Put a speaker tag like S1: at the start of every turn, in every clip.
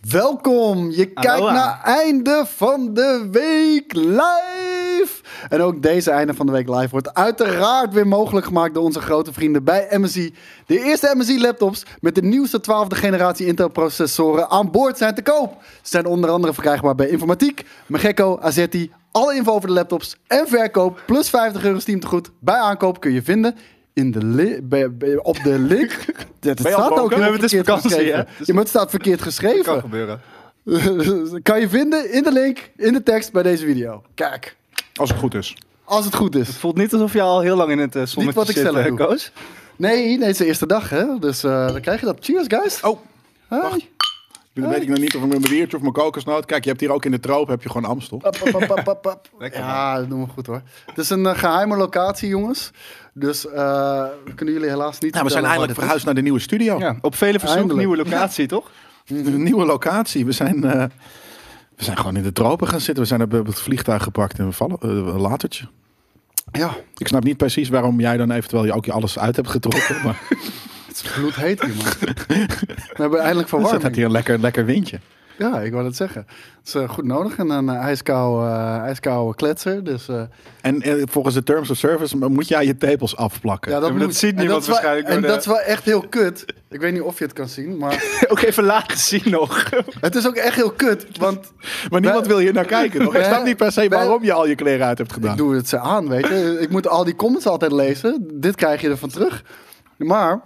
S1: Welkom! Je kijkt
S2: Aloha.
S1: naar Einde van de Week live! En ook deze Einde van de Week live wordt uiteraard weer mogelijk gemaakt door onze grote vrienden bij MSI. De eerste MSI-laptops met de nieuwste 12e generatie Intel-processoren aan boord zijn te koop. Ze zijn onder andere verkrijgbaar bij Informatiek, Megekko, Azetti. Alle info over de laptops en verkoop plus 50 euro Steam tegoed bij aankoop kun je vinden in de li- bij- bij- op de link. Het
S2: Ben je al
S1: staat ook
S2: dronken?
S1: heel
S2: Het is
S1: verkeerd
S2: vakantie, hè?
S1: geschreven.
S2: Dus-
S1: Ja, maar het staat verkeerd
S2: Kan
S1: geschreven.
S2: gebeuren.
S1: kan je vinden in de link in de tekst bij deze video. Kijk,
S2: Als het goed is.
S1: als het goed
S2: Het
S1: is.
S2: voelt niet alsof je al heel lang in het eh,
S1: Niet
S2: zonnetje
S1: wat ik
S2: zit,
S1: zelf
S2: eh,
S1: doe.
S2: Koos.
S1: Nee, nee, het is de eerste dag, hè? Dus eh, dan krijg je dat. Cheers, guys.
S3: Oh,
S1: Hi.
S3: dan weet ik nog niet of ik mijn biertje of mijn kokosnoot... Kijk, je hebt hier ook in de troop heb je gewoon Amstel. Nou,
S1: Pap, pap, pap, pap, pap.
S2: Lekker,
S1: Ja, dat doen we goed hoor. Het is een eh, geheime locatie, jongens. Dus eh, we kunnen jullie helaas niet.
S3: Nou, we
S1: vertellen waar
S3: zijn eindelijk
S1: dit
S3: verhuisd naar de nieuwe studio.
S2: Ja, op vele verzoek
S1: Eindelijk.
S2: nieuwe locatie, toch?
S3: Een nieuwe locatie. We zijn, eh, we zijn gewoon in de tropen gaan zitten. We zijn op op het vliegtuig gepakt en we vallen. eh, een latertje.
S1: is. Ja,
S3: Ik snap niet precies waarom jij dan eventueel je ook je alles uit hebt getrokken. Maar
S1: het is bloedheet hier, man. we hebben eindelijk
S3: het
S1: verwarming.
S3: had hier een lekker, lekker windje.
S1: Ja, ik wou dat zeggen. Het is eh, goed nodig en een eh, ijskoude, eh, ijskoude kletser. Dus eh,
S3: En eh, volgens de terms of service moet jij je tepels afplakken.
S1: Ja, dat,
S2: Ja, maar
S1: moet.
S2: dat ziet
S1: En
S2: niemand
S1: dat is wel-
S2: waarschijnlijk,
S1: En
S2: maar de-
S1: dat is wel echt heel kut. Ik weet niet of je het kan zien, maar
S2: ook even laat gezien nog.
S1: het is ook echt heel kut. Want
S3: maar niemand wil hier naar kijken. Toch? Ik
S1: Wij-
S3: snap niet per se
S1: wij-
S3: waarom je al je kleren uit hebt
S1: ik
S3: gedaan.
S1: doe het ze aan, weet je. Ik moet al die comments altijd lezen. Dit krijg je ervan terug. Maar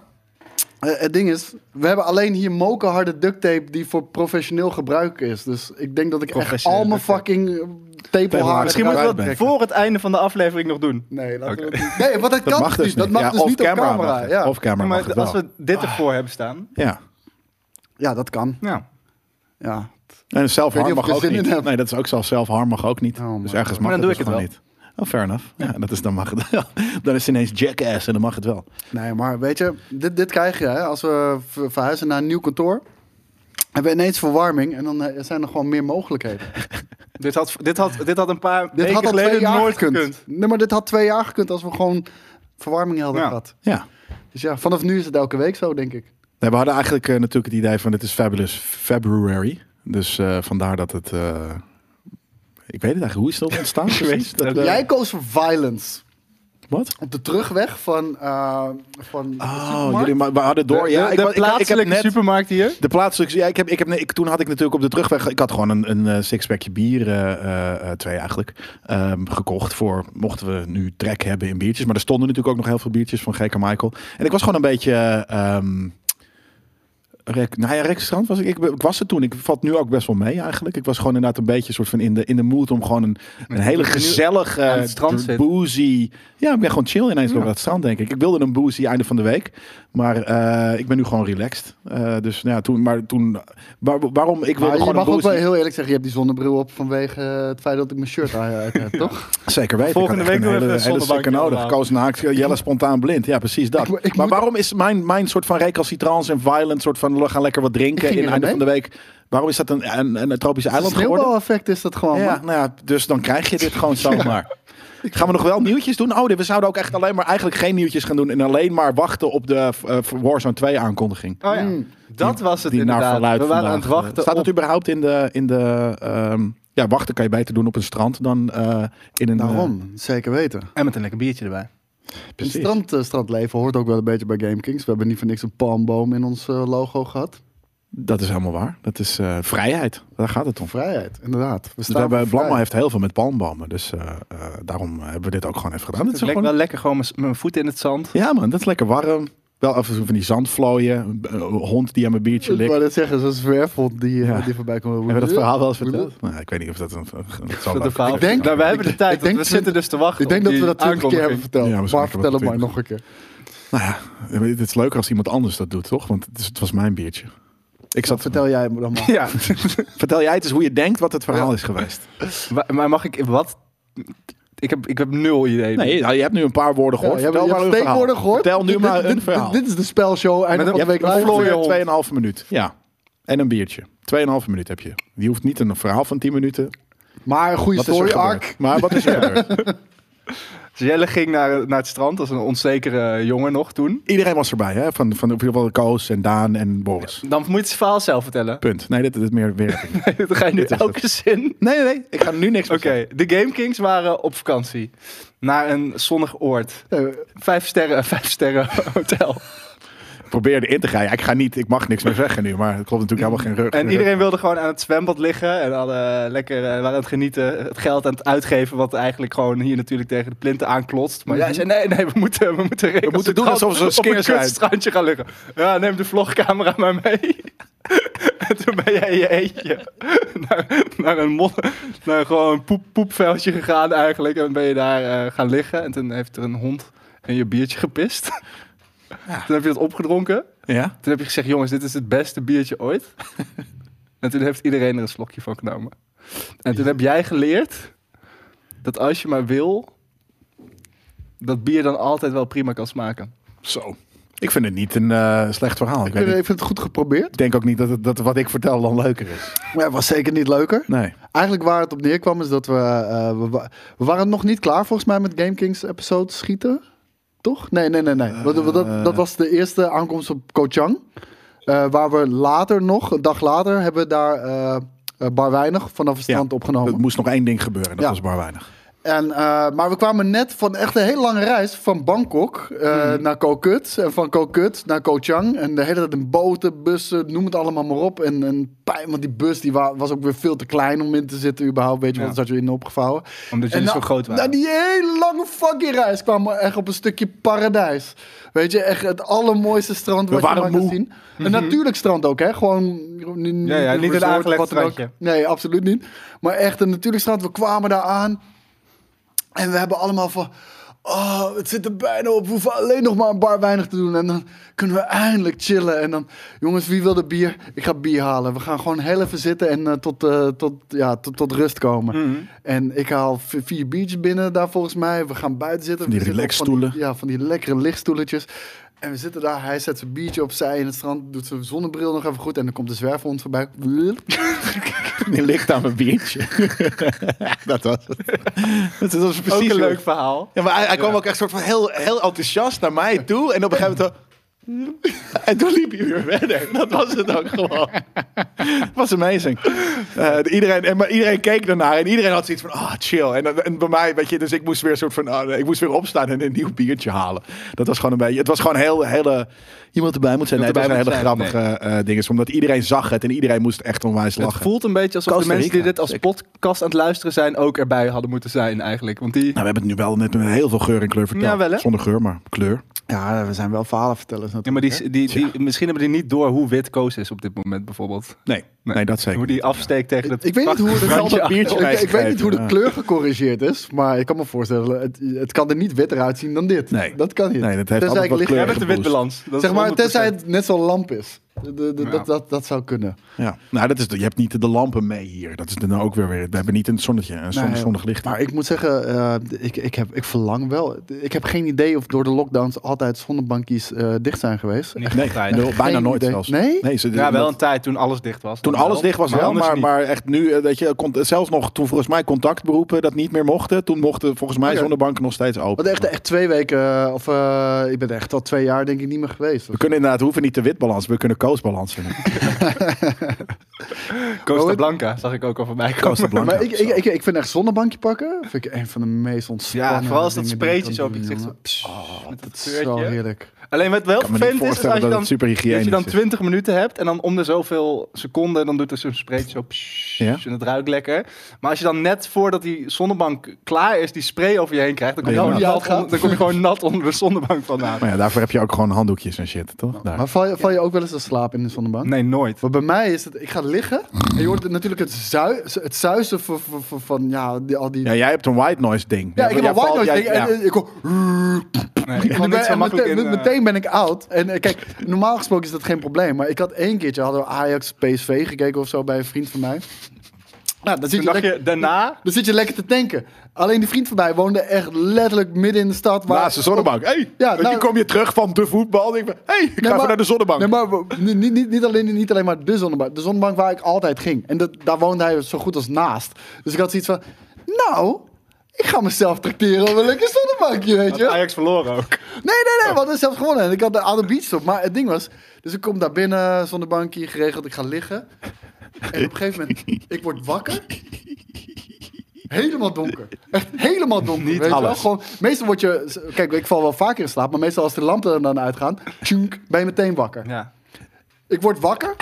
S1: eh, het ding is, we hebben alleen hier mokerharde duct tape die voor professioneel gebruik is. Dus ik denk dat ik echt
S2: Professioneel
S1: al mijn
S2: duct tape.
S1: fucking tepelhaar
S3: Tepelhaar.
S2: Misschien moeten we dat
S3: uitbrengen.
S2: voor het einde van de aflevering nog doen.
S1: Nee, laten we
S2: Oké.
S1: dat niet. Nee, want dat,
S3: Dat
S1: kan
S3: mag
S1: dus
S3: dus
S1: niet. Dat mag
S3: Ja,
S1: dus
S3: of
S1: niet op camera.
S3: mag het.
S1: ja.
S3: Of camera mag
S2: maar
S3: het
S2: als
S3: wel.
S2: we
S1: Ah.
S2: dit ervoor hebben staan.
S3: Ja.
S1: ja, dat kan.
S2: Ja.
S1: Ja.
S3: En
S1: Ik
S3: self-harm
S1: weet niet of
S3: dus mag
S1: ik er
S3: ook
S1: zin in
S3: niet.
S1: heb.
S3: Nee, dat is ook zelf self-harm mag ook niet.
S1: Oh my
S3: dus
S1: God.
S3: ergens mag
S2: Maar dan doe
S3: het dus
S2: ik
S3: gewoon niet. Oh, fair enough. Ja, dat is, dan mag het wel. Dan is het ineens jackass en dan mag het wel.
S1: Nee, maar weet je, dit, dit krijg je hè? als we ver- verhuizen naar een nieuw kantoor. Hebben we ineens verwarming en dan eh, zijn er gewoon meer mogelijkheden.
S2: Dit, had, dit, had, dit had een paar
S1: Dit
S2: weken
S1: had al
S2: geleden
S1: twee jaar
S2: nooit
S1: gekund.
S2: gekund.
S1: Nee, maar dit had twee jaar gekund als we gewoon verwarming hadden
S2: Ja.
S1: gehad.
S3: Ja.
S1: Dus ja, vanaf nu is het elke week zo, denk ik.
S3: Nee, we hadden eigenlijk eh, natuurlijk het idee van dit is Fabulous February. Dus eh, vandaar dat het... eh, ik weet het eigenlijk. Hoe is dat ontstaan geweest? Dat, eh,
S1: Jij koos voor violence.
S3: Wat?
S1: Op de terugweg van, eh van de
S3: Oh,
S1: supermarkt.
S3: jullie, maar we hadden door. ja,
S2: de de
S3: wa- heb
S2: plaatselijke
S3: net-
S2: supermarkt hier.
S3: De plaatselijke. Ja, ik heb, ik heb, nee, ik, toen had ik natuurlijk op de terugweg. Ik had gewoon een, een eh, sixpackje bier, eh, eh, eh, twee eigenlijk, ehm, gekocht. Voor mochten we nu trek hebben in biertjes. Maar er stonden natuurlijk ook nog heel veel biertjes van GK Michael. En ik was gewoon een beetje. ehm rek, nou ja, rechtsstrand was ik, ik. ik was het toen. Ik vat nu ook best wel mee eigenlijk. Ik was gewoon inderdaad een beetje soort van in de, in de mood om gewoon een, een hele
S2: je nu
S3: gezellige,
S2: aan
S1: eh,
S2: het strand
S3: dr-
S2: zitten.
S3: Eh, boozy. Ja, ik ben gewoon chill ineens door het strand, denk ik. Ik wilde een boozy einde van de week. Maar eh, ik ben nu gewoon relaxed. Eh, dus nou ja, toen, maar toen. waar- waarom? Ik wilde
S1: Maar je
S3: gewoon
S1: mag
S3: een
S1: ook
S3: boozy.
S1: wel heel eerlijk zeggen, je hebt die zonnebril op vanwege eh, het feit dat ik mijn shirt aan uit heb, toch?
S3: Zeker weten.
S2: Volgende
S3: Ik had
S2: week
S3: echt
S2: doen we
S3: een hele,
S2: even
S3: hele
S2: een zonnebankje
S3: sikke nodig.
S2: allemaal.
S3: Koos naakt, Jelle spontaan blind. Ja, precies dat.
S1: Ik- ik
S3: maar
S1: moet-
S3: waarom is mijn, mijn soort van recalcitrance en violent soort van we gaan lekker wat
S1: Ik
S3: drinken
S1: ging
S3: in
S1: er
S3: einde
S1: mee.
S3: van de week? Waarom is dat een, een, een, tropisch eiland geworden?
S1: Sneeuwbaleffect is dat gewoon,
S3: Ja,
S1: man.
S3: nou ja, dus dan krijg je dit gewoon zomaar. Gaan we nog wel nieuwtjes doen? Oh, we zouden ook echt alleen maar eigenlijk geen nieuwtjes gaan doen. En alleen maar wachten op de eh, Warzone 2 aankondiging.
S2: Oh ja.
S1: Mm.
S2: Dat was het
S3: Die naar
S2: inderdaad.
S3: verluidt
S2: we waren aan het
S3: vandaag, eh,
S2: wachten
S3: Staat
S2: op
S3: het überhaupt in de... In de ehm, ja, wachten kan je beter doen op een strand dan eh, in
S2: Nou.
S3: een... eh,
S1: Daarom, zeker weten.
S2: En met een lekker biertje erbij.
S1: Een
S3: precies.
S1: strand, eh, strandleven hoort ook wel een beetje bij GameKings. We hebben niet voor niks een palmboom in ons eh, logo gehad.
S3: Dat is helemaal waar. Dat is eh, vrijheid. Daar gaat het om.
S1: Vrijheid, inderdaad. We
S3: Dus we hebben,
S1: voor
S3: Blamma
S1: vrijheid.
S3: heeft heel veel met palmbomen. Dus eh, eh, daarom hebben we dit ook gewoon even gedaan.
S2: Het
S3: Dit
S2: is
S3: is gewoon
S2: wel lekker gewoon met mijn voeten in het zand.
S3: Ja man, dat is lekker warm. Wel even van die zandvlooien. Een b- een hond die aan mijn biertje
S1: Ik
S3: likt.
S1: wou net zeggen, zoals Verfond die, eh,
S3: Ja.
S1: die voorbij komt.
S3: Hebben we dat verhaal wel eens
S1: Hoe-
S3: verteld? Nou, ik weet niet of dat een, een, een zo
S2: Dat
S3: leuk-
S2: verhaal.
S1: Ik denk-
S2: nou, wij hebben de tijd.
S1: ik denk
S2: want
S1: dat-
S2: we zitten dus te wachten.
S1: Ik denk
S2: op
S1: dat we
S2: die
S1: dat twintig keer hebben
S2: aankondiging.
S1: verteld.
S3: Ja,
S1: maar
S3: misschien
S1: vertel het maar
S3: hebben we
S1: nog een keer.
S3: Nou ja, het is leuker als iemand anders dat doet, toch? Want het, is- het was mijn biertje. Ik zat, vertel,
S1: Vertel jij me dan maar.
S2: Ja.
S3: vertel jij het eens hoe je denkt wat het verhaal is geweest.
S2: Wa- Maar mag ik wat? Ik heb, ik heb nul idee.
S3: Nee, nou, je hebt nu een paar woorden gehoord.
S1: Ja, je hebt-
S3: vertel
S1: je
S3: maar
S1: hebt
S3: een verhaal.
S1: steekwoorden gehoord.
S3: Vertel nu
S1: Dit-
S3: maar
S1: dit-
S3: een
S1: dit-
S3: verhaal.
S1: Dit is de spelshow. Einde
S2: Met
S1: van de
S2: een-
S1: week
S3: Een
S1: live.
S2: vloer.
S3: vlooier,
S2: hond.
S3: 2,5 minuut. Ja. En een biertje. 2,5 minuut heb je. Je hoeft niet een verhaal van 10 minuten.
S1: Maar een goede
S3: Wat is er
S1: story
S3: gebeurd?
S1: arc.
S3: Maar wat is er gebeurd?
S2: Dus Jelle ging naar, naar het strand, dat was een onzekere jongen nog toen.
S3: Iedereen was erbij, hè? Van, van in ieder geval Koos en Daan en Boris.
S2: Dan moet je het verhaal zelf vertellen.
S3: Punt. Nee, dit, dit is meer weer.
S2: Dan ga je nu
S3: Dit is
S2: elke zin.
S3: Nee, nee, nee. Ik ga nu niks meer
S2: Oké, de Game Kings waren op vakantie. Naar een zonnig oord.
S1: Eh,
S2: Vijf sterren, vijf sterren hotel.
S3: zeggen. Probeer erin te gaan. Ja, ik ga niet. Ik mag niks meer zeggen nu. Maar het klopt natuurlijk helemaal geen rug.
S2: En iedereen wilde gewoon aan het zwembad liggen. En hadden lekker eh, waren aan het genieten. Het geld aan het uitgeven. Wat eigenlijk gewoon hier natuurlijk tegen de plinten aanklotst. Maar jij zei: nee, nee, we moeten, we moeten regels.
S3: moeten doen
S2: gaan
S3: alsof ze
S2: op een
S3: skeers zijn.
S2: kutstrandje gaan liggen. Ja, neem de vlogcamera maar mee. en toen ben jij in je eentje naar, naar een mon, naar gewoon een poep, poepveldje gegaan eigenlijk. En ben je daar eh, gaan liggen. En toen heeft er een hond in je biertje gepist. Toen heb je dat opgedronken.
S3: Ja?
S2: Toen heb je gezegd, jongens, dit is het beste biertje ooit. en toen heeft iedereen er een slokje van genomen. En toen heb jij geleerd dat als je maar wil, dat bier dan altijd wel prima kan smaken.
S3: Zo. Ik vind het niet een eh, slecht verhaal. Ik,
S1: Ik
S3: weet niet.
S1: vind het goed geprobeerd,
S3: ik denk ook niet dat, het- dat wat ik vertel dan leuker is.
S1: maar het was zeker niet leuker.
S3: Nee.
S1: Eigenlijk waar het op neerkwam is dat we, eh, we, wa- we waren nog niet klaar volgens mij met Game Kings episodes schieten. Toch? Nee, nee, nee, nee. Want dat, dat, dat was de eerste aankomst op Kochang. Eh, waar we later nog, een dag later, hebben we daar eh eh, Bar Weinig vanaf het strand
S3: Er
S1: opgenomen.
S3: moest nog één ding gebeuren. Dat
S1: Ja.
S3: was maar weinig.
S1: En, eh, maar we kwamen net van echt een hele lange reis van Bangkok eh,
S2: Mhm.
S1: naar Kokut. En van Kokut naar Koh Chang. En de hele tijd in boten, bussen, noem het allemaal maar op. En, en pijn, want die bus die wa- was ook weer veel te klein om in te zitten überhaupt. Weet je,
S2: Ja.
S1: want dan zat je in opgevouwen.
S2: Omdat
S1: En
S2: jullie
S1: na-
S2: zo groot waren.
S1: Na die hele lange fucking reis kwamen we echt op een stukje paradijs. Weet je, echt het allermooiste strand
S3: We
S1: wat je
S3: waren
S1: maar kan
S3: moe.
S1: zien. Een natuurlijk strand ook, hè? Gewoon niet,
S2: Mhm. Ja, ja, niet een
S1: resort of
S2: aangelegd
S1: wat dan ook.
S2: strandje.
S1: Nee, absoluut niet. Maar echt een natuurlijk strand. We kwamen daar aan. En we hebben allemaal van. Oh, het zit er bijna op. We hoeven alleen nog maar een bar weinig te doen. En dan kunnen we eindelijk chillen. En dan, jongens, wie wil de bier? Ik ga bier halen. We gaan gewoon heel even zitten en eh, tot, eh, tot, ja, tot, tot rust komen. En ik haal v- vier biertjes binnen daar volgens mij. We gaan buiten zitten.
S3: Van die
S1: We zitten op van die-
S3: relaxstoelen.
S1: Ja, van die lekkere lichtstoeletjes. En we zitten daar. Hij zet zijn biertje opzij in het strand. Doet zijn zonnebril nog even goed. En dan komt de zwerfhond voorbij.
S3: Die ligt aan mijn biertje. dat was het. Dat was precies
S2: Ook een
S3: hoe-
S2: leuk verhaal.
S3: Ja, maar hij, hij kwam ook echt soort van heel, heel enthousiast naar mij toe. En op een gegeven moment... En toen liep hij weer verder. Dat was het ook gewoon. Het was amazing. Eh, iedereen, en, maar iedereen keek daarnaar en iedereen had zoiets van... Ah, chill. En, dan- en bij mij, weet je... Dus ik moest weer, een soort van, ah, ik moest weer opstaan en een nieuw biertje halen. Dat was gewoon een beetje... Het was gewoon heel... hele iemand erbij moet zijn. Nee, het was
S2: Iemand
S3: een hele
S2: erbij moet
S3: grappige eh, ding. Is, omdat iedereen zag het en iedereen moest echt onwijs
S2: Het
S3: lachen.
S2: voelt een beetje alsof
S3: Costa
S2: de mensen die
S3: Rica,
S2: dit als
S3: zeker.
S2: podcast aan het luisteren zijn ook erbij hadden moeten zijn eigenlijk. Want die...
S3: Nou, we hebben het nu wel net met heel veel geur en kleur verteld.
S2: Ja, wel, hè?
S3: Zonder geur, maar kleur.
S1: Ja, we zijn wel verhalenvertellers natuurlijk.
S2: Ja, maar die, die, die, misschien hebben die niet door hoe wit Koos is op dit moment bijvoorbeeld.
S3: Nee, nee, dat zeker.
S2: Hoe die afsteekt tegen het
S1: Ik weet niet hoe de
S2: prachtige
S3: brandje
S2: brandje
S3: biertje
S1: Ik-
S3: bij
S1: ik,
S3: te
S1: weet niet
S3: krijgen,
S1: hoe de
S3: ja.
S1: kleur gecorrigeerd is, maar ik kan me voorstellen, het, het kan er niet witter uitzien dan dit.
S3: Nee.
S1: Dat kan niet.
S3: Nee, dat heeft
S1: Tenzij
S3: altijd
S1: ik
S3: wat
S1: licht-
S3: kleur.
S2: Jij bent de
S3: geboost.
S2: witbalans. Dat is
S1: Zeg maar,
S2: 100%.
S1: tenzij het net zo'n lamp is. De- de- de-
S2: Ja.
S1: dat, dat, dat zou kunnen.
S3: Ja, nou, dat is, de- je hebt niet de lampen mee hier. Dat is dan ook weer weer. We hebben niet een zonnetje, een zon,
S1: Nee,
S3: zonnig licht.
S1: Maar ik moet zeggen, eh, ik, ik, heb, ik verlang wel. Ik heb geen idee of door de lockdowns altijd zonnebankies eh, dicht zijn geweest.
S2: Niet
S3: nee,
S2: altijd.
S3: nul, bijna
S1: Geen
S3: nooit
S1: idee.
S3: zelfs.
S1: Nee?
S3: ze-
S2: Ja, wel
S3: dat-
S2: een tijd toen alles dicht was.
S3: toen
S2: Dan
S3: alles
S2: wel.
S3: dicht was wel,
S2: anders
S3: maar,
S2: niet.
S3: maar echt nu, eh, dat je kon, zelfs nog toen volgens mij contactberoepen dat niet meer mochten. Toen mochten volgens mij
S1: Oké.
S3: zonnebanken nog steeds open.
S1: Oh Want echt, echt twee weken, eh, of eh, ik ben er echt al twee jaar denk ik niet meer geweest.
S3: We kunnen inderdaad, we hoeven niet de witbalans, we kunnen koosbalans. in.
S2: Costa Blanca zag ik ook al voorbij komen.
S3: Costa Blanca.
S1: Maar ik, ik, ik, ik vind echt zonnebankje pakken, vind ik een van de meest ontspannen
S2: Ja, vooral als dat
S1: dingen die je
S2: spreetje
S1: kan
S2: zo op je
S1: doen,
S2: gezicht zo...
S1: jongen.
S2: pss, met dat
S1: Het is zo
S2: zeurtje.
S1: heerlijk.
S2: Alleen wat wel
S3: kan me niet
S2: vervelend is, is als
S3: voorstellen
S2: je
S3: dat
S2: dan,
S3: het super
S2: dat je
S3: hygiënisch
S2: dan
S3: is.
S2: 20 minuten hebt en dan om de zoveel seconden, dan doet er zo'n spreetje zo... pss,
S3: Ja?
S2: En het ruikt lekker. Maar als je dan net voordat die zonnebank klaar is, die spray over je heen krijgt, dan kom je,
S3: Ja,
S2: gewoon
S1: ja,
S2: nat
S1: het gaat.
S2: onder- dan kom je gewoon nat onder de zonnebank vandaan.
S3: Maar ja, daarvoor heb je ook gewoon handdoekjes en shit, toch? Daar.
S1: Maar val je, val je ook wel eens te slapen in de zonnebank?
S2: Nee, nooit.
S1: Want bij mij is het, ik ga liggen en je hoort natuurlijk het, zui, het zuizen van, van, van, van, ja, die, al die...
S3: Ja, jij hebt een white noise ding.
S1: Ja, ik heb
S3: Jij
S1: een white
S3: valt-
S1: noise
S3: jij-
S1: ding en,
S3: ja.
S1: en ik hoor...
S2: Nee, ik
S1: En
S2: kan niet zo
S1: en
S2: makkelijk
S1: meteen,
S2: in... eh,
S1: meteen ben ik oud. En eh, kijk, normaal gesproken is dat geen probleem. Maar ik had één keertje, hadden we Ajax PSV gekeken of zo bij een vriend van mij. Nou, dan zit
S2: Toen
S1: je,
S2: dacht
S1: lekker,
S2: je, daarna...
S1: dan zit je lekker te tanken. Alleen die vriend van mij woonde echt letterlijk midden in de stad. Waar
S3: Naast de zonnebank. Hey,
S1: Ja,
S3: en
S1: nou-
S3: nu kom je terug van de voetbal. Denk ik, van, hey, ik ga
S1: Nee,
S3: even
S1: maar-
S3: naar de zonnebank.
S1: Nee, maar we- niet, niet- niet, niet, alleen, niet alleen maar de zonnebank. De zonnebank waar ik altijd ging. En dat, daar woonde hij zo goed als naast. Dus ik had zoiets van... Nou, Ik ga mezelf tracteren op een lekker zonnebankje, weet je.
S2: Had Ajax verloren ook.
S1: Nee, nee,
S3: Oh.
S1: nee, we hadden zelfs gewonnen. En ik had de aan de beach op. Maar het ding was, dus ik kom daar binnen zonder bankje geregeld. Ik ga liggen. En op een gegeven moment, ik word wakker. Helemaal donker. Echt helemaal donker. weet Je wel?
S3: alles.
S1: Gewoon, meestal word je... Kijk, ik val wel vaker in slaap. Maar meestal als de lampen dan uitgaan... Tjunk, ben je meteen wakker.
S2: Ja.
S1: Ik word wakker.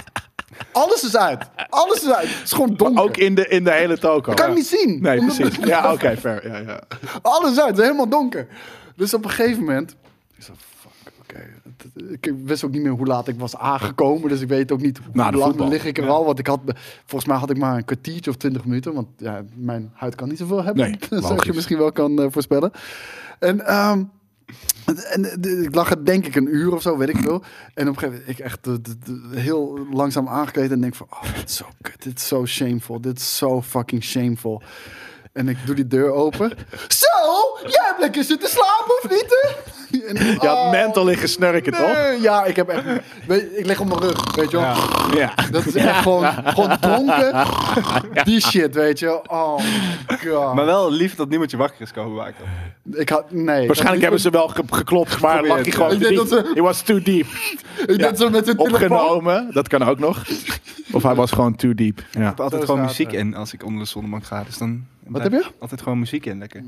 S1: Alles is uit. Alles is uit. Het is gewoon donker.
S3: Ook in de, in de hele toko.
S1: Ik kan het niet zien.
S3: Nee,
S1: Omdat-
S3: precies. Ja, oké, fair. Ja, ja.
S1: Alles uit, het is helemaal donker. Dus op een gegeven moment. Ik zo, fuck, oké. Het- Ik wist ook niet meer hoe laat ik was aangekomen. Dus ik weet ook niet hoe
S3: Na de
S1: lang
S3: voetbal.
S1: lig ik er al. Want ik had, volgens mij had ik maar een kwartiertje of twintig minuten. Want ja, mijn huid kan niet zoveel hebben.
S3: Nee,
S1: Zoals je
S3: logisch.
S1: misschien wel kan eh, voorspellen. En, ehm, en eh, de- ik lag er denk ik een uur of zo, weet ik veel. En op een gegeven moment ik echt de- de- de- heel langzaam aangekleed. En denk van, oh, dit is zo kut. Dit is zo shameful. Dit is zo fucking shameful. En ik doe die deur open. Zo, jij hebt lekker zitten slapen of niet? hè? En,
S3: Je had
S1: oh,
S3: mental liggen snurken, toch?
S1: nee. Ja, ik heb echt... Weet, ik lig op mijn rug, weet je wel.
S3: Ja.
S1: Dat is echt gewoon, gewoon dronken. Die shit, weet je wel. Oh my god.
S2: Maar wel lief dat niemand je wakker is komen maken.
S1: ik had... Nee.
S3: Waarschijnlijk hebben ze wel ge- geklopt, maar lag hij gewoon
S1: Ik
S3: te
S1: denk
S3: diep.
S1: dat ze-
S3: It was too deep.
S1: Ik
S3: ja,
S1: ben zo met hun telefoon.
S3: Opgenomen, dat kan ook nog. Of hij was gewoon too deep. Ja.
S2: Ik heb altijd
S1: Zo
S2: gewoon
S1: staat
S2: muziek
S1: er.
S2: in als ik onder de zonnebank ga. Dus dan
S1: Wat heb je?
S2: Altijd gewoon muziek in, lekker.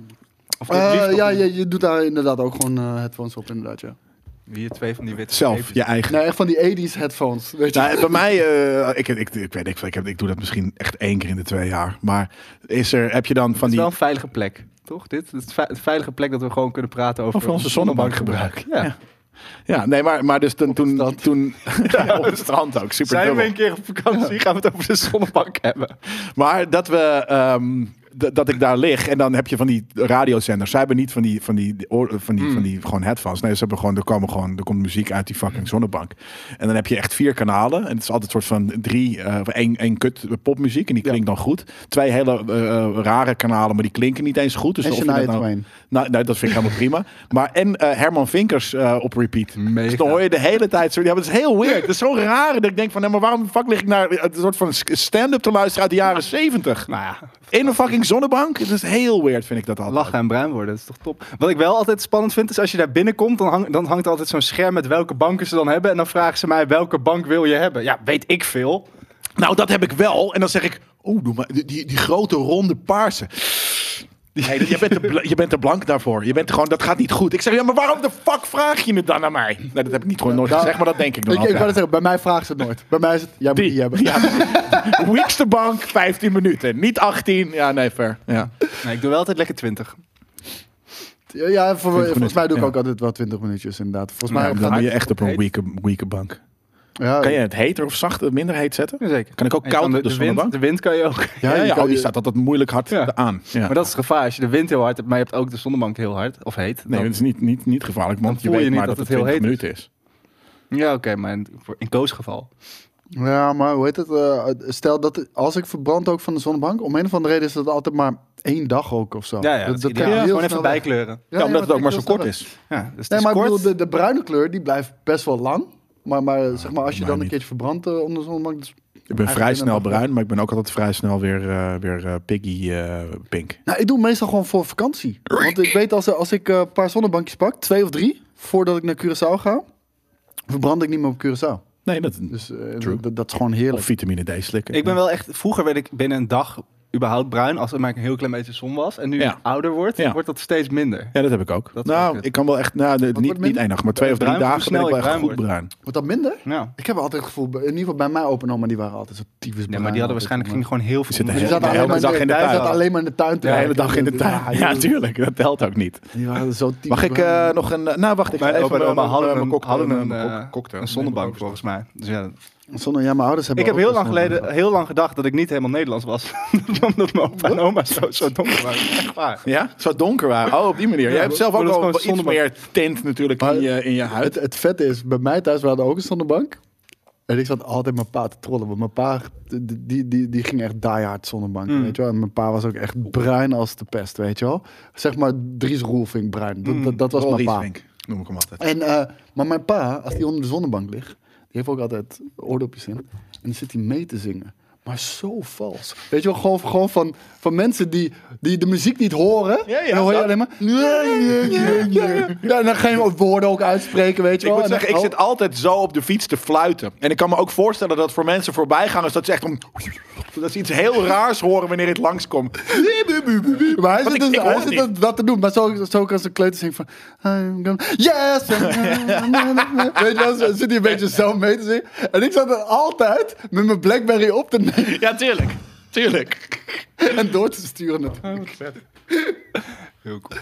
S2: Of
S1: Eh,
S2: het liefst nog
S1: ja,
S2: een-
S1: je, je doet daar inderdaad ook gewoon eh, headphones op, inderdaad, ja.
S2: Hier twee van die witte
S3: Zelf,
S2: zeepjes.
S3: je eigen.
S1: Nee, echt van die 80s headphones, weet je.
S3: Nou, bij mij, eh, ik, ik, ik weet niet, ik, heb- ik doe dat misschien echt één keer in de twee jaar. Maar is er, heb je dan van
S2: Het is
S3: die...
S2: wel een veilige plek, toch? Dit Het is een veilige plek dat we gewoon kunnen praten over,
S3: Over onze zonnebankgebruik.
S2: Ja.
S3: Ja, nee, maar, maar dus dan, toen...
S1: strand.
S3: toen ja, op het strand ook, super
S2: Zijn we
S3: dubbel.
S2: een keer op vakantie, gaan we het over de zonnebank hebben.
S3: Maar dat we. ehm, d- dat ik daar lig en dan heb je van die radiozenders. Zij hebben niet van die, van die, die oor- van die, van die gewoon headphones. Nee, ze hebben gewoon er, komen gewoon, er komt muziek uit die fucking zonnebank. En dan heb je echt vier kanalen. En het is altijd een soort van drie, eh, of één, één kut popmuziek. En die klinkt dan goed. Twee hele eh, eh, rare kanalen, maar die klinken niet eens goed. Dus
S1: En
S3: of je dat
S1: Shania
S3: nou-
S1: Twain.
S3: nou, nou, dat vind ik helemaal prima. Maar en eh, Herman Vinkers eh, op repeat.
S2: Mega.
S3: Dus dan hoor je de hele tijd zo. Ja, maar het is heel weird. Het is zo raar dat ik denk van, nee, maar waarom de fuck lig ik naar een soort van stand-up te luisteren uit de jaren 70?
S2: Nou ja,
S3: In een fucking zonnebank? Het is heel weird, vind ik dat altijd.
S2: lachen en bruin worden, dat is toch top. Wat ik wel altijd spannend vind, is als je daar binnenkomt, dan, hang- dan hangt er altijd zo'n scherm met welke banken ze dan hebben. En dan vragen ze mij, welke bank wil je hebben? Ja, weet ik veel.
S3: Nou, dat heb ik wel. En dan zeg ik, oeh, doe maar die, die, die grote ronde paarse. Nee, dat- je, bent te bl- je bent te blank daarvoor. Je bent gewoon, dat gaat niet goed. Ik zeg, ja, maar waarom de fuck vraag je het dan aan mij? Nee, dat heb ik niet gewoon nooit
S1: Nou,
S3: gezegd, maar dat denk ik dan
S1: Ik, ik
S3: altijd.
S1: wou net zeggen, bij mij vragen ze het nooit. Bij mij is het, jij moet die,
S3: Die.
S1: hebben.
S3: Ja, precies. Weekste bank, 15 minuten. Niet 18. Ja, nee, fair. Ja.
S2: Nee, ik doe wel altijd lekker 20.
S1: Ja, ja voor- volgens
S3: minuten,
S1: mij doe ik
S3: ja.
S1: ook altijd wel 20 minuutjes inderdaad. Volgens mij
S3: Maar dan
S1: gaat-
S3: moet je echt op een weeke, weeke bank.
S1: ja,
S3: Kan je het heter of zachter, minder heet zetten?
S2: Zeker.
S3: Kan ik ook
S2: En je
S3: koud
S2: kan
S3: op de
S2: wind,
S3: zonnebank?
S2: de wind kan je ook.
S3: Ja, ja,
S1: je
S3: ja.
S1: kan
S3: Oh, die
S1: je-
S3: staat altijd moeilijk hard
S2: Ja.
S3: aan. Ja.
S2: Maar dat is het gevaar. Als je de wind heel hard hebt, maar je hebt ook de zonnebank heel hard of heet.
S3: nee,
S2: dan-
S3: dat is niet, niet, niet gevaarlijk, want je
S2: voel
S3: weet
S2: je niet
S3: maar dat,
S2: dat
S3: het
S2: het
S3: 20
S2: heel
S3: minuten is.
S2: Ja, oké, maar in, voor- in Koos geval.
S1: Ja, maar hoe heet het? eh, stel dat als ik verbrand ook van de zonnebank, om een of andere reden is dat altijd maar één dag ook of zo.
S2: Ja, ja, dat, is ideaal.
S1: kan heel
S2: gewoon
S1: snel
S2: even
S1: weg.
S2: bijkleuren.
S3: Ja, omdat
S1: maar
S3: het ook maar zo
S1: kan
S3: kort
S1: heel
S3: is.
S2: Ja, dus
S1: snel
S2: het
S1: weg.
S2: is
S1: Nee, maar ik
S2: kort.
S1: bedoel, de, de bruine kleur die blijft best wel lang. Maar, maar zeg maar, als je
S3: mij
S1: dan een
S3: niet.
S1: keertje verbrandt eh, onder de zonnebank. dus-
S3: Ik ben vrij
S1: Eigenlijk
S3: snel
S1: inderdaad.
S3: bruin, maar ik ben ook altijd vrij snel weer, eh, weer eh, piggy eh, pink.
S1: Nou, ik doe het meestal gewoon voor vakantie. Want ik weet als, als ik eh, een paar zonnebankjes pak, twee of drie, voordat ik naar Curaçao ga, verbrand ik niet meer op Curaçao.
S3: Nee, dat,
S1: Dus eh,
S3: True.
S1: dat, dat is gewoon heerlijk.
S3: of vitamine D slikken.
S2: Ik ben wel echt... Vroeger werd ik binnen een dag überhaupt bruin, als er maar een heel klein beetje zon was. En nu
S3: Ja.
S2: ik ouder wordt,
S3: Ja.
S2: wordt dat steeds minder.
S3: Ja, dat heb ik ook.
S2: Dat is wel
S3: nou,
S2: kut.
S3: ik kan wel echt, nou, de- niet,
S1: wordt
S3: niet
S1: minder?
S3: één dag, maar twee of drie
S2: Bruin, hoe
S3: dagen ben
S2: snel
S3: ik wel
S2: ik
S3: echt
S2: bruin
S3: goed
S2: word.
S3: bruin.
S1: Wordt dat minder?
S2: Nou,
S1: Ik heb altijd het gevoel, in ieder geval bij mijn open oma, die waren altijd zo tyfus
S2: nee, maar die hadden waarschijnlijk gingen gewoon heel veel...
S3: zitten
S1: Die
S3: heel-
S1: zaten,
S3: de
S1: alleen,
S3: hele
S1: maar
S3: dag in de
S1: die
S3: tuin.
S1: zaten alleen maar in de tuin. te
S3: De hele
S1: werken.
S3: dag in de tuin.
S1: Ja,
S3: Ja,
S1: joh,
S3: tuurlijk. Dat telt ook niet.
S1: die waren zo typisch
S3: Mag ik eh,
S1: bruin.
S3: nog een... eh, nou, wacht. Ik ga
S2: Mijn
S3: even
S2: opa en
S3: mijn-
S2: oma hadden
S3: mijn
S2: een,
S3: cocktail-
S2: hadden een,
S3: mijn
S2: eh,
S3: co- cocktail.
S2: een zonnebank volgens mij. Dus ja,
S1: Zonder, ja, mijn ouders hebben
S2: ik heb
S1: ook
S2: heel
S1: wel
S2: lang
S1: zo'n-
S2: geleden heel lang gedacht dat ik niet helemaal Nederlands was. Omdat mijn opa en oma zo, zo donker waren. Echt waar.
S3: Ja? Zo donker waren. Oh, op die manier. Jij hebt zelf
S2: maar
S3: ook
S2: dat is
S3: al iets
S2: gewoon zonnebank.
S3: meer tint natuurlijk
S1: Maar-
S3: in je, in je huid.
S1: Het, het vette is, bij mij thuis, we hadden ook een zonnebank. En ik zat altijd mijn pa te trollen. Want mijn pa, die, die, die, die ging echt diehard zonnebank, weet je wel. En mijn pa was ook echt bruin als de pest, weet je wel. Zeg maar Dries Roelvink bruin. Dat, dat, dat was
S3: Roel
S1: mijn pa.
S3: Riesvink noem ik hem altijd.
S1: En, eh, maar mijn pa, als die onder de zonnebank ligt, die heeft ook altijd oordopjes in. En dan zit hij mee te zingen. maar zo vals. Weet je wel, gewoon, gewoon van, van mensen die, die de muziek niet horen.
S2: Ja, ja,
S1: en dan hoor je
S2: dat-
S1: alleen maar... Ja, en dan geen woorden ook uitspreken, weet je wel.
S3: Ik moet
S1: En dan-
S3: zeggen, ik
S1: oh.
S3: zit altijd zo op de fiets te fluiten. En ik kan me ook voorstellen dat voor mensen voorbijgangers dat ze echt om... Dat ze iets heel raars horen wanneer het langskomt.
S1: Maar hij
S3: Want
S1: zit,
S3: ik-
S1: dus,
S3: ik hoor
S1: hij
S3: het
S1: zit
S3: niet.
S1: dat, dat te doen. Maar zo, zo kan zo'n kleuter zingen van... I'm gonna, yes! Weet je wel, zo- zit hij een beetje zo mee te zingen. En ik zat er altijd met mijn Blackberry op te nemen
S3: Ja, tuurlijk. Tuurlijk.
S1: en door te sturen. natuurlijk.
S2: Heel cool.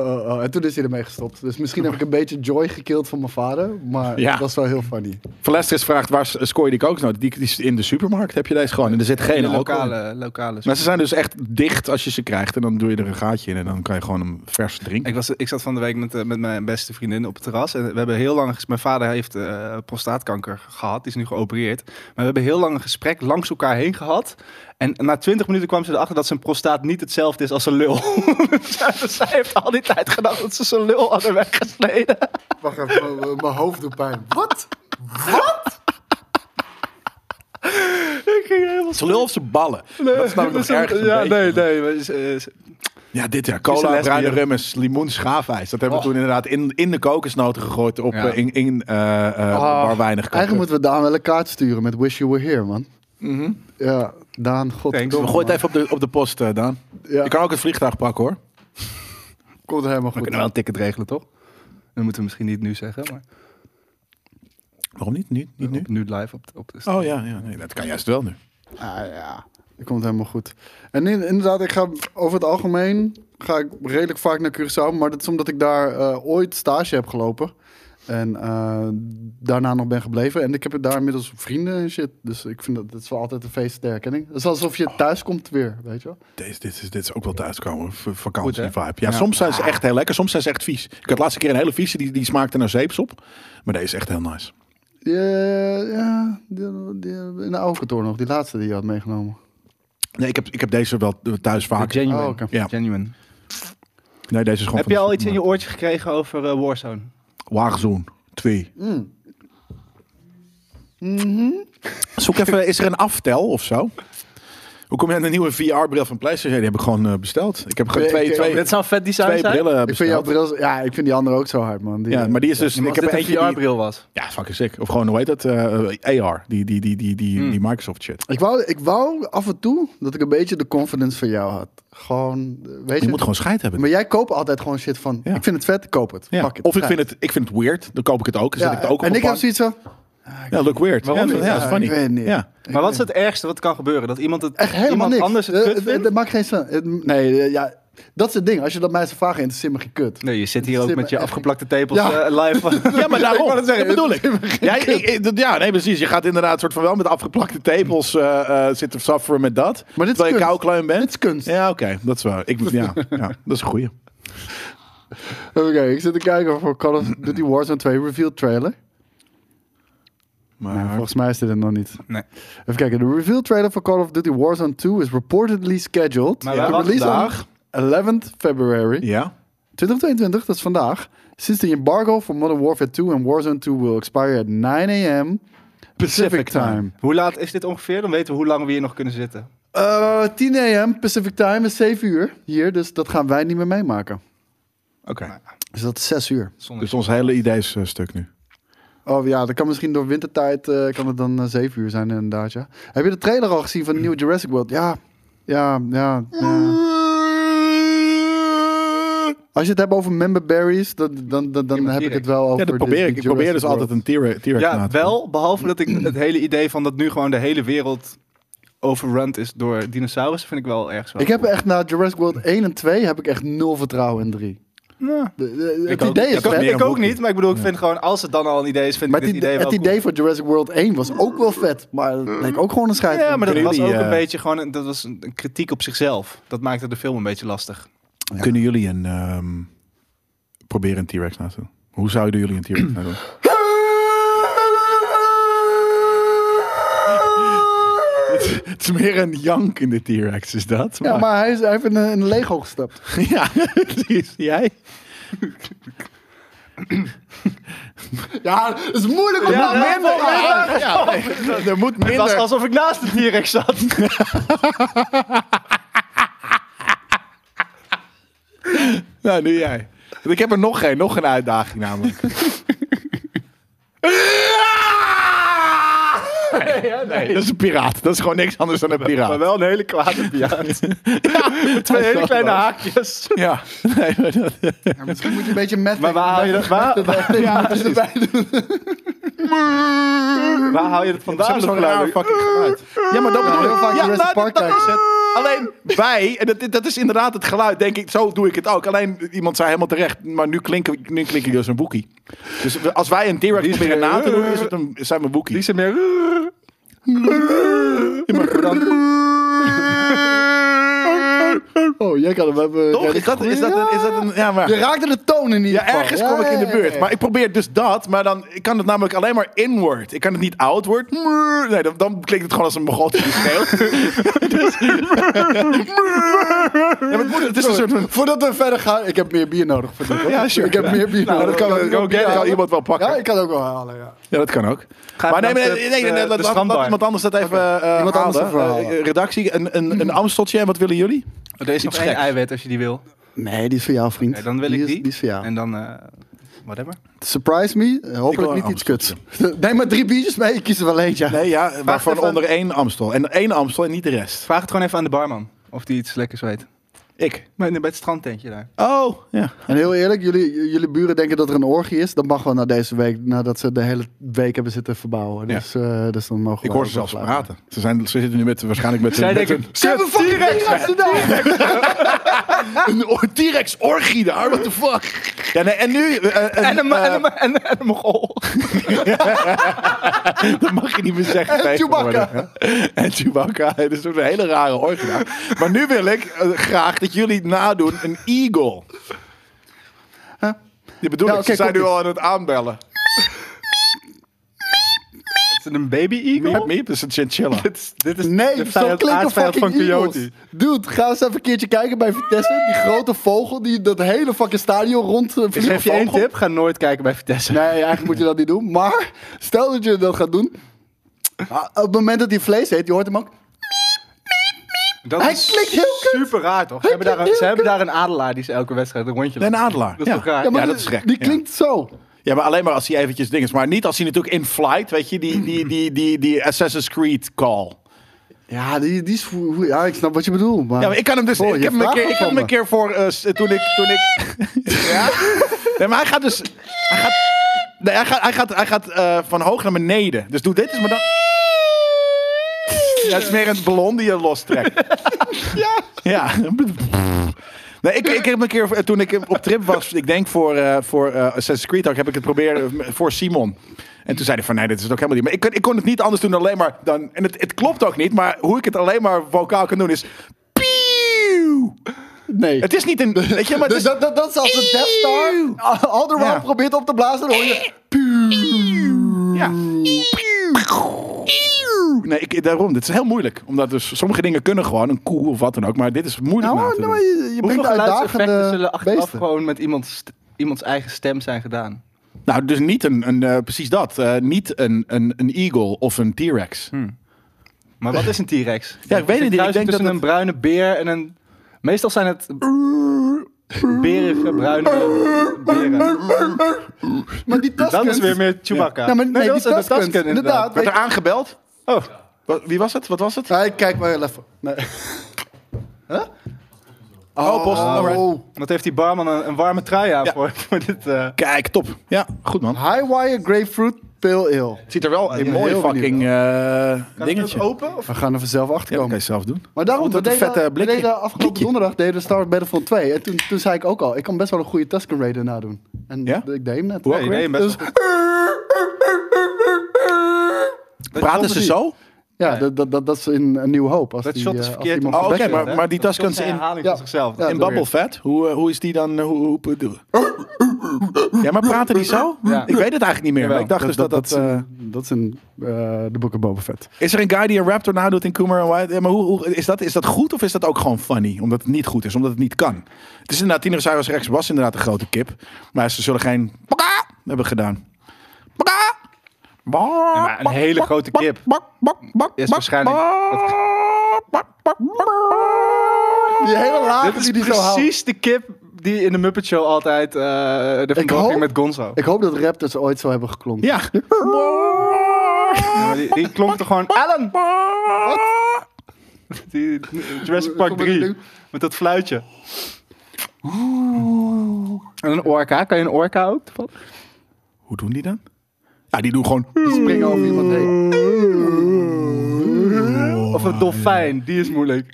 S1: Oh, oh, oh. En toen is hij ermee gestopt. Dus misschien heb ik een beetje joy gekild van mijn vader. Maar
S3: Ja.
S1: dat was wel heel funny.
S3: Valestris vraagt, waar s- scoor je die kooknoot? Die, die is in de supermarkt heb je deze gewoon. En er zit geen
S2: De
S3: alcohol in.
S2: lokale, lokale
S3: Maar ze zijn dus echt dicht als je ze krijgt. En dan doe je er een gaatje in en dan kan je gewoon hem vers drinken.
S2: Ik, was, ik zat van de week met, eh, met mijn beste vriendin op het terras. En we hebben heel lang. ges- Mijn vader heeft eh, prostaatkanker gehad. Die is nu geopereerd. Maar we hebben heel lang een gesprek langs elkaar heen gehad. En na 20 minuten kwam ze erachter dat zijn prostaat niet hetzelfde is als zijn lul. Dus Zij heeft al die tijd gedacht dat ze zijn lul hadden weggesneden.
S1: Wacht even, m- m- mijn hoofd doet pijn. Wat?
S2: Ik ging helemaal
S3: Zijn lul of zijn ballen? dat snap ik nog ergens
S2: Dus
S3: een
S2: Ja,
S3: beetje.
S2: nee, nee. maar is, eh, is-
S3: Ja, dit ja.
S2: Is een
S3: Cola,
S2: lesbier. Oh.
S3: bruine rummes, limoen, schaafijs. Dat hebben we toen inderdaad in, in de kokosnoten gegooid op
S2: Ja. Oh,
S3: eh, in, in eh, eh, waar weinig koken.
S1: Eigenlijk moeten we Daan wel een kaart sturen met Wish You Were Here, man. Ja, Daan,
S2: Thanks.
S1: godverdomme.
S3: We
S1: man.
S3: gooien het even op de, op de post, eh, Daan.
S1: Ja.
S3: Je kan ook het vliegtuig pakken, hoor.
S1: Komt helemaal
S2: we
S1: goed.
S2: kunnen wel een ticket regelen, toch? Dan moeten we misschien niet nu zeggen, maar
S3: Waarom niet? Niet, niet nu?
S2: op, nu live op, op de
S3: Oh ja, ja nee, dat kan juist wel nu.
S1: Ah ja, dat komt helemaal goed. En in- inderdaad, ik ga over het algemeen ga ik redelijk vaak naar Curaçao. Maar dat is omdat ik daar eh, ooit stage heb gelopen. En eh, daarna nog ben gebleven. En ik heb daar inmiddels vrienden en shit. Dus ik vind dat, dat is wel altijd een feest der herkenning. Het is alsof je thuis komt weer, weet je wel.
S3: Deze, dit, is, dit is ook wel thuiskomen, v- vakantie
S2: Goed, hè?
S3: vibe. Ja,
S2: Ja.
S3: soms zijn ze echt heel lekker, soms zijn ze echt vies. Ik had laatste keer een hele vieze, die, die smaakte naar zeepsop. Maar deze is echt heel nice.
S1: Ja, ja die, die, in de oude kantoor nog, die laatste die je had meegenomen.
S3: Nee, ik heb, ik heb deze wel thuis vaak.
S2: Ah, genuine.
S1: Oh, oké.
S3: Ja.
S2: genuine.
S3: Nee, deze is gewoon
S2: Heb
S3: van
S2: je
S3: de
S2: al iets in je
S3: supermarkt.
S2: oortje gekregen over eh, Warzone?
S3: Warzone 2.
S1: Mm.
S3: Mhm. Zoek even, is er een aftel of zo? Hoe kom je aan de nieuwe VR-bril van PlayStation? Die heb ik gewoon eh, besteld. Ik heb gewoon
S1: Ik-
S3: twee,
S1: ik-
S3: twee,
S2: Dit zou een vet design
S3: twee
S2: zijn.
S3: brillen
S1: ik vind jouw
S3: besteld.
S1: bril, ja, ik vind die andere ook zo hard, man. Die, eh,
S3: Ja, maar die is dus...
S2: Ja, maar
S3: ik
S2: als
S3: heb
S2: dit
S3: eentje
S2: een
S3: die-
S2: VR-bril was.
S3: Ja, fucking sick. Of gewoon, hoe heet dat? eh, AR. Die, die, die, die,
S1: Mm.
S3: die, die Microsoft shit.
S1: Ik wou, ik wou af en toe dat ik een beetje de confidence van jou had. Gewoon, eh, weet je.
S3: Je moet gewoon scheid hebben.
S1: Maar jij koopt altijd gewoon shit van,
S3: Ja.
S1: ik vind het vet, koop het.
S3: Ja.
S1: Fuck it,
S3: Of ik
S1: fijn.
S3: vind, het, ik vind het weird. Dan koop ik het ook. Dan zet
S1: Ja,
S3: ik het ook op
S1: en
S3: mijn
S1: ik heb
S3: bank.
S1: zoiets van,
S3: Ja, look weird.
S2: Waarom
S3: ja,
S2: niet?
S3: Ja, dat is
S1: Ja,
S3: funny.
S1: ik weet niet.
S3: Ja.
S2: Maar wat is het ergste wat kan gebeuren? Dat iemand het
S1: echt helemaal
S2: iemand
S1: niks.
S2: anders het
S1: Eh,
S2: kut
S1: eh,
S2: vindt?
S1: Dat maakt geen zin. Het- Nee, eh, ja, dat is het ding. Als je dat mij zou vragen, interesseert me geen kut.
S2: Nee, je zit hier
S1: Het
S2: ook
S1: zit
S2: met
S1: me
S2: je
S1: echt-
S2: afgeplakte tepels
S1: Ja.
S2: eh, live.
S3: Ja, maar daarom.
S1: wou net zeggen,
S3: dat bedoel
S1: het
S3: ik. Ja, ik- ik- dat- ja, nee, precies. Je gaat inderdaad soort van wel met afgeplakte tepels eh, eh, zitten sufferen met dat.
S1: Maar dit is
S3: terwijl je
S1: kunst.
S3: koukleun bent.
S1: Dit is kunst.
S3: Ja, oké. Dat is waar. Ik, moet- ja, ja, dat is een goeie.
S1: Oké, ik zit te kijken voor Call of Duty Warzone 2 reveal trailer.
S3: Maar
S1: Volgens mij is dit er nog niet.
S2: Nee.
S1: Even kijken, de reveal trailer voor Call of Duty Warzone 2 is reportedly scheduled
S2: Maar
S1: to
S2: wij wachten
S1: release on
S3: vandaag.
S1: 11th February.
S3: ja.
S1: 2022, dat is vandaag. Sinds de embargo voor Modern Warfare 2 en Warzone 2 will expire at 9 a.m. Pacific time.
S2: hoe laat is dit ongeveer? Dan weten we hoe lang we hier nog kunnen zitten.
S1: Eh 10 a.m. Pacific time is 7 uur hier, dus dat gaan wij niet meer meemaken.
S3: Oké.
S1: Dus dat is 6 uur.
S2: Zonder
S3: Dus ons hele idee is eh, stuk nu.
S1: Oh ja, dat kan misschien door wintertijd, eh, kan het dan eh, 7 uur zijn inderdaad, ja. Heb je de trailer al gezien van de nieuwe Jurassic World? Ja, ja, ja. ja. Als je het hebt over member berries, dan, dan, dan, dan
S2: Ja, maar
S1: heb ik
S2: T-Rex.
S1: het wel over
S3: Ja, dat probeer
S1: de-
S3: ik.
S1: de
S3: Ik probeer dus
S1: Jurassic
S3: altijd een T-Rex T-Rex na
S2: ja,
S3: te doen.
S2: wel. Behalve dat ik het hele idee van dat nu gewoon de hele wereld overrun is door dinosaurussen, vind ik wel erg zo.
S1: Ik heb echt na Jurassic World 1 en 2 heb ik echt nul vertrouwen in 3.
S2: Nou,
S1: De- de- het
S2: ook
S1: idee
S2: niet.
S1: is
S2: ik ook,
S1: vet.
S2: ik ook niet, maar ik bedoel, ik vind gewoon als het dan al een idee is, vind
S1: Maar
S2: ik
S1: het,
S2: dit
S1: idee,
S2: idee wel
S1: het
S2: cool.
S1: idee voor Jurassic World 1 was ook wel vet. Maar het leek ook gewoon een scheid.
S2: Ja, maar dat
S3: Kunnen
S2: was ook
S3: jullie,
S2: een
S3: eh,
S2: beetje gewoon een- dat was een een kritiek op zichzelf. Dat maakte de film een beetje lastig.
S3: Kunnen jullie een... ehm, proberen een T-Rex na te doen? Hoe zouden jullie een T-Rex na doen? Het is meer een jank in de T-Rex, is dat?
S1: Ja, maar hij, is, hij heeft in een, in een Lego gestapt.
S3: Ja, precies. Jij?
S1: Ja, het is moeilijk om
S2: Ja,
S1: dat
S2: ja,
S1: minder
S2: ja, ja,
S3: Ja, nee, er moet
S2: Het was
S3: minder...
S2: alsof ik naast de T-Rex zat.
S3: Nou, nu jij. Want Ik heb er nog geen, nog geen uitdaging namelijk.
S2: ja, nee.
S3: Dat is een piraat. Dat is gewoon niks anders dan een
S2: Maar
S3: piraat.
S2: wel een hele kwade piaat. Met twee hele kleine haakjes.
S3: Ja. Nee, maar dat...
S1: Ja, misschien moet je een beetje met.
S2: Maar waar haal je dat, waar, waar,
S1: Ja, erbij doen.
S2: waar haal je dat vandaan?
S3: Zo'n
S2: dat
S3: raar
S2: geluid?
S3: fucking geluid. Ja, maar dat bedoel
S1: heel
S3: ik.
S1: vaak
S3: Ja,
S1: Jurassic
S3: nou,
S1: Park
S3: dat- dat-
S1: kijken.
S3: Alleen wij, en dat, dat is inderdaad het geluid, denk ik, zo doe ik het ook. Alleen iemand zei helemaal terecht, maar nu klinken, nu klinken jullie als een boekie. Dus we- als wij een T-Rex proberen na te doen, is het een, zijn we boekie.
S2: Die zijn meer...
S1: Oh, jij kan hem hebben.
S3: Toch?
S1: Ja, dit
S3: Is dat, is, dat een, is dat een... Ja, maar...
S1: Je raakte de toon in ieder
S3: Ja,
S1: geval.
S3: ergens kom ik in de
S1: ja,
S3: buurt.
S1: ja.
S3: Maar ik probeer dus dat, maar dan ik kan het namelijk alleen maar inward. Ik kan het niet outward. Nee, dan, dan klinkt het gewoon als een begot die schreeuwt. Dus- ja, maar het, moet- het is een soort van...
S1: Voordat we verder gaan, ik heb meer bier nodig voor dit. hoor.
S3: Ja, sure.
S1: Ik heb meer bier
S3: Nou,
S1: nodig.
S3: dat kan,
S1: ik
S3: dat kan- dat kan iemand wel pakken.
S1: Ja, ik kan ook wel halen, ja.
S3: Ja, dat kan ook.
S2: Ga
S3: maar nee,
S2: even
S3: nee,
S2: langs
S3: nee,
S2: eh, de-
S3: nee, nee,
S2: de-
S3: laat-
S2: de
S3: laat-
S2: strandbar.
S3: laat iemand anders dat even eh,
S1: Iemand anders
S3: halen.
S1: ervoor halen.
S3: Eh, redactie, een, een, een Amsteltje. En wat willen jullie?
S2: Er is nog
S3: Iets
S2: één
S3: geks.
S2: eiwit als je die wil.
S1: Nee, die is voor jou, vriend.
S2: Nee, dan wil
S1: die
S2: ik
S1: is,
S2: die.
S1: Die is voor jou.
S2: En dan... eh, whatever.
S1: Surprise me. Eh, Hopelijk
S3: een
S1: niet iets kuts.
S3: Amsteltje.
S1: Neem maar drie biertjes mee. Ik kies er wel eentje.
S3: Nee, ja, waarvan
S2: even.
S3: onder één Amstel. En één Amstel en niet de rest.
S2: Vraag het gewoon even aan de barman. Of die iets lekkers weet.
S3: Ik.
S2: Bij bij het strandtentje daar.
S3: Oh, ja.
S1: En heel eerlijk, jullie, jullie buren denken dat er een orgie is. Dat mag wel na deze week, nadat ze de hele week hebben zitten verbouwen.
S3: Ja.
S1: Dus, eh, dus dan mogen
S3: Ik
S1: we
S3: hoor ze
S1: ook wel
S3: zelfs
S1: blijven.
S3: praten. Ze, zijn, ze zitten nu met, waarschijnlijk met...
S2: Zij
S3: met
S2: denken,
S3: een-
S1: Ze hebben fucking T-Rex gedaan!
S3: Een or- T-Rex orgie daar, what the fuck? "Ah!" Ja, nee, en nu... eh, eh,
S2: En een,
S3: eh,
S2: en een, en een, en een mogol.
S3: dat mag je niet meer zeggen.
S1: En Chewbacca.
S3: tegenwoordig, hè? En Chewbacca. Het is een hele rare orgie daar. Maar nu wil ik eh, graag dat jullie nadoen een eagle. Je bedoelt,
S1: Ja,
S3: ik,
S1: oké,
S3: ze zijn
S1: komt
S3: nu
S1: ie.
S3: al aan het aanbellen.
S2: Is het een baby
S3: Meep,
S2: eagle?
S3: meep, dat is een chinchilla.
S2: Dit is, dit is
S1: Nee,
S2: de
S1: zo
S2: vijand-
S1: klinken
S2: aardsvijand
S1: fucking
S2: van
S1: Eagles.
S2: Coyote.
S1: Dude, ga eens even een keertje kijken bij Vitesse. Die grote vogel die dat hele fucking stadion rond... eh,
S2: Ik
S1: vliegt.
S2: geef je één
S1: Vogel.
S2: tip. Ga nooit kijken bij Vitesse.
S1: Nee, eigenlijk moet je dat niet doen. Maar, stel dat je dat gaat doen... ah, Op het moment dat hij vlees eet, je hoort hem ook...
S2: Dat
S1: Hij
S2: is
S1: klinkt heel kut.
S2: super raar, toch? Ze hebben, daar
S1: klinkt
S2: een, ze
S1: heel
S2: hebben daar een adelaar die ze elke wedstrijd een rondje
S3: Nee, een
S2: laat.
S3: adelaar.
S2: Dat is
S3: ja.
S2: toch raar?
S1: Ja, maar
S3: Ja, dat
S1: die-
S3: is gek,
S1: Die
S3: ja.
S1: klinkt zo.
S3: Ja, maar alleen maar als hij eventjes ding is. Maar niet als hij natuurlijk in flight, weet je, die, die, die, die, die Assassin's Creed call.
S1: Ja, die, die is... voor- Ja, ik snap wat je bedoelt, maar...
S3: Ja, maar ik kan hem dus.
S1: Oh, je
S3: ik heb hem een
S1: vraagt
S3: keer, ik
S1: wat
S3: heb hem
S1: van
S3: een keer voor. eh, s- toen ik. Toen ik ja? Nee, maar hij gaat dus. Hij gaat, nee, hij gaat, hij gaat, hij gaat eh, van hoog naar beneden. Dus doe dit eens, maar dan. Ja, het is meer een ballon die je lostrekt. ja. Ja. Nee, ik, ik heb een keer, eh, toen ik op trip was, ik denk voor, eh, voor eh, Assassin's Creed ook, heb ik het proberen eh, voor Simon. En toen zei hij van, nee, dit is het ook helemaal niet. Maar ik, kon- ik kon het niet anders doen dan alleen maar dan... En het, het klopt ook niet, maar hoe ik het alleen maar vocaal kan doen is... Pieuw!
S1: Nee.
S3: Het is niet een... Weet je, maar het
S1: Dus
S3: is,
S1: dat, dat, dat is als de Death Star Al- Alderaan
S3: Ja.
S1: probeert op te blazen, dan hoor je...
S3: ja. Pieuw! Nee, ik, daarom. Dit is heel moeilijk. Omdat dus sommige dingen kunnen gewoon, een koe of wat dan ook. Maar dit is moeilijk
S1: Nou,
S3: na
S1: maar-
S3: te
S1: nou,
S3: doen.
S1: maar je, je
S2: Hoeveel
S1: brengt
S2: geluidseffecten
S1: uitdagende
S2: zullen achteraf
S1: beesten.
S2: gewoon met iemands, st- iemands eigen stem zijn gedaan?
S3: Nou, dus niet een... een eh, precies dat. Eh, niet een, een, een eagle of een T-Rex.
S2: Maar wat is een T-Rex?
S3: Ja, ik weet het niet.
S2: Kruising
S3: Ik denk dat
S2: tussen
S3: het...
S2: een bruine beer en een... Meestal zijn het berige bruine beren.
S1: Maar die
S2: Dan
S1: tasken...
S2: is Nou, weer meer Chewbacca.
S1: Ja, maar nee,
S2: dat
S1: die
S2: is een
S1: Tusken,
S2: Tusken,
S1: inderdaad.
S3: Werd er aangebeld?
S2: Oh,
S3: Wa- Wie was het? Wat was het?
S1: Nee, kijk maar heel even. Nee.
S3: Oh, Boston. alright.
S1: Oh.
S2: wat heeft die barman een, een warme trui aan
S3: Ja.
S2: voor, voor dit... eh,
S3: Kijk, top. Ja, goed man.
S1: Highwire Grapefruit Pale Ale.
S3: Het ziet er wel een
S1: ja,
S3: mooi
S1: heel
S3: fucking eh,
S2: Kan het
S3: dingetje.
S2: ook open? Of?
S1: We gaan er vanzelf achter
S3: Ja,
S1: komen.
S3: dat kan je zelf doen.
S1: maar daarom,
S3: Goed,
S1: we
S3: wat een
S1: deden,
S3: vette
S1: we
S3: blikje.
S1: deden afgelopen
S3: Blikje.
S1: donderdag deden we Star Wars Battlefront 2. En toen, toen zei ik ook al, ik kan best wel een goede Tusken Raider nadoen. En
S3: Ja?
S1: ik deed hem net.
S3: Hoe
S2: Nee, nee, best
S1: Dus-
S2: wel goed.
S3: Praten ze zo?
S1: Ja, dat, dat, dat, dat is in een nieuw hoop. Als
S2: Dat
S1: die,
S2: shot
S1: eh,
S2: is
S1: als
S2: verkeerd
S1: iemand
S3: Oh,
S1: zijn
S3: oké,
S1: bek
S3: maar-
S1: wil.
S3: maar die
S2: Dat is
S3: Tusken's
S2: een
S3: in-
S2: herhaling
S1: Ja.
S2: van zichzelf.
S1: Ja.
S3: In Bubble Fat? Hoe, eh, hoe is die dan? eh, Hoe, hoe, hoe- ja, maar praten die zo?
S2: Ja.
S3: Ik weet het eigenlijk niet meer.
S2: Jawel.
S3: maar ik
S1: Oh,
S3: dacht dus dat dat...
S1: is
S3: eh,
S1: in- dat is in eh, de boeken Boba Fett.
S3: is er een guy die een raptor nadoet in Coomer en White? Ja, maar hoe, hoe, is, dat, is dat goed of is dat ook gewoon funny? Omdat het niet goed is, omdat het niet kan. Het is inderdaad, Tyrannosaurus Rex was inderdaad een grote kip. Maar ze zullen geen... hebben we gedaan. Bra! Bra!
S2: maar een hele grote kip.
S3: Bak, bak, bak,
S2: Is
S3: bak,
S2: waarschijnlijk-
S3: bak, bak, bak, bak.
S1: Die hele laag
S2: Dit is
S1: die die zo houdt.
S2: precies de kip die in de Muppet Show altijd eh de vandoor
S1: hoop-
S2: ging met Gonzo.
S1: Ik hoop dat Raptors ooit zo hebben geklonken.
S3: Ja.
S2: Ja, maar die, die klonk er gewoon... Alan! Die, Jurassic Park
S1: Kom maar
S2: 3.
S1: nu.
S2: Met dat fluitje. En een orka. Kan je een orka ook? toevallig?
S3: Hoe doen die dan? Ja, die doen gewoon...
S1: Springen over iemand heen.
S2: Of
S1: Oh,
S2: een dolfijn. Die is moeilijk.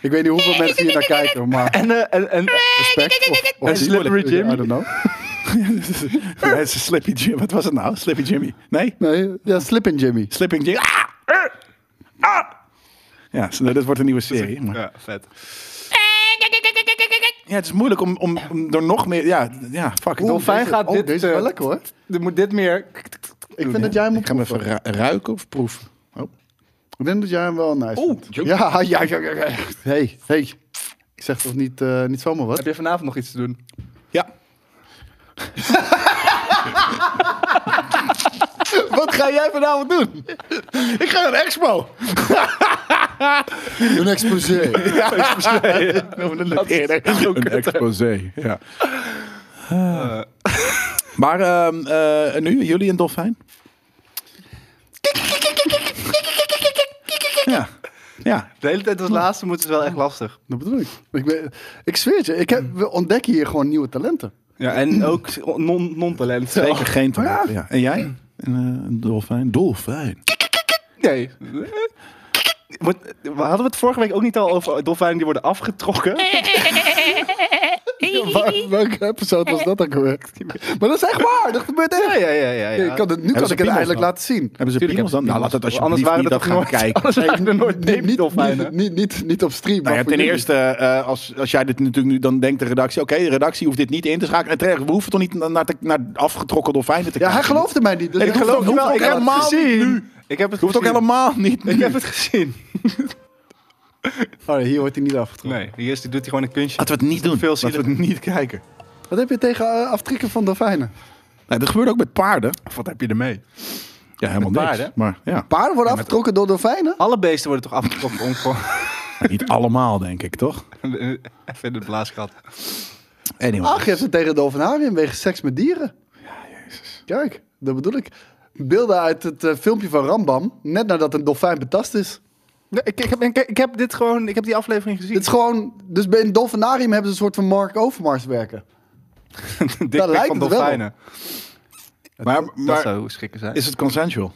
S1: Ik weet niet hoeveel mensen hier naar kijken, maar
S2: En, eh, en, en
S1: respect. Of, of
S2: En
S1: die-
S2: Slippery Jimmy.
S1: I don't know.
S3: Ja, het is Slippy Jimmy. Wat was het nou? Slippy Jimmy. Nee?
S1: Nee, ja, Slippin' Jimmy.
S3: Slipping Jimmy. Ah! Eh! Ah! Ja, zo- dat wordt een nieuwe serie. maar-
S2: Ja, vet.
S3: Ja, het is moeilijk om, om, om er nog meer... Ja, ja fuck.
S1: Oeh,
S2: dolfijn
S1: deze-
S2: gaat
S1: oh,
S2: dit,
S1: deze is
S2: eh,
S1: wel lekker hoor.
S2: Er moet dit meer...
S1: Ik vind dat jij hem
S3: Ik
S1: op.
S3: ga hem even ru- ruiken of proeven. Oh.
S1: Ik denk dat jij hem wel nice
S2: Oeh,
S1: vindt.
S2: joh.
S1: Ja, ja, ja, ja, ja. Hey, hey. Ik zeg toch niet, eh, niet zomaar wat?
S2: Heb je vanavond nog iets te doen?
S3: Ja.
S1: Wat ga jij vanavond doen?
S3: Ik ga naar de expo.
S1: Een exposé.
S3: Dat is ook een exposé. Ja. Eh. Maar ehm, eh, nu, jullie een dolfijn? Ja. Ja.
S2: De hele tijd als laatste moeten ze wel echt lastig.
S1: Dat bedoel ik. Ik, ben, ik zweer het je, ik heb, we ontdekken hier gewoon nieuwe talenten.
S2: Ja, en ook non- non-talent.
S3: Zeker geen talent. Ja. En jij? Een, eh, een dolfijn? Dolfijn.
S2: Nee. Wat- Hadden we het vorige week ook niet al over dolfijnen die worden afgetrokken?
S1: Waar- welke episode was dat ook weer? Maar dat is echt waar, dat gebeurt echt.
S2: ja, ja. ja,
S1: Ik kan het, nu kan
S3: ze
S1: ik het
S3: piemels
S1: eindelijk
S3: dan?
S1: laten zien.
S3: Hebben ze
S2: Tuurlijk
S3: piemels dan?
S2: hebben
S3: Nou,
S2: ze
S3: laat het
S2: piemels.
S3: alsjeblieft
S2: Anders
S3: niet
S2: waren
S3: dat
S2: er toch
S3: gaan
S2: nooit-
S3: kijken.
S2: Anders waren er nooit
S1: Niet, niet,
S2: neepdolfijnen.
S1: niet, niet, niet, niet op stream.
S3: Nou ja,
S1: maar voor
S3: ten
S1: jullie.
S3: eerste, eh, als, als jij dit natuurlijk nu, dan denkt de redactie, oké, de redactie hoeft dit niet in te schakelen. En terecht, we hoeven toch niet na- naar, te- naar afgetrokken dolfijnen te
S1: Ja,
S3: kijken.
S1: hij geloofde mij niet. Dus
S2: Ik
S1: hoef
S2: geloof
S1: het
S2: je
S1: ook
S2: wel.
S1: niet
S2: Ik
S1: te
S2: heb het
S1: laten zien.
S2: gezien. Ik heb het
S3: hoeft ook
S2: gezien.
S3: helemaal niet.
S2: Ik heb het gezien.
S1: Oh, hier wordt hij niet afgetrokken.
S2: Nee, de eerste doet hij gewoon een kunstje.
S3: Laten we het niet doen.
S2: Veel
S3: Laten we het niet kijken.
S1: Wat heb je tegen eh, aftrekken van dolfijnen?
S3: Nee, dat gebeurt ook met paarden.
S2: Wat heb je ermee?
S3: Ja, helemaal
S2: Met
S3: niks.
S2: paarden?
S3: Maar ja,
S1: Paarden worden afgetrokken door dolfijnen?
S2: Alle beesten worden toch afgetrokken om gewoon
S3: niet allemaal, denk ik, toch?
S2: even in de blaasgat.
S3: Anyway.
S1: Ach, je hebt ze tegen het dolfinarium wegens seks met dieren. Ja, jezus. Kijk, dat bedoel ik. Beelden uit het eh, filmpje van Rambam, net nadat een dolfijn betast is.
S2: Ja, ik, ik, heb, ik, ik heb dit gewoon, ik heb die aflevering
S1: Dit
S2: gezien.
S1: is gewoon, dus bij een dolfinarium hebben ze een soort van Mark Overmars werken.
S2: Dik
S1: daar
S2: pik
S1: lijkt
S2: van
S1: het wel op.
S2: dolfijnen.
S3: maar
S2: Dat
S3: maar
S2: zou schrikken zijn.
S3: is het consensual?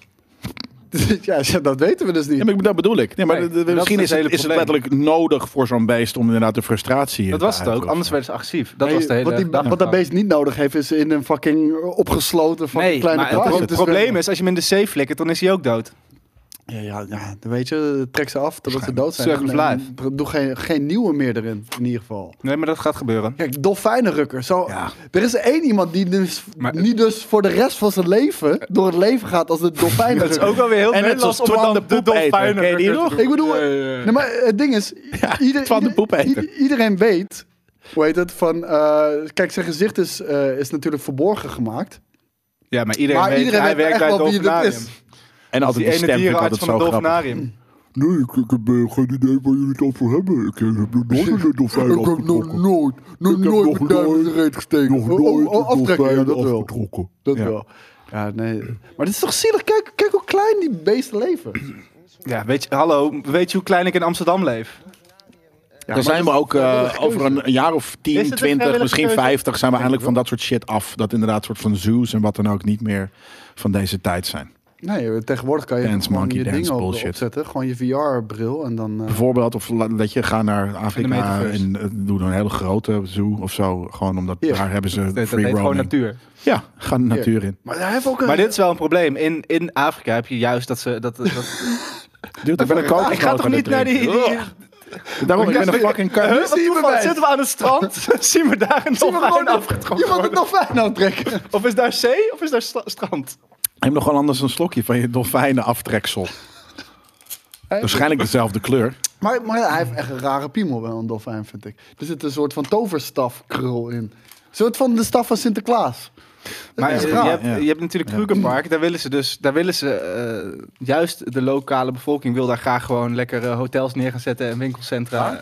S1: ja, ja, dat weten we dus niet.
S3: Ja, maar ik- dat bedoel ik. Nee, maar
S2: Nee,
S3: de- de-
S2: dat
S3: misschien
S2: is
S3: is
S2: het
S3: het,
S2: hele
S3: is het
S2: probleem.
S3: letterlijk nodig voor zo'n beest om inderdaad de frustratie
S2: dat
S3: te
S2: was het ook,
S3: uiten of
S2: anders
S3: zo.
S2: werden ze agressief. Dat
S1: Nee,
S2: was de hele
S1: wat, die,
S2: dag
S1: wat dat beest niet nodig heeft, is in een fucking opgesloten van
S2: Nee,
S1: kleine
S2: maar het,
S1: kwaadjes
S2: pro- het
S1: te
S2: probleem
S1: zwemmen.
S2: is, als je hem in de zee flikkert, dan is hij ook dood.
S1: Ja, ja, ja, dan weet je, trek ze af totdat ze dood zijn.
S2: Circle of
S1: En- en
S2: life.
S1: pro- Doe geen, geen nieuwe meer erin, in ieder geval.
S2: Nee, maar dat gaat gebeuren.
S1: Kijk, dolfijnenrukker. Zo,
S3: Ja.
S1: Er is één iemand die dus,
S2: Maar-
S1: niet dus voor de rest van zijn leven door het leven gaat als de dolfijnenrukker.
S2: Dat is ook wel weer heel
S3: En net
S2: Nederlands
S3: zoals
S2: om het dan
S3: Twan de
S2: de
S3: Poepeter,
S2: dolfijnen
S3: ken je die nog?
S1: Ik bedoel, eh,
S2: Ja, ja, ja.
S1: Nee, maar het ding is, ieder-
S3: Twan de
S1: ieder-
S3: Poepeter.
S1: ieder- iedereen weet, hoe heet het, van, eh, kijk, zijn gezicht is, eh, is natuurlijk verborgen gemaakt.
S2: Ja, maar iedereen,
S1: maar
S2: weet,
S1: iedereen
S2: hij
S1: weet
S2: werkt
S1: echt
S2: bij het
S1: wel wie dat
S2: dolfinarium.
S1: is.
S3: En altijd
S2: Die
S3: die,
S2: ene
S3: stem vind ik altijd
S2: dierenarts van
S3: zo
S2: het
S3: grappig.
S2: dolfinarium.
S4: Nee, ik, ik heb eh, geen idee waar jullie het over hebben. Ik eh, heb nog nooit een dolfijn
S1: Ik heb nog
S4: afgetrokken.
S1: nooit, nog
S4: Ik heb
S1: nooit
S4: nog
S1: mijn duim in de
S4: nooit-
S1: reet gesteken.
S4: Nog
S1: Oh, oh,
S4: nooit
S1: oh,
S4: een
S1: aftrekken, ja,
S4: dolfijn
S1: dat wel.
S4: afgetrokken.
S1: Dat wel. Ja, nee. Maar het is toch zielig? Kijk, kijk hoe klein die beesten leven.
S2: Ja, weet je, hallo, weet je hoe klein ik in Amsterdam leef?
S3: Daar zijn we ook eh, over een, een jaar of
S2: Is
S3: 10,
S2: het een
S3: 20,
S2: vrijwillige
S3: misschien
S2: keuze?
S3: 50 zijn we eindelijk van dat soort shit af. Dat inderdaad soort van zoos en wat dan ook niet meer van deze tijd zijn.
S1: Nee, tegenwoordig kan je
S3: Dance
S1: gewoon
S3: monkey,
S1: je
S3: dance
S1: dingen op-
S3: bullshit.
S1: opzetten. Gewoon je VR-bril en dan... eh,
S3: Bijvoorbeeld, of la- dat je gaat naar Afrika
S2: metaverse.
S3: en eh, doe een hele grote zoo of zo. Gewoon omdat
S1: Ja.
S3: daar hebben ze
S2: Dat, dat
S3: free
S2: heet gewoon
S3: roaming.
S2: natuur.
S3: Ja, ga de natuur in.
S1: Maar hij heeft ook een...
S2: Maar dit is wel een probleem. In, in Afrika heb je juist dat ze... Dat, dat...
S3: Dude, ik ben een kokosnoot
S2: Ik ga toch
S3: aan het
S2: niet naar die...
S3: drinken.
S2: die...
S3: Oh. Daarom, ik ben een fucking
S2: Huh,
S3: kokosnoot.
S2: wat toeval, Zitten we aan het strand? Zien we daar een dolfijn afgetrokken?
S1: Je moet het dolfijn aantrekken.
S2: Of is daar zee of is daar stra- strand?
S3: Neem nog wel anders een slokje van je dolfijnen aftreksel. Waarschijnlijk dezelfde kleur.
S1: Maar, maar hij heeft echt een rare piemel wel, een dolfijn, vind ik. Er zit een soort van toverstafkrul in. soort van de staf van Sinterklaas.
S2: Maar
S1: is
S2: je,
S1: raar,
S2: hebt,
S3: ja.
S2: je hebt natuurlijk Krugerpark, daar willen ze dus, daar willen ze, eh, juist de lokale bevolking wil daar graag gewoon lekkere hotels neer gaan zetten en winkelcentra.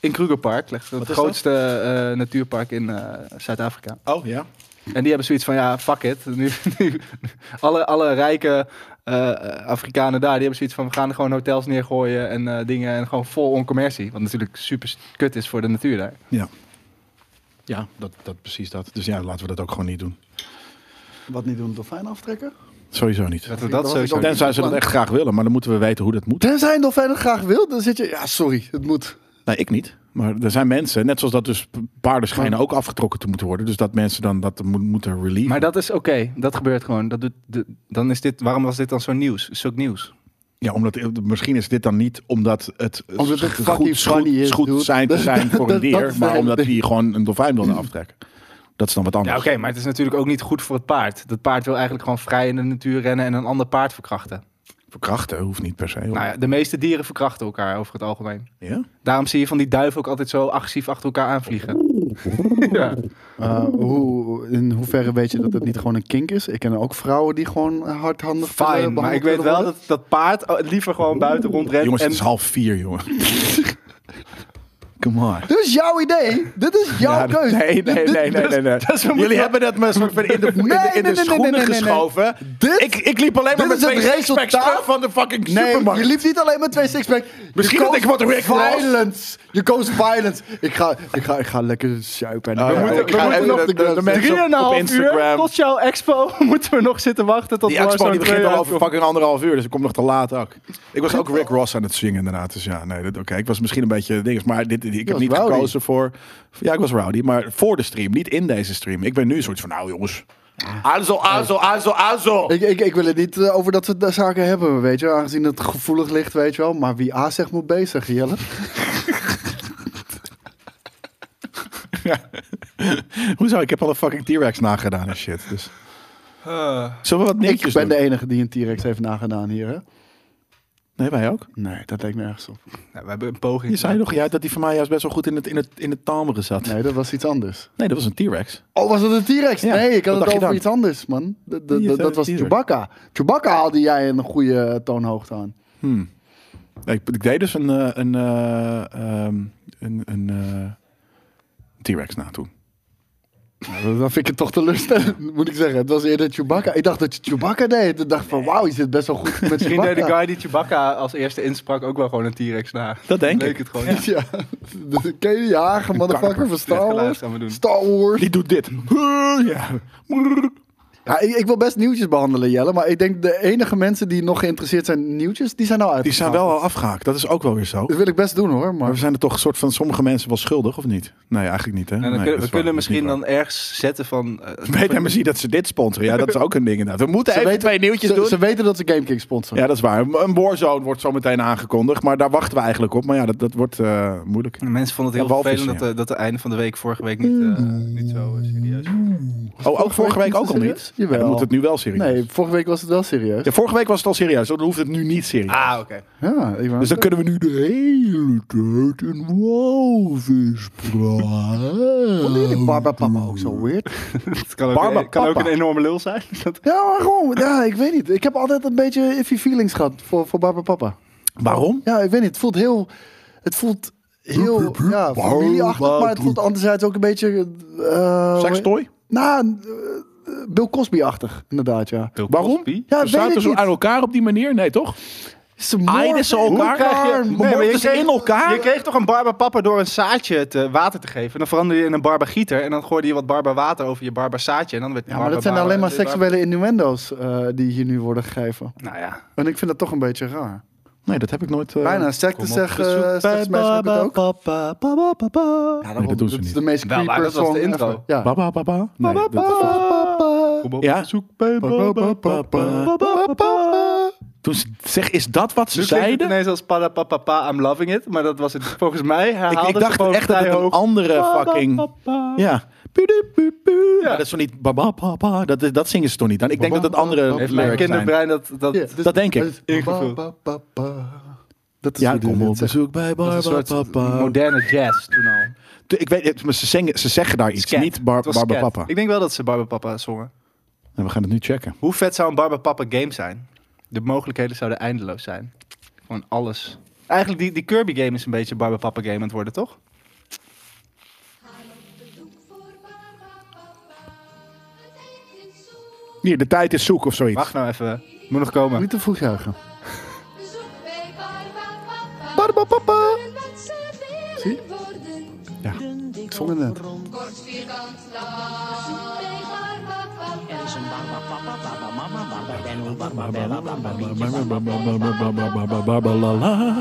S2: In Krugerpark, leg- het
S3: Ah. is dat?
S2: grootste eh, natuurpark in eh, Zuid-Afrika.
S3: Oh ja.
S2: En die hebben zoiets van, ja, fuck it. Nu, nu- alle, alle rijke eh, Afrikanen daar, die hebben zoiets van, we gaan er gewoon hotels neergooien en eh, dingen en gewoon vol oncommercie. Wat natuurlijk super kut is voor de natuur daar.
S3: Ja, ja dat, dat, precies dat. Dus ja, laten we dat ook gewoon niet doen.
S1: Wat niet doen, dolfijn aftrekken?
S3: Sowieso niet.
S2: Dat we
S1: ik-
S2: dat
S1: dat ik
S2: sowieso
S1: ook-
S2: niet-
S3: Tenzij ze dat echt graag willen, maar dan moeten we weten hoe dat moet.
S1: Tenzij een dolfijn het graag wil, dan zit je... Ja, sorry, het moet.
S3: Nee, Nou, ik niet. Maar er zijn mensen, net zoals dat dus paarden schijnen ook afgetrokken te moeten worden. Dus dat mensen dan dat mo- moeten relieven.
S2: Maar dat is oké, dat gebeurt gewoon. Dat doet, de- dan is dit, waarom was dit dan zo nieuws? Zulk nieuws.
S3: Ja, omdat, misschien is dit dan niet omdat het
S1: Omdat het fucking funny is, dude.
S3: goed zijn te zijn voor een
S1: Dat- dat
S3: dier,
S1: is de
S3: maar
S1: hele
S3: omdat
S1: ding.
S3: die gewoon een dolfijn wilde aftrekken. Dat is dan wat
S2: Ja,
S3: anders.
S2: oké, maar het is natuurlijk ook niet goed voor het paard. Dat paard wil eigenlijk gewoon vrij in de natuur rennen en een ander paard verkrachten.
S3: Verkrachten hoeft niet per se. hoor.
S2: Nou ja, de meeste dieren verkrachten elkaar over het algemeen.
S3: Ja?
S2: Daarom zie je van die duiven ook altijd zo agressief achter elkaar aanvliegen. Ja.
S1: Eh, hoe, in hoeverre weet je dat het niet gewoon een kink is? Ik ken ook vrouwen die gewoon hardhandig
S2: Fijn,
S1: eh,
S2: maar ik
S1: behandeld
S2: weet
S1: willen
S2: wel
S1: worden.
S2: dat dat paard oh, liever gewoon buiten rondrent.
S3: Jongens,
S2: en
S3: het is half vier, jongen. Come on.
S1: Dit is jouw idee. Dit is jouw
S3: Ja,
S1: keuze.
S3: Nee, nee, nee, nee, nee. nee. Jullie hebben dat maar soort van in de, in de, in de
S1: Nee, nee, nee, nee,
S3: schoenen
S1: nee, nee, nee.
S3: geschoven.
S1: Dit-
S3: ik, ik liep alleen maar
S1: dit
S3: met
S1: is het
S3: twee sixpacks
S1: resultaat.
S3: terug van de fucking
S1: Nee,
S3: supermarkt.
S1: je liep niet alleen met twee sixpack. Je
S3: Misschien dat
S1: koos
S3: ik wat Rick Ross-
S1: Violence. Je koos violence. Ik ga, ik ga, ik ga lekker suipen. En
S3: Oh,
S1: ik
S3: ja,
S1: ga-
S3: moeten-
S1: ik ga
S3: we
S1: even
S3: moeten
S1: off
S3: nog
S1: the
S3: de- de
S1: ground.
S3: mensen-
S2: Drie en een
S3: op- op
S2: half uur
S3: Instagram.
S2: tot jouw expo moeten we nog zitten wachten tot
S3: Die
S2: we
S3: expo
S2: zo'n
S3: die begint
S2: twee
S3: al
S2: jaar
S3: over
S2: komen.
S3: fucking anderhalf uur, dus ik kom nog te laat ook. Ik was ook Rick Ross aan het zingen inderdaad, dus ja, nee, dat oké. Ik was misschien een beetje dinges, maar dit, ik heb
S1: was
S3: niet
S1: rowdy.
S3: gekozen voor... Ja, ik was rowdy, maar voor de stream, niet in deze stream. Ik ben nu een soort van, nou jongens, azo, azo, azo, azo.
S1: Ik, ik, ik wil het niet eh, over dat we de zaken hebben, weet je. Aangezien het gevoelig ligt, weet je wel. Maar wie A zegt moet B zeggen, Jelle.
S3: Hoezo? Ik heb al een fucking T-Rex nagedaan en shit, dus...
S2: Eh,
S3: Zullen we wat
S1: Ik
S3: netjes
S1: ben
S3: doen?
S1: de enige die een T-Rex heeft nagedaan hier, hè.
S3: Nee, wij ook?
S1: Nee, dat lijkt me ergens op.
S2: Nou, we hebben een poging.
S3: Je zei nog juist dat die van mij juist best wel goed in het, in het, in het tamere zat. Nee.
S1: Nee, dat was iets anders.
S3: dat was een T-Rex.
S1: Oh, was dat een T-Rex?
S3: Ja,
S1: nee, ik
S3: wat
S1: had het
S3: dacht je
S1: over
S3: dan?
S1: iets anders, man. Dat- dat-
S3: Wie is
S1: dat-
S3: dat
S1: dat was
S3: T-Rex?
S1: Chewbacca. Chewbacca haalde jij een goede eh, toonhoogte aan.
S3: Nee, Ik, ik deed dus een, eh, een, eh, ehm, een, een eh, T-Rex na toen.
S1: Nou, Dan vind ik het toch teleurstellend, moet ik zeggen. Het was eerder Chewbacca. Ik dacht dat je Chewbacca deed. Ik dacht van, wauw, je zit best wel goed met
S2: Misschien deed de
S1: Chewbacca.
S2: guy die Chewbacca als eerste insprak ook wel gewoon een T-Rex na.
S3: Dat denk
S2: Leek
S3: ik.
S2: het gewoon.
S3: Ja.
S2: niet.
S1: Ja, de- ken je die hagen, motherfucker, van Star
S2: geluid
S1: Wars?
S2: gaan we doen.
S1: Star Wars.
S3: Die doet dit. Ja.
S1: Ja, ik, ik wil best nieuwtjes behandelen, Jelle. Maar ik denk de enige mensen die nog geïnteresseerd zijn in nieuwtjes, die zijn nou uit.
S3: Die zijn wel al afgehaakt. Dat is ook wel weer zo.
S1: Dat wil ik best doen hoor,
S3: Maar we
S1: maar...
S3: zijn er toch soort van sommige mensen wel schuldig, of niet? Nee, eigenlijk niet, hè?
S2: En dan
S3: Nee,
S2: kunnen, we
S3: dat is waar.
S2: kunnen
S3: Dat is niet
S2: misschien
S3: waar.
S2: dan ergens zetten van... eh,
S3: Weet hem zien dat ze dit sponsoren. Ja, dat is ook een ding inderdaad. We moeten even twee nieuwtjes
S1: ze,
S3: doen.
S1: Ze weten dat ze GameKing sponsoren.
S3: Ja, dat is waar. Een Warzone wordt zo meteen aangekondigd. Maar daar wachten we eigenlijk op. Maar ja, dat, dat wordt eh, moeilijk.
S2: Mensen vonden het
S3: Ja,
S2: heel
S3: walvis,
S2: vervelend dat,
S3: ja.
S2: de, dat de einde van de week vorige week niet, eh, niet zo eh, serieus was.
S3: Oh, ook vorige week ook al
S1: serieus?
S3: niet?
S1: Jawel.
S3: Dan moet het nu wel serieus.
S1: Nee, vorige week was het wel serieus.
S3: Ja, vorige week was het al serieus, dan hoeft het nu niet serieus.
S2: Ah, oké.
S1: Ja, ik wou-
S3: Dus dan kunnen we nu de hele tijd een walvis
S1: Vonden jullie
S3: praten.
S1: Barbara Papa ook zo weird?
S2: Het kan ook, eh,
S3: Barba
S2: kan ook
S3: Papa.
S2: een enorme lul zijn. Dat-
S1: Ja, maar gewoon, ja, ik weet niet. Ik heb altijd een beetje iffy feelings gehad voor, voor Barbara Papa.
S3: Waarom?
S1: Ja, ik weet niet. Het voelt heel. Het voelt heel. Ja, familieachtig, maar het voelt anderzijds ook een beetje. eh
S3: Sextoy?
S1: Nou, eh, Bill Cosby-achtig, inderdaad, ja.
S3: Waarom?
S2: Cosby?
S1: Ja,
S3: Ze zaten
S1: weet ik
S3: zo
S1: niet.
S3: aan elkaar op die manier? Nee, toch?
S1: Ze moorden-
S3: Aaiden ze elkaar?
S1: Elkaar,
S3: Nee, maar
S1: moorden-
S3: je- ze in elkaar?
S2: Je kreeg toch een barbapapa door een zaadje te water te geven. En dan veranderde je in een barbagieter. En dan gooide je wat barbawater over je barbazaadje. En dan werd
S1: Ja, maar dat zijn alleen maar seksuele innuendo's eh, die hier nu worden gegeven.
S2: Nou ja.
S1: En ik vind dat toch een beetje raar.
S3: Nee, dat heb ik nooit... eh,
S1: Bijna, secte
S2: kom op,
S1: zeg,
S2: gezoek
S1: eh Sex Smash ook het ook. Ja,
S3: Nee, dat doen ze
S1: is
S3: niet.
S1: de meest
S2: Wel, Nou, maar
S1: creeper
S2: dat was de
S1: song
S2: intro.
S1: ever. Ja.
S3: Baba, baba. Nee, dat-
S2: Kom op.
S3: Ja.
S1: Ba, ba, ba, ba, ba, ba.
S3: Toen ze, zeg, is dat wat ze
S2: Nu klinkt Dus het
S3: zeiden?
S2: ineens als padapapapa, I'm loving it. Maar dat was het volgens mij.
S3: Ik,
S2: Herhaalde
S3: ik dacht echt dat het een andere fucking... Ja. Maar dat is toch niet... Baba, baba. Dat, is- dat zingen ze toch niet aan? Ik denk dat het andere
S2: Heeft mijn
S3: lyrics zijn.
S2: kinderbrein dat... dat
S1: Ja, dus-
S3: Dat denk ik.
S1: dus-
S2: Ingevuld.
S1: ba, ba, ba, ba. Dat is
S3: Ja,
S1: hoe die
S3: kom
S1: dit
S3: op
S1: zegt.
S3: bezoek bij
S2: dat is een
S3: Barbara
S2: soort
S3: Papa.
S2: moderne jazz toen al.
S3: t- ik weet het, maar ze, zingen, ze zeggen daar iets,
S2: Scat.
S3: niet bar,
S2: Het was
S3: Barba
S2: Scat.
S3: Papa.
S2: Ik denk wel dat ze Barba Papa zongen.
S3: En we gaan het nu checken.
S2: Hoe vet zou een Barba Papa game zijn? De mogelijkheden zouden eindeloos zijn. Gewoon alles. Eigenlijk, die, die Kirby game is een beetje Barba Papa game aan het worden, toch?
S3: Hier, de tijd is zoek of zoiets.
S2: Wacht nou even. Moet nog komen.
S1: Niet te vroeg juichen.
S2: Barba Papa!
S1: Zie?
S3: Ja.
S1: Ik zong het net.
S5: Kort vierkant lang.
S6: Er is een barba papa, barba mama, barba denno, barba bella, barba bietje, barba bobba, barba
S3: Barbalala.
S5: Bezoek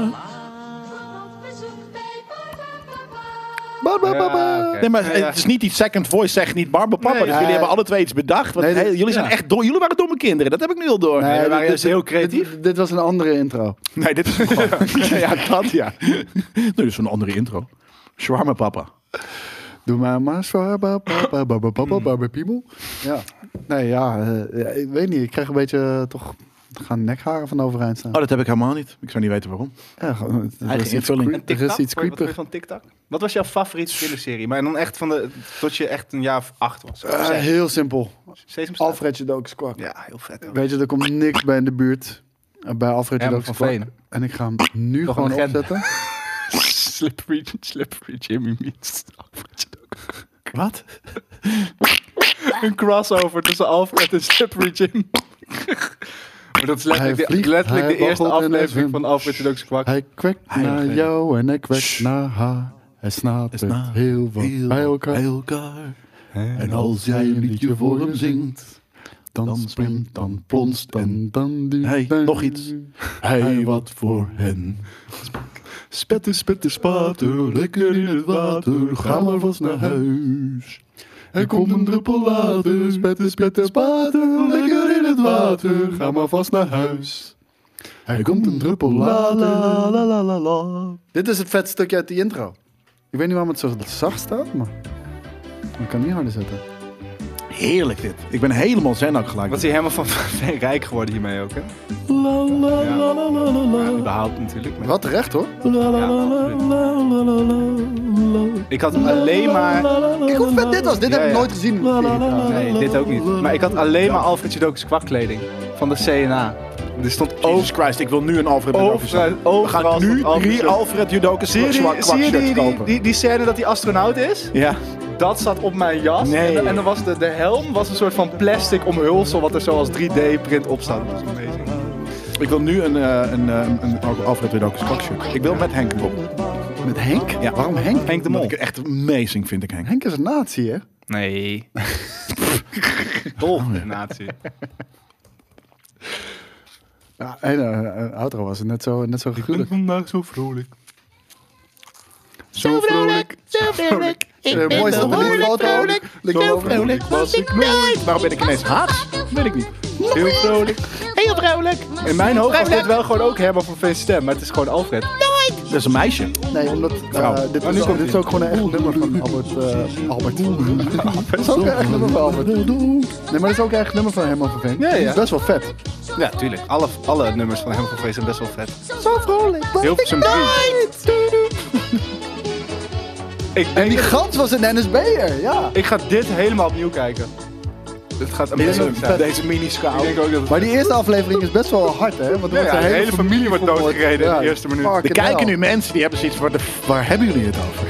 S5: bij
S1: Barba,
S2: Ja,
S1: baba.
S2: oké.
S3: Eh, Nee, maar het is niet die second voice zegt niet Barba Papa.
S2: Nee.
S3: dus jullie
S1: Nee.
S3: hebben alle twee iets bedacht. Want
S1: Nee, dit-
S3: hey, jullie zijn
S2: ja.
S3: echt dom. Jullie waren domme kinderen. Dat heb ik nu al door.
S2: Nee, Eh, we waren
S1: dit-
S2: juist
S1: dit-
S2: heel creatief.
S1: Dit, dit was een andere intro.
S3: Nee, dit is gewoon... ja, dat ja. Nee, dit is een andere intro. Shawarma Papa. Oh,
S1: Doe maar maar zwaar, ba- ba- ba- ba- ba- ba- ba- ba- ba- piemel. Ja. Nee, ja, eh, ja, ik weet niet. Ik krijg een beetje eh, toch... Er gaan nekharen van overeind staan.
S3: Oh, dat heb ik helemaal niet. Ik zou niet weten waarom.
S1: Ja, gewoon, er is iets
S3: invulling.
S1: creep- Er is iets
S2: Wat vond je
S1: creepig.
S2: van TikTok? Wat was jouw favoriete filmserie? Maar dan echt van de... Tot je echt een jaar of acht was. Of
S1: Eh,
S2: zes.
S1: heel simpel.
S2: Sesame Street.
S1: Alfredje Dookskwark.
S2: Ja, heel vet. hoor.
S1: Weet je, er komt niks bij in de buurt. eh, Bij Alfredje
S2: Herman van
S1: Dookskwark.
S2: Veen.
S1: En ik ga hem nu
S2: Toch
S1: gewoon
S2: een legende.
S1: opzetten.
S2: Slippery, slippery Jimmy meets
S3: Wat?
S2: Een crossover tussen Alfred en Slippery Jim. maar dat is letterlijk,
S1: Hij
S2: de-
S1: vliegt,
S2: letterlijk
S1: hij
S2: de eerste
S1: waggelt en hij
S2: aflevering
S1: zwemt.
S2: van Alfred en ook zijn kwak.
S1: Hij kwekt
S3: Heilig,
S1: naar
S3: heilig.
S1: jou en ik kwek
S3: Shh.
S1: naar haar. Hij
S3: Hij
S1: snapt
S3: snapt
S1: het heel wat bij elkaar.
S3: En als jij een liedje voor hem zingt,
S1: Dan
S3: dan
S1: springt, dan
S3: dan
S1: plonst
S3: plonst
S1: en dan duwt.
S3: Hey,
S1: dan-
S3: nog iets. hij wat voor hen. Spetter, spetter, spater, lekker in het water, ga maar vast naar huis.
S1: Er komt een druppel later, spetter, spetter, spater, lekker in het water, ga maar vast naar huis. Er komt een druppel
S3: La,
S1: later.
S3: la, la, la, la.
S1: Dit is het vet stukje uit die intro. Ik weet niet waarom het zo zacht staat, maar ik kan niet harder zetten.
S3: Heerlijk dit. Ik ben helemaal zen ook gelijk.
S2: Wat is hij helemaal van van rijk geworden hiermee ook, hè?
S3: La, la, la, la, la, la, la.
S2: Ja, überhaupt natuurlijk. maar-
S1: Wat terecht hoor.
S3: La, la,
S2: Ja,
S3: la, la,
S2: absoluut.
S3: la, la, la, la, la.
S2: Ik had alleen maar...
S1: Kijk hoe vet dit was. Dit
S2: Ja,
S1: heb ik
S2: ja.
S1: nooit gezien.
S3: La, la, la, la.
S2: Nee, dit ook niet. Maar ik had alleen maar Alfred Jodok's kwakkleding van de CNA. Er stond ook...
S3: Jesus Christ, ik wil nu een Alfred
S2: Overal-
S3: Judokus shirts. We gaan
S2: overal
S3: nu
S2: Oh, Alfred
S3: drie
S2: Judokus.
S3: Alfred Judokus
S2: Zie je,
S3: zwak
S2: die, zie je die,
S3: shirts
S2: die,
S3: kopen.
S2: die, die scène dat die astronaut is?
S3: Ja.
S2: Dat zat op mijn jas.
S3: Nee.
S2: En, dan- en dan was de, de helm was een soort van plastic omhulsel wat er zo als 3D-print op staat. Dat was amazing.
S3: Ik wil nu een, eh, een, eh, een, een Alfred Judokus shirt. Ik wil met Henk erop.
S1: Met Henk?
S3: Ja.
S1: Waarom Henk?
S2: Henk de
S3: Omdat
S2: Mol.
S3: ik het echt amazing vind, ik Henk.
S1: Henk is een nazi, hè?
S2: Nee. Oh, Dol, natie.
S1: Ja, en eh, eh, outro was het net zo, net zo gruwelijk.
S2: vandaag zo vrolijk.
S1: Zo vrolijk, zo vrolijk. Ik ben mooiste foto. Zo vrolijk was ik nooit.
S3: Waarom ben ik ineens haat? Weet ik niet.
S2: Heel vrolijk.
S5: Heel vrolijk.
S2: In mijn hoofd was dit wel gewoon ook Herman van Veen stem, maar het is gewoon Alfred.
S3: Dat is een meisje.
S1: Nee, omdat
S3: Vrouw.
S1: eh dit,
S2: Maar nu
S1: is,
S2: komt
S1: dit is ook gewoon een echt nummer van Albert. eh, Albert. dat is ook een echt nummer van Albert. Nee, maar dat is ook een echt nummer van Herman van Veen.
S2: Ja,
S1: Dat is
S2: ja.
S1: best wel vet.
S2: Ja, tuurlijk. Alle, alle nummers van Herman van Veen zijn best wel vet.
S1: Zo vrolijk.
S2: Hilversum 3. Ik
S1: En
S2: denk,
S1: die gans was een NSB'er, ja.
S2: ik ga dit helemaal opnieuw kijken. Dit gaat
S1: is
S2: amazing
S1: ook
S2: zijn.
S3: Deze
S2: Ik
S3: mini-schaal.
S2: denk ook dat het...
S1: Maar die eerste aflevering is best wel hard, hè? Want er wordt
S2: Ja, ja,
S1: de
S2: de hele familie wordt
S1: vermoord.
S2: doodgereden in de eerste minuut.
S1: fucking
S3: Er kijken
S1: hell.
S3: nu mensen die hebben zoiets waar, de, waar hebben jullie het over?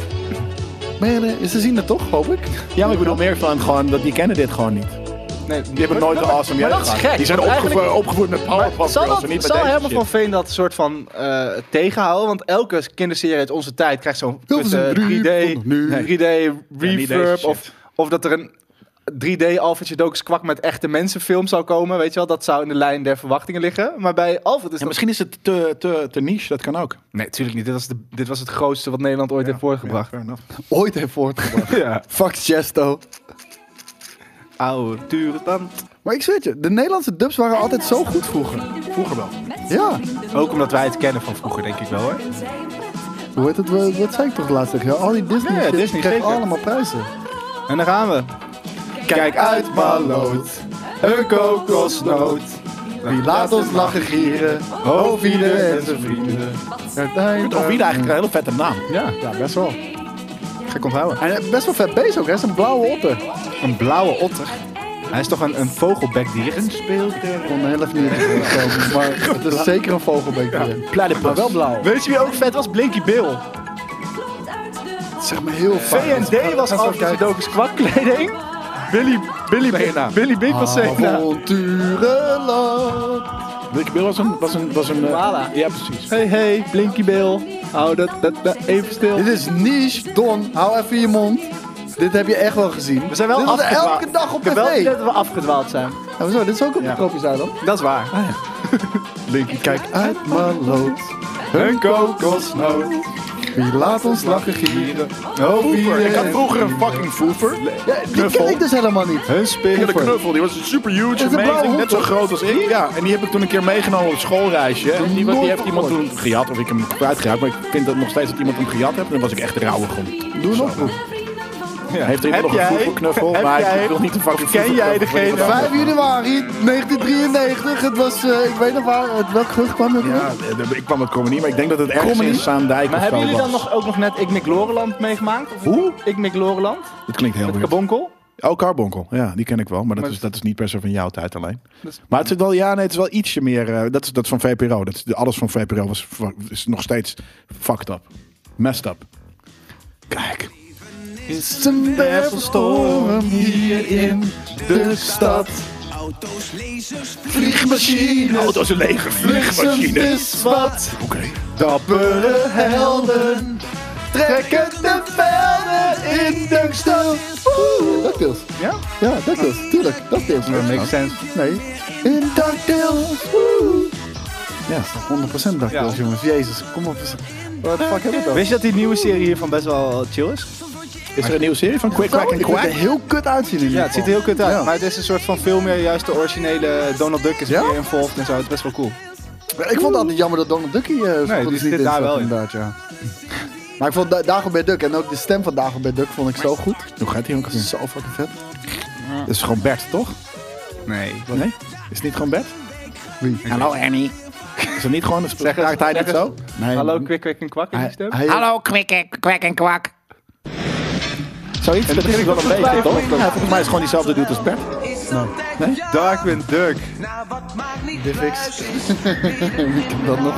S1: Maar ja, nee, ze zien het toch, hoop ik?
S3: Ja, maar ik bedoel meer van gewoon dat die kennen dit gewoon niet.
S2: Nee,
S3: Die hebben nooit een awesome
S2: Maar
S3: jaar
S2: dat is
S3: gehad.
S2: gek.
S3: Die zijn
S2: want
S3: opgevo-
S2: eigenlijk-
S3: opgevoed met powerpuff
S2: Zal,
S3: girls en
S2: dat,
S3: niet
S2: zal
S3: met deze
S2: Herman van
S3: shit.
S2: Veen dat soort van eh, tegenhouden? Want elke kinderserie uit onze tijd krijgt zo'n eh,
S1: Hilversum
S2: kutte
S1: 3
S2: 3D,
S1: van nu.
S2: 3D
S3: niet deze
S2: reverb.
S3: shit.
S2: Of, of dat er een 3D Alfred Jodokes kwak met echte mensenfilm zou komen. Weet je wel, dat zou in de lijn der verwachtingen liggen. Maar bij Alfred is
S3: Ja,
S2: dat...
S3: misschien is het te, te, te niche, dat kan ook.
S2: Nee, tuurlijk niet. Dit was, de, dit was het grootste wat Nederland ooit heeft
S3: Ja,
S2: voortgebracht.
S3: fair enough.
S1: Ooit heeft voortgebracht.
S2: Ja.
S1: Fuck Chesto.
S2: Oude turentant.
S1: Maar ik zweer het je, de Nederlandse dubs waren altijd zo goed vroeger.
S3: Vroeger wel.
S1: Ja.
S2: Ook omdat wij het kennen van vroeger, denk ik wel, hoor.
S1: Hoe heet het? Wat, wat zei ik toch laatst tegen jou? Al die Disney
S2: Ja, ja,
S1: shit
S2: Disney,
S1: kreeg
S2: zeker.
S1: allemaal prijzen.
S2: En daar gaan we. Kijk uit, maloot. Een kokosnoot.
S1: Wie laat ons lachen gieren?
S3: Oh,
S1: Hovide en zijn vrienden.
S3: Ik vind Ovida
S1: Hovide
S3: eigenlijk een hele vette naam.
S1: Ja, ja, best wel.
S3: Ga ik onthouden.
S1: Hij is best wel vet bezig ook, hij is een blauwe otter.
S2: Een blauwe otter. Hij is toch een, een vogelbekdier? Een speeltuin.
S1: Ik kon er heel even niet op komen, maar het is zeker een vogelbeek. Maar wel blauw.
S2: Weet je wie ook vet was? Blinky Bill.
S1: Zeg maar heel vaak.
S2: V&D was
S1: Als we
S2: altijd
S1: kijken.
S2: gedoken squakkleding. Billy, Billy, Billy, Billy Big was Sena.
S1: Avonturenland.
S3: Wilke Bill was een... Was een, was een eh,
S2: Koala.
S3: ja, precies.
S2: Hey, hey, Blinky Bill. Hou dat, dat, dat even stil.
S1: Dit is niche, Don. Hou even je mond. Dit heb je echt wel gezien.
S2: We zijn wel
S1: Dit was
S2: afgedwaald.
S1: elke dag op
S2: Ik heb wel
S1: tv.
S2: dat we afgedwaald zijn.
S1: Ja, hoezo? Dit is ook op de
S2: Ja.
S1: tropisch eiland.
S2: Dat is waar.
S1: Linky, kijk uit, maloot.
S2: Een kokosnoot.
S1: Wie laat ons lachen gieren?
S2: Oh,
S3: Voever. Ik had vroeger een fucking voever.
S1: Ja, die
S3: Knuffel.
S1: ken ik dus helemaal niet.
S2: Een
S3: hele
S2: speelver.
S3: knuffel, die was super huge,
S1: een blauwe
S3: amazing,
S1: hond,
S3: net zo
S1: toch?
S3: groot als ik. Ja, en die heb ik toen een keer meegenomen op een schoolreisje. En die, die
S1: Nooit
S3: heeft iemand
S1: gehoord.
S3: toen gejat, of ik hem kwijtgeraakt. Maar ik vind dat nog steeds dat iemand hem gejat heeft. Dan was ik echt rauwig om.
S1: Doe een oproep.
S3: Hij heeft er
S2: Heb
S3: nog een
S2: jij-
S3: voetbalknuffel,
S2: heb
S3: maar
S2: jij-
S3: ik wil niet een fucking
S2: Ken jij
S3: voeverknuffel.
S2: degene?
S1: 5 januari 1993. Het was, eh, ik weet nog waar, uit welk gerucht kwam het?
S3: Ja, eh, ik kwam met Comedy, maar ik denk dat het ergens
S1: Comedy?
S3: in Zaandijk
S2: Maar
S3: of zo
S2: hebben jullie dan
S3: was.
S2: nog, ook nog net Ik Mik Loreland meegemaakt? Of
S3: Hoe?
S2: Ik Mik Loreland?
S3: Dat klinkt heel
S2: Met
S3: weird.
S2: Kabonkel?
S3: Oh, Carbonkel. Ja, die ken ik wel. Maar dat,
S2: Maar-
S3: is, dat is niet per se van jouw tijd alleen.
S2: Dus-
S3: Maar het is wel, ja, nee, het is wel ietsje meer... eh, dat, is, dat is van VPRO. Dat is, alles van VPRO was, is nog steeds fucked up. Messed up. Kijk.
S1: Is een wervelstorm hier in de stad.
S6: Auto's, lasers,
S1: Vliegmachines,
S3: Auto's een leger. Vliegmachine.
S1: is wat.
S3: Oké.
S1: Dappere helden trekken de velden in de stad. DuckTales.
S2: Ja?
S1: Ja, DuckTales. Tuurlijk, DuckTales.
S2: Dat makes sense.
S1: Nee. In DuckTales. Woe. Ja, 100% DuckTales,
S2: Ja.
S1: jongens. Jezus, kom op. Wat de fuck hebben we dan?
S2: Wist je dat die nieuwe serie hiervan best wel chill is?
S3: Is er een nieuwe serie van Quick, Quack en
S1: Ik vind het
S3: Quack?
S1: er heel kut uitzien in ieder
S2: Ja, het ziet er
S1: geval.
S2: heel kut uit.
S1: Ja.
S2: Maar het is een soort van veel meer juist de originele Donald Duck is
S1: Ja?
S2: meer involved en zo. Het is best wel cool.
S1: Ik vond het altijd jammer dat Donald Ducky eh
S2: die
S1: nee,
S2: zit
S1: niet in
S2: daar
S1: zat,
S2: wel in.
S1: inderdaad, ja. Maar ik vond Da- Dagobert Duck en ook de stem van Dagobert Duck vond ik zo goed.
S3: Hoe gaat die ook alweer?
S1: Zo fucking vet.
S3: Dat is gewoon Bert, toch?
S2: Nee.
S3: Nee? Is het niet gewoon Bert?
S1: Wie?
S3: Hallo Ernie. Is het niet gewoon... Raakt hij niet zo?
S1: Nee,
S2: Hallo,
S1: man.
S2: kwik, kwik en kwak in die
S1: Hij-
S2: stem?
S1: hij-
S7: Hallo, kwik, en- kwek en kwak.
S3: Zoiets, dat is wel een beetje, toch? Ja, volgens mij is het gewoon diezelfde dude als Bert.
S2: Darkwing Duck.
S1: Divx. ik heb dat nog.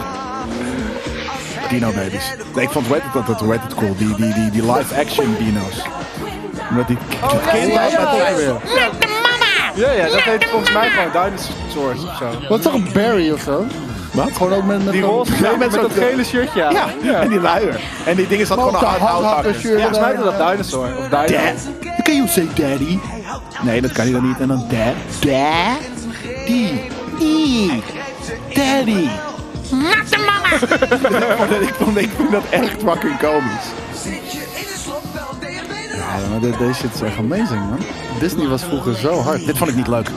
S3: Dino Babies. Nee, ik vond Red dat dat Red It cool. Die, die, die, die live action dino's. Omdat die kind
S2: ja, ja.
S3: altijd weer.
S7: Met de mama!
S2: Ja, ja, dat heet volgens mij gewoon Dinosaurs of zo.
S1: Wat toch een Barry of zo?
S3: Wat?
S1: Gewoon ook met, met
S2: Die
S1: zo'n-
S2: roze
S3: Ja,
S2: nou, met,
S3: met zo'n
S2: dat gele shirtje aan.
S3: Ja, en die luier. En die dingen zat
S1: Ook
S3: gewoon
S1: de
S3: hard
S1: hardhakker
S3: houthakker.
S1: shirt.
S2: Volgens mij is dat Dinosaur of Dino.
S3: Dad, can you say daddy? Nee, dat kan hij dan niet. En dan dad. Dad. Die. Die. Daddy.
S7: Met de mama!
S3: Ik vond, ik vond dat echt fucking komisch.
S1: Ja, maar dit- deze shit is echt amazing, man. Disney was vroeger zo hard.
S3: Dit vond ik niet leuk.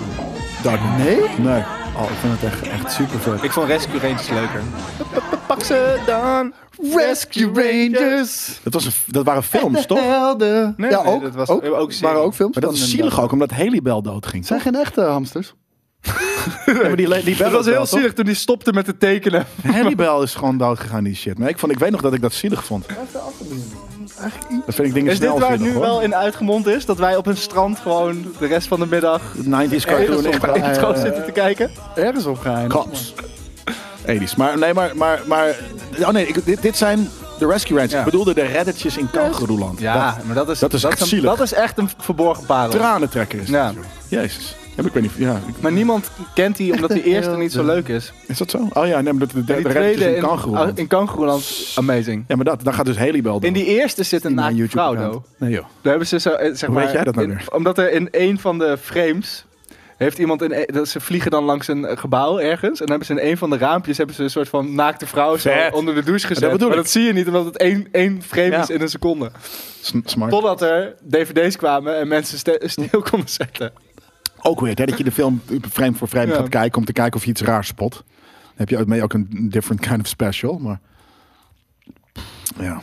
S3: Dark.
S1: Nee?
S3: Nee.
S1: Oh, ik vind het echt, echt super vet.
S2: Ik vond Rescue Rangers leuker. Pak ze dan.
S1: Rescue Rangers!
S3: Dat, was een, dat waren films, toch? Maar
S1: Helden!
S2: Nee,
S1: ja,
S2: nee,
S1: ook.
S2: dat was-
S1: ook,
S2: ook serie.
S1: waren ook films.
S3: dat
S1: van
S3: is
S1: inderdaad.
S3: zielig
S2: eh,
S3: ook, omdat Helibel doodging.
S1: zijn geen echte hamsters.
S3: Ja, maar die, le- die
S2: Dat
S3: Bel
S2: was
S3: wel,
S2: heel
S3: toch?
S2: zielig toen die stopte met het tekenen.
S3: Hannibal is gewoon dood gegaan, die shit. Maar ik, vond, ik weet nog dat ik dat zielig vond. Dat vind ik dingen
S2: Is dit
S3: snel
S2: waar het
S3: zielig,
S2: nu wel in uitgemond is? Dat wij op een strand gewoon de rest van de middag
S3: hoor. 90s cartoon.
S2: ergens op
S3: echt-
S2: in het strand zitten te kijken?
S1: Ergens op geheim.
S3: Cops. 80s. Maar nee, maar... maar, maar oh nee, ik, dit, dit zijn de Rescue Rangers.
S2: Ja.
S3: Ik bedoelde de reddetjes in Kangeroeland. Dat-
S2: maar dat is,
S3: dat is echt
S2: een-
S3: zielig.
S2: dat is echt een verborgen parel.
S3: Tranentrekker is
S2: Ja.
S3: dat, joh. Jezus. Ja, ik weet niet... Ja, ik-
S2: Maar niemand kent die omdat die eerste
S1: heel
S2: niet zo
S1: dun.
S2: leuk is.
S3: is dat zo? Oh ja, nee, maar de, de,
S2: Die
S3: de reddetjes
S2: tweede
S3: in
S2: in,
S3: Kangeroeland.
S2: in Kangoeroeland, amazing.
S3: Ja, maar dat, dan gaat dus Helibel dood.
S2: In die eerste zit een
S1: in mijn
S2: naakte vrouw,
S1: YouTube-account.
S2: though.
S3: Nee joh.
S2: Daar hebben ze zo, eh, zeg
S3: Hoe
S2: maar,
S3: weet jij dat nou
S2: in-
S3: weer?
S2: Omdat er in een van de frames heeft iemand in, e- dat ze vliegen dan langs een eh, gebouw ergens en dan hebben ze in een van de raampjes hebben ze een soort van naakte vrouw zo
S3: Vet.
S2: onder de douche gezet.
S3: bedoel
S2: maar
S3: ik.
S2: dat zie je niet omdat het één, één frame
S3: Ja.
S2: is in een seconde.
S3: Sm- Smart.
S2: Totdat er DVD's kwamen en mensen ste- stil konden zetten.
S3: Ook weer, hè, dat je de film frame voor frame
S2: Ja.
S3: gaat kijken om te kijken of je iets raars spot. Dan heb je mee ook een different kind of special, maar ja,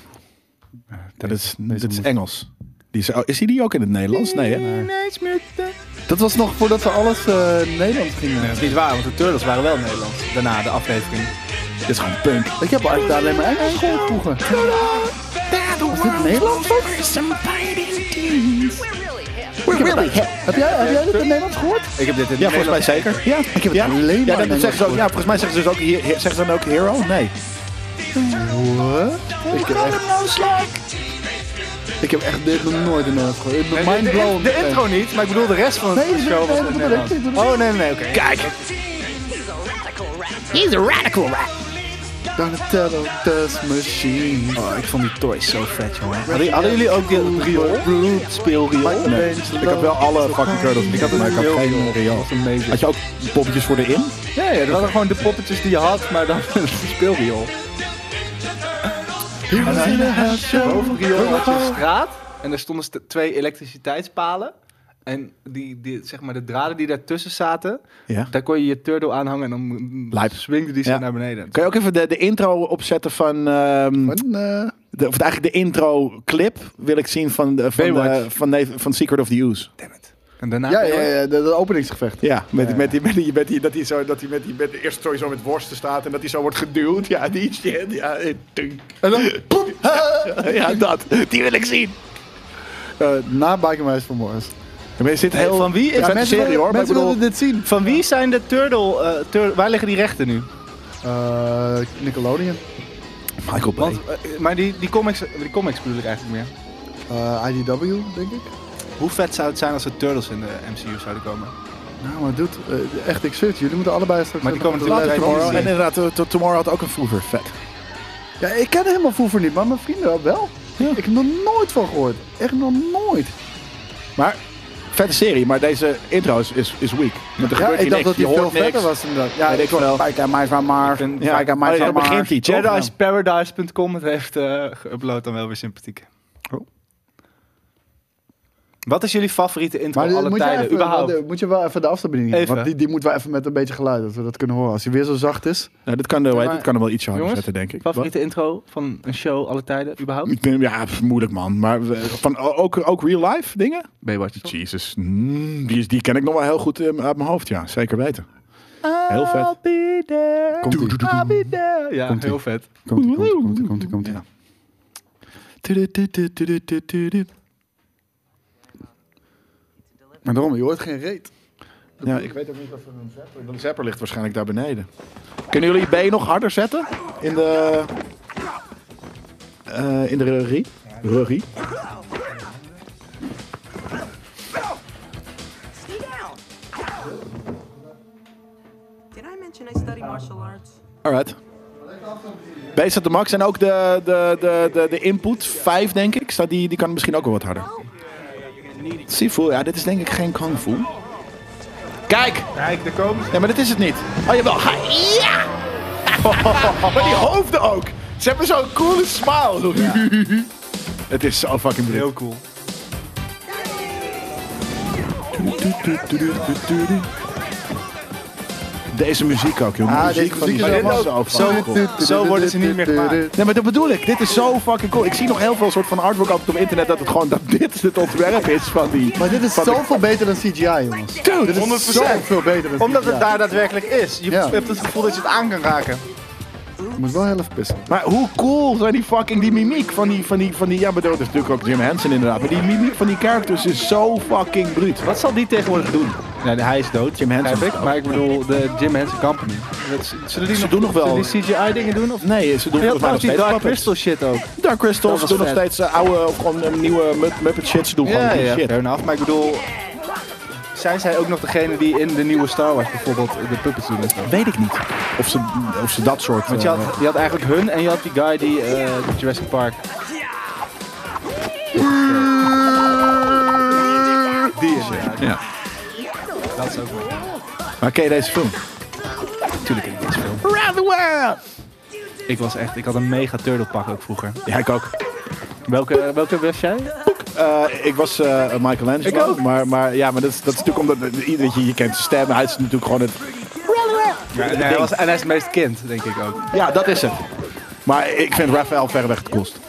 S3: dat is, dat is Engels. Die is, oh, is hij die ook in het Nederlands? Nee, hè?
S1: Dat was nog voordat we alles eh Nederlands gingen.
S2: Dat is niet waar, want de Turtles waren wel Nederlands. Daarna de aflevering.
S3: Dit is gewoon punk.
S1: Ik heb eigenlijk alleen maar Engels gehoord vroeger. Was dit Nederlands? ook?
S3: We're really hip.
S1: Heb jij, heb jij dit in Nederlands gehoord?
S2: Ik heb dit in
S3: Ja, volgens mij zeker. Ja, ik heb
S1: het
S3: ja?
S1: alleen maar
S3: ja,
S1: in
S3: dat zeggen ze ook, ja, volgens mij zeggen ze dus ook, hier- hier- zeggen ze dan ook hero? Nee.
S1: Ik heb echt... Ik heb echt dit nog nooit in Nederlands gehoord. Ik ben
S2: De, de,
S1: mindblown.
S3: eh.
S2: de intro niet, maar ik bedoel de rest van de
S1: Nee, nee,
S2: show. was
S1: nee,
S2: in het
S1: nee,
S2: Nederlands.
S1: nee, nee, nee.
S2: Oh, nee, nee, oké. Kijk.
S7: He's a radical rat.
S1: Donatello Test Machine.
S2: Oh, ik vond die toys zo vet, jongen.
S3: Hadden, hadden jullie ook die riool?
S1: Speelriool?
S3: Nee. Ik had wel alle fucking turtles. Ik had, maar ik had
S2: Heel
S3: geen
S2: veel.
S3: riool.
S2: Dat is amazing.
S3: Had je ook poppetjes voor de in?
S2: Ja, ja, dat waren gewoon de poppetjes die je had, maar dan een speelriool. Boven het riool had je een straat en daar stonden st- twee elektriciteitspalen. En die, die, zeg maar de draden die daartussen zaten,
S3: Ja.
S2: daar kon je je turtle aanhangen en dan mm,
S3: Lijp.
S2: swingde die zo
S3: Ja.
S2: naar beneden.
S3: Kan je ook even de, de intro opzetten van... ehm,
S1: eh,
S3: de, of eigenlijk de intro clip wil ik zien van, de- van, de,
S2: Baywatch.
S3: van, nee, van Secret of the Oost.
S2: Damn it. En daarna...
S1: Ja, ja, ja, dat dat openingsgevecht.
S3: Ja, met, met, die, met, die, met die, dat hij zo, dat hij met die, met de eerste sowieso met worsten staat en dat hij zo wordt geduwd. Ja, die shit. Ja, eh, tunk.
S1: En dan... Poep,
S3: ja dat. Die wil ik zien.
S1: Eh, na Bikermeis van Morris.
S3: Maar zit
S2: Hey,
S3: heel
S2: van wie is
S3: ja,
S2: dat
S3: mensen
S2: serie,
S3: willen-
S2: hoor? Maar ik
S1: Mensen
S2: bedoel-
S1: wilden dit zien.
S2: Van wie zijn de turtle... eh, tur- waar liggen die rechten nu?
S1: Eh, Nickelodeon.
S3: Michael Bay.
S2: Want, eh, maar die, die, comics, die comics bedoel ik eigenlijk meer.
S1: Eh, IDW, denk ik.
S2: Hoe vet zou het zijn als er turtles in de MCU zouden komen?
S1: Nou, maar doet echt, ik zit. Jullie moeten allebei straks...
S2: Maar die
S1: even
S2: komen
S1: op de
S2: natuurlijk
S1: lijst
S2: uit
S3: En
S1: tomorrow.
S3: inderdaad, eh, to- Tomorrow had ook een vroeger vet.
S1: Ja, ik ken helemaal Voever niet, maar mijn vrienden wel. Ik heb er nog nooit van gehoord. Echt nog nooit.
S3: Maar, vette serie, maar deze intro is, is, is weak. Want er
S1: Ja,
S3: gebeurt
S1: ik
S3: hier
S1: dacht
S3: niks,
S1: dat hij
S3: je
S1: veel
S3: hoort
S1: vetter
S3: niks.
S1: was inderdaad. Ja,
S3: Weet ik wel.
S1: Kijk aan mij van maar.
S2: ja,
S1: Kijk aan
S3: Oh,
S1: mij
S3: ja,
S1: van
S3: daar
S1: maar.
S3: begint hij. toch?
S2: Jedi's Paradise.com het heeft eh geüpload dan wel weer sympathiek. Oh. Wat is jullie favoriete intro
S1: Maar dit-
S2: alle
S1: moet, je
S2: tijden?
S1: even,
S2: überhaupt?
S1: want, eh, moet je wel even de afstandsbediening
S2: Even.
S1: hebben. Want die, die moeten we even met een beetje geluid, dat we dat kunnen horen. Als hij weer zo zacht is.
S3: Nou, dit, kan, de-
S1: maar-
S3: dit kan hem wel ietsje harder
S2: Jongens,
S3: zetten, denk ik.
S2: favoriete intro van een show alle tijden? Überhaupt?
S3: Ik ben, ja, pff, moeilijk man. Maar we- van, o- ook, ook real life dingen?
S2: Baywatch.
S3: Jezus, mm, die, is- die ken ik nog wel heel goed eh, uit mijn hoofd, ja. Zeker weten. Heel vet.
S2: Be there,
S1: Komt-ie.
S2: I'll be there. Ja, heel vet.
S1: Komt ie, komt ie, komt ie, komt ie, komt ie.
S3: Ja. Tudu-tudu-tudu-tudu-tudu.
S1: Maar daarom, je hoort geen reet.
S3: Ja, ik weet ook niet of er een zapper... Een zapper ligt waarschijnlijk daar beneden. Kunnen jullie B nog harder zetten? In de... eh, in de regie? Regie?
S8: Stay down. Did I mention I
S6: Oh.
S8: study martial arts?
S3: Alright. B staat de max en ook de, de, de, de, de input 5, denk ik. Staat die, die kan misschien ook wel wat harder. Sifu, ja, dit is denk ik geen kung fu. Kijk!
S2: Kijk, daar komen ze.
S3: Ja, maar dit is het niet. Oh, jawel. Ha, ja! maar die hoofden ook. Ze hebben zo'n coole smile. Zo. het is zo fucking Brit.
S2: Heel cool.
S3: Deze muziek ook, joh.
S1: Ah,
S3: muziek
S1: deze
S3: van die
S1: muziek is
S3: film
S1: allemaal
S3: zo fucking cool.
S2: zo worden ze niet meer gemaakt.
S3: Nee, maar dat bedoel ik. Dit is zo fucking cool. Ik zie nog heel veel soort van artwork altijd op internet dat het gewoon dat dit het ontwerp is van die.
S1: Maar dit is
S3: van die-
S1: zoveel beter dan CGI, jongens. dit is
S2: 100%.
S1: zoveel beter dan
S2: Omdat
S1: CGI.
S2: het daar daadwerkelijk is. Je
S1: Ja.
S2: hebt het gevoel dat je het aan kan raken.
S1: Ik moet wel heel even pissen.
S3: Maar hoe cool zijn die fucking die mimiek van die van die van die ja, maar dat is natuurlijk ook Jim Henson inderdaad. Maar die mimiek van die characters is zo fucking bruut.
S2: Wat zal die tegenwoordig doen? Nee, hij is dood.
S3: Jim Henson
S2: Heb
S3: is
S2: ik,
S3: dood.
S2: maar ik bedoel de Jim Henson Company. Dat- Zullen die
S3: Ze doen nog wel-
S2: Zullen die CGI dingen doen? Of?
S3: Nee, ze doen
S2: Je had
S3: volgens mij nog
S2: trouwens die
S3: steeds
S2: Dark
S3: puppets.
S2: Crystal shit ook.
S3: Dark Crystals
S2: Dat was
S3: doen nog
S2: vet.
S3: steeds eh, oude of gewoon eh, nieuwe Mupp- Muppet shit. Ze doen gewoon die shit.
S2: fair enough. Maar ik bedoel, zijn zij ook nog degene die in de nieuwe Star Wars bijvoorbeeld de puppets doen en zo?
S3: Weet ik niet of ze, of ze dat soort...
S2: Want je
S3: eh,
S2: had, je had eigenlijk hun en je had die guy die eh, Jurassic Park. Die is ja.
S3: eh, Ja.
S2: Dat is ook wel.
S3: Maar ken je deze film?
S2: Natuurlijk in deze film.
S3: Around the world!
S2: Ik was echt, ik had een mega turtle pak ook vroeger.
S3: Ja, ik ook.
S2: Welke, welke was jij?
S3: Eh, ik was eh Michelangelo.
S2: Ik ook.
S3: Maar, maar, ja, maar dat, is, dat is natuurlijk omdat eh, iedereen je, je kent zijn stem. Hij is natuurlijk gewoon het...
S2: Ja, nee, hij was, en hij is het meest kind, denk ik ook.
S3: Ja, dat is het. Maar ik vind Raphaël verreweg het kost.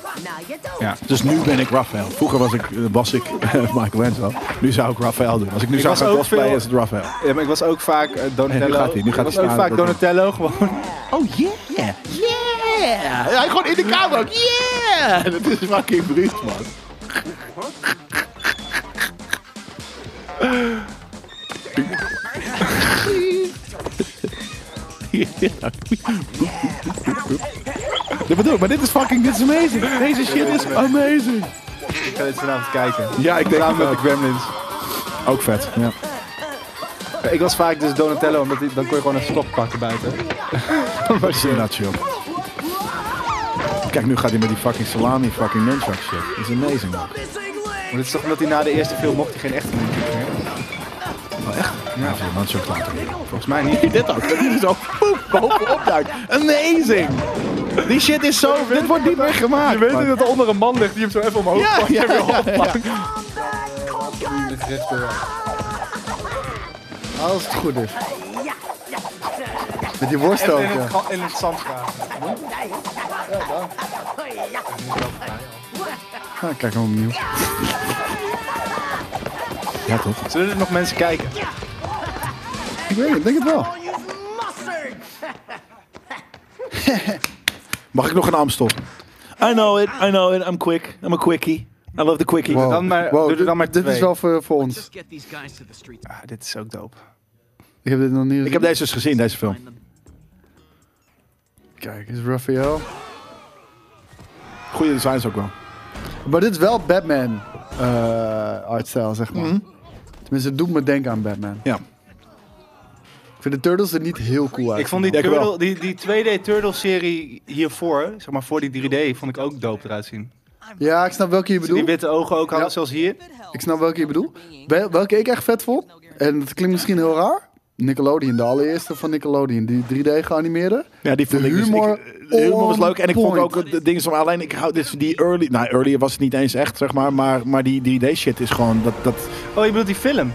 S2: Ja.
S3: Dus nu ben ik Raphaël. Vroeger was ik, eh, was ik Michelangelo. Nu zou ik Raphaël doen. Als ik nu zou
S2: was
S3: gaan
S2: ook
S3: cosplayen,
S2: veel-
S3: is het Raphaël.
S2: Ja, maar ik was ook vaak eh, Donatello.
S3: En nu gaat hij, nu gaat
S2: ik was
S3: hij
S2: ook
S3: aan,
S2: vaak
S3: dat doet
S2: Donatello gewoon.
S3: Oh yeah! Yeah! Ja, gewoon in de kamer ook. Yeah! Ja, dat is fucking bruut, man. Dat bedoel ik, maar dit is fucking, dit is amazing. Deze shit is amazing.
S2: Ik ga dit vanavond kijken.
S3: Ja, ik denk
S2: Samen Oh, met de
S3: ook.
S2: Gremlins.
S3: Ook vet, ja.
S2: Ik was vaak dus Donatello, omdat die- dan kon je gewoon een stok pakken buiten.
S3: Inderdaad, chill. Kijk, nu gaat hij met die fucking salami, fucking nunchuck shit. Dat is amazing, man.
S2: Maar dit is toch omdat hij na de eerste film mocht hij geen echte nunchucks meer?
S3: Oh, echt? Ja, voor nunchuck later.
S2: Volgens mij niet.
S3: Dit ook, dat hij er zo poep, bovenop duikt. Amazing! Die shit is zo, dit wordt niet meer gemaakt.
S2: Je weet
S3: man.
S2: niet dat er onder een man ligt die hem zo even omhoog
S3: Ja,
S2: pakt en
S3: ja,
S2: weer
S3: ja,
S2: oppakt. eh,
S1: Als het goed is. Met die worst ook. ja.
S2: ga- in het zand gaan.
S1: Ah, kijk hem opnieuw.
S3: Ja, toch?
S2: Zullen er nog mensen kijken?
S1: Ik weet het, ik denk het wel.
S3: Mag ik nog een Amstel? I know it, I know it, I'm quick. I'm a quickie. I love the quickie.
S1: Wow.
S2: Dan maar-
S1: Wow,
S2: doe er dan maar
S1: dit- Dit
S2: twee.
S1: is wel voor, voor ons.
S6: Just get these guys to the streets.
S2: Ah, dit is ook dope.
S1: Ik heb dit nog niet gezien.
S3: Ik heb deze dus gezien, deze film.
S1: Kijk, is Raphael.
S3: Goede designs ook wel.
S1: Maar dit is wel Batman eh artstijl, zeg
S2: Mhm.
S1: maar. Tenminste, het doet me denken aan Batman.
S3: Ja.
S1: Ik vind de Turtles er niet heel cool uit.
S2: Ik vond die,
S3: Dank u wel.
S2: turtle, die, die 2D Turtle serie hiervoor, zeg maar voor die 3D, vond ik ook dope eruit zien.
S1: Ja, ik snap welke je
S2: Die
S1: bedoelt.
S2: witte ogen ook hadden,
S1: Ja.
S2: zoals hier.
S1: Ik snap welke je bedoelt. Wel- Welke ik echt vet vond, en het klinkt misschien heel raar, Nickelodeon, de allereerste van Nickelodeon, die 3D geanimeerde.
S3: Ja, die vond
S1: De
S3: ik dus-
S1: humor
S3: ik- de humor was
S1: on
S3: leuk. En ik vond
S1: point.
S3: ook het ding is om- alleen ik hou dit die early. Nou, earlier was het niet eens echt zeg maar, maar, maar die 3D shit is gewoon dat dat
S2: Oh, je bedoelt die film?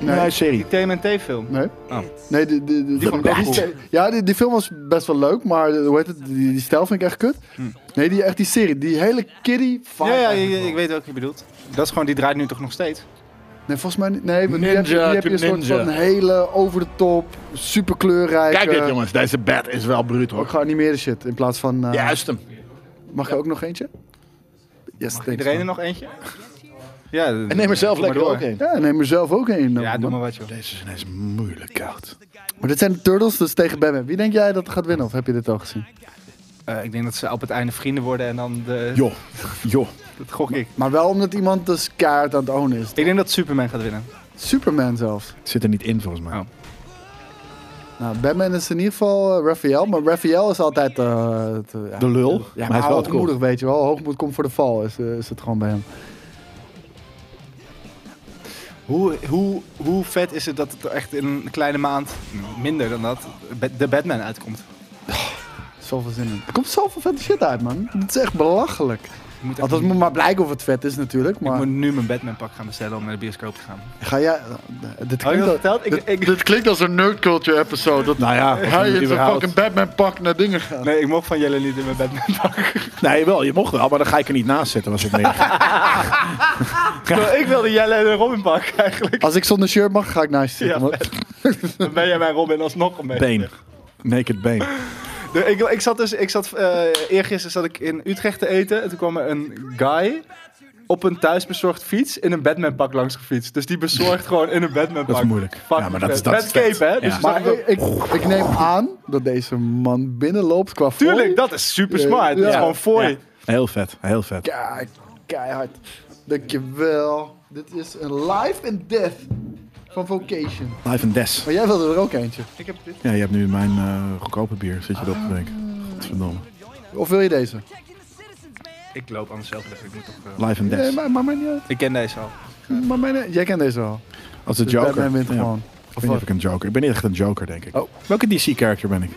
S1: Nee.
S3: nee, serie.
S2: Die TMNT film?
S1: Nee.
S2: Oh.
S1: Nee, die, die, die,
S2: vond ik ook
S1: die-
S2: cool.
S1: Ja, die, die film was best wel leuk, maar eh, hoe heet het? Die, die stijl vind ik echt kut.
S3: Hm.
S1: Nee, die, echt die serie, die hele kiddie vibe.
S2: Ja, ja, ja,
S1: eigenlijk
S2: ja,
S1: wel.
S2: ik weet welke je bedoelt. Dat is gewoon, die draait nu toch nog steeds?
S1: Nee, volgens mij niet. Nee, maar nu heb je,
S3: Ninja
S1: nu heb je een
S3: to
S1: soort
S3: ninja.
S1: van hele over de top, super kleurrijke.
S3: Kijk eh, dit jongens, deze bed is wel bruut
S1: Ook
S3: hoor.
S1: geanimeerde shit in plaats van. eh,
S3: Juist hem.
S1: Mag je ook nog eentje? Yes, thanks,
S2: Iedereen er
S1: man.
S2: nog eentje? Ja,
S3: En neem er zelf
S2: Doe maar
S3: lekker
S2: door.
S3: ook in.
S1: Ja, neem er zelf ook een.
S2: Ja,
S1: man.
S2: doe maar
S1: maar.
S2: wat joh.
S3: Deze is ineens moeilijk koud.
S1: dit zijn de Turtles, dus tegen Batman. Wie denk jij dat gaat winnen? Of heb je dit al gezien?
S2: Eh, ik denk dat ze op het einde vrienden worden en dan de...
S3: Joh, joh.
S2: Dat gok ik.
S1: Maar wel omdat iemand dus kaart aan het ownen is.
S2: Ik denk dat Superman gaat winnen.
S1: Superman zelfs.
S3: Het zit er niet in volgens mij.
S2: Oh.
S1: Nou, Batman is in ieder geval eh, Raphael. Maar Raphael is altijd... eh, het, eh, ja.
S3: De lul.
S1: Ja,
S3: maar
S1: maar
S3: hij is wel cool.
S1: hoogmoedig, weet je wel. Hoogmoed komt voor de val, is, eh, is het gewoon bij hem.
S2: Hoe, hoe, hoe vet is het dat het echt in een kleine maand, minder dan dat, Ba- de Batman uitkomt?
S1: Zoveel zin in. Er komt zoveel vette shit uit, man. Het is echt belachelijk.
S2: Ik moet, echt-
S1: Althans, het moet maar blijken of het vet is natuurlijk.
S2: ik
S1: Maar
S2: moet nu mijn Batman pak gaan bestellen om naar de bioscoop te gaan.
S1: ga jij... Dit
S2: Had je
S1: klinkt,
S2: dat
S1: al-
S2: verteld? Ik, ik,
S1: dit klinkt als een nerd culture episode. Dat
S3: Nou ja,
S1: hij in zijn
S3: überhaupt.
S1: fucking Batman pak naar dingen gaat.
S2: nee, ik mocht van jullie niet in mijn Batman pak.
S3: Nee, wel, je mocht wel, maar dan ga ik er niet naast zitten. Was het meer.
S2: Ik wilde Jelle en een Robin pak eigenlijk.
S1: Als ik zonder shirt mag, ga ik naast je zitten.
S2: Ja,
S1: want-
S2: Dan ben jij mijn Robin alsnog een beetje.
S3: been. Naked been.
S2: De- ik, ik zat dus, ik zat, eh eergisteren zat ik in Utrecht te eten en toen kwam er een guy op een thuisbezorgd fiets in een Batman pak langs gefietst. Dus die bezorgt gewoon in een Batman pak.
S3: Dat is moeilijk. Ja, maar dat is- dat
S2: Met
S3: is
S2: cape,
S3: vet.
S2: hè?
S3: Ja.
S2: Dus
S1: maar ik, ik, ik neem aan dat deze man binnenloopt qua fooi.
S2: tuurlijk, dat is super smart. Dat is
S1: Ja.
S2: gewoon voor je.
S3: Heel vet, heel vet.
S1: Kijk, keihard. Dankjewel. Dit is een life and death van Vocation.
S3: Live and Des.
S1: Maar jij wilde er ook eentje.
S2: Ik heb dit.
S3: Ja, je hebt nu mijn eh, goedkope bier. Zit je
S1: Ah.
S3: erop te denken? Godverdomme.
S1: Of wil je deze?
S2: Ik loop anders zelf weg. Ik, moet toch, eh,
S3: Live and
S1: Nee,
S3: Des.
S1: maar, maar mij niet uit.
S2: ik ken deze al.
S1: Maar mij niet- Jij kent deze wel.
S3: Als de
S1: Dus
S3: Joker.
S1: Batman wint
S3: Ja.
S1: gewoon.
S3: Ik weet niet of ik een joker. Ik ben niet echt een joker, denk ik.
S1: Oh.
S3: Welke DC-character ben ik?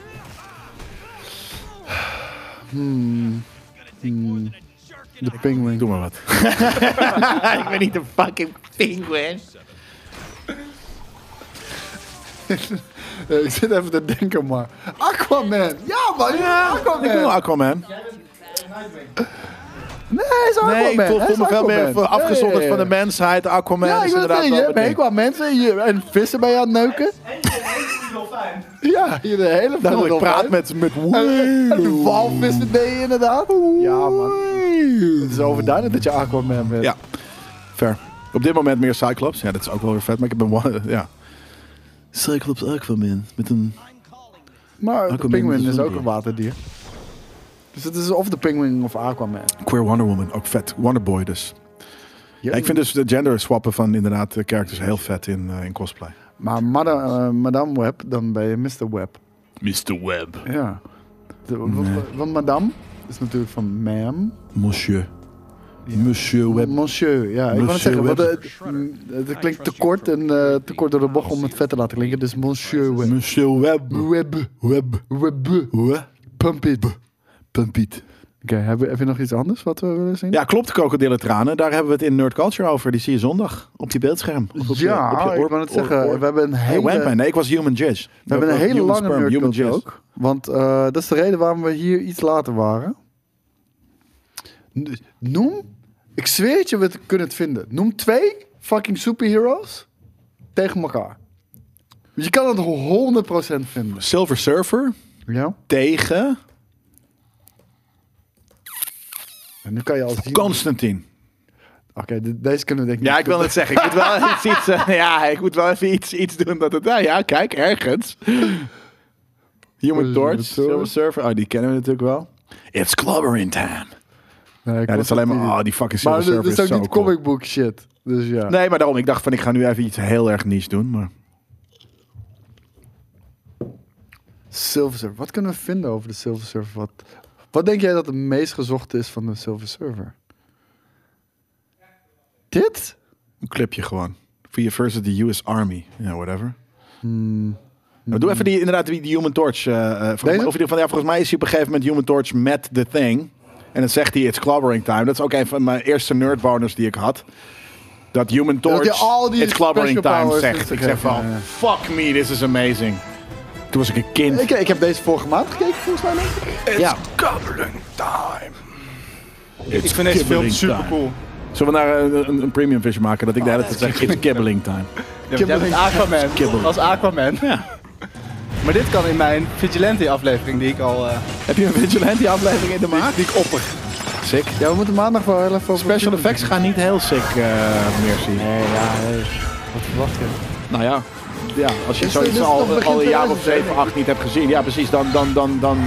S1: De Penguin.
S3: Doe maar wat.
S6: Ik ben niet een fucking penguin.
S1: Eh, ik zit even te denken, maar... Aquaman! Ja, man! Aquaman!
S3: Ik ben wel Aquaman.
S1: Nee, hij is Aquaman.
S3: Nee, ik voel,
S1: Hij
S3: voel
S1: is
S3: me veel
S1: Aquaman.
S3: meer voor afgezonderd
S1: Ja, ja, ja.
S3: van de mensheid. Aquaman
S1: Ja, ik
S3: is
S1: wil het
S3: inderdaad
S1: zeggen, je
S3: wel
S1: hebt
S3: het ding.
S1: hekel aan mensen en, je, en vissen bij je aan het neuken. Ja, je de hele
S3: Nou,
S1: dag
S3: ik praat met... met
S1: En de walvissen deed je inderdaad. Ja, man. Het is overduidelijk dat je Aquaman bent.
S3: Ja, fair. Op dit moment meer Cyclops. Ja, dat is ook wel weer vet, maar ik heb een... wa- Ja. Cyclops Aquaman. Met een...
S1: Maar de
S3: Aquaman
S1: Penguin
S3: is
S1: is
S3: een
S1: ook een
S3: dier.
S1: waterdier. Dus het is of de Penguin of Aquaman.
S3: Queer Wonder Woman. Ook vet. Wonderboy dus. Ja, ik vind dus de gender swappen van inderdaad de characters heel vet in, eh, in cosplay.
S1: Maar Madame, eh, Madame Web, dan ben je Mr. Web.
S3: Mr. Web.
S1: Ja. De- wa- wa- Want Madame is natuurlijk van ma'am.
S3: Monsieur. Monsieur Web.
S1: Monsieur, ja. Ik wou het
S3: Monsieur
S1: zeggen, want
S3: Web.
S1: het, het- het klinkt te kort en eh, te kort door de bocht om het vet te laten klinken. Dus Monsieur Web.
S3: Monsieur Web.
S1: Web.
S3: Web.
S1: Web.
S3: Web.
S1: Pump it. Oké,
S3: Pumpiet.
S1: heb, je- heb je nog iets anders wat we willen zien?
S3: Ja, klopt, krokodillentranen. Daar hebben we het in Nerd Culture over. Die zie je zondag op je beeldscherm. Of op je-
S1: Ja,
S3: op je
S1: ik wou het zeggen, we hebben een
S3: Hey,
S1: hele-
S3: Wampman. Nee, ik was Human Judge.
S1: We hebben een hele lange nerdcult ook. Want eh, dat is de reden waarom we hier iets later waren. N- Noem, ik zweer het je, we kunnen het vinden. Noem twee fucking superheroes tegen elkaar. Want je kan het 100% vinden.
S3: Silver Surfer
S1: Ja?
S3: tegen
S1: En nu kan je al zien... Oké,
S3: Constantine.
S1: de- deze kunnen we denk ik
S3: Ja,
S1: niet
S3: ik wil het zeggen. Ik moet wel iets, iets, eh, ja, ik moet wel even iets, iets doen. Dat het, nou ja, kijk, ergens. Human Torch, Silver Surfer. Oh, die kennen we natuurlijk wel. It's clobbering time.
S1: vinden. Nee, ik
S3: Ja, dat
S1: was
S3: is alleen
S1: het
S3: maar...
S1: niet.
S3: Oh, die fucking
S1: Maar
S3: Silver
S1: dit- dit
S3: Surfer is
S1: is ook
S3: zo
S1: niet
S3: cool.
S1: comic book shit. Dus ja.
S3: Nee, maar daarom. Ik dacht van, ik ga nu even iets heel erg niche doen. Maar
S1: Silver Surfer. Wat kunnen we vinden over de Silver Surfer? Wat, wat denk jij dat het meest gezocht is van de Silver Surfer? Dit?
S3: een clipje gewoon. Via versus the US Army. Ja, whatever. Nou, doe even die, inderdaad, die, die Human Torch. eh, eh, volgens,
S1: Hmm. Deze?
S3: mij, of in ieder geval, ja, volgens mij is hij op een gegeven moment Human Torch met The Thing. En dan zegt hij, it's clobbering time. Dat is ook een van mijn eerste nerdwarners die ik had. Dat Human Torch,
S1: hij al die
S3: it's clobbering
S1: special
S3: time,
S1: powers
S3: zegt.
S1: heeft
S3: Ik zeg van,
S1: gegeven, ja,
S3: fuck me, this is amazing. Toen was ik een kind.
S1: Ik, ik heb deze vorige maand gekeken, volgens mij. denk ik.
S3: ja.
S2: Goblin time. Ik vind deze film
S3: Gobbling
S2: super
S3: time.
S2: cool.
S3: Zullen we daar een, een, een premium vision maken? Dat ik de
S2: Oh,
S3: hele tijd zeg, it's kibbling time.
S2: jij bent Aquaman.
S3: Kibbelen.
S2: Als Aquaman.
S3: Ja.
S2: Maar dit kan in mijn Vigilante aflevering die ik al... eh,
S3: Heb je een vigilante aflevering in de maak? Die ik opper. Sick.
S1: Ja, we moeten maandag wel heel even... op-
S3: Special effects gaan niet heel sick eh, meer zien. dus,
S1: Wat verwacht je?
S3: Nou ja. Ja, als je
S1: Is
S3: zoiets
S1: dit- dit is toch
S3: al,
S1: begin
S3: al een jaar of
S1: 2000?
S3: 7, 8 niet hebt gezien. Ja, precies. Dan, dan, dan, dan.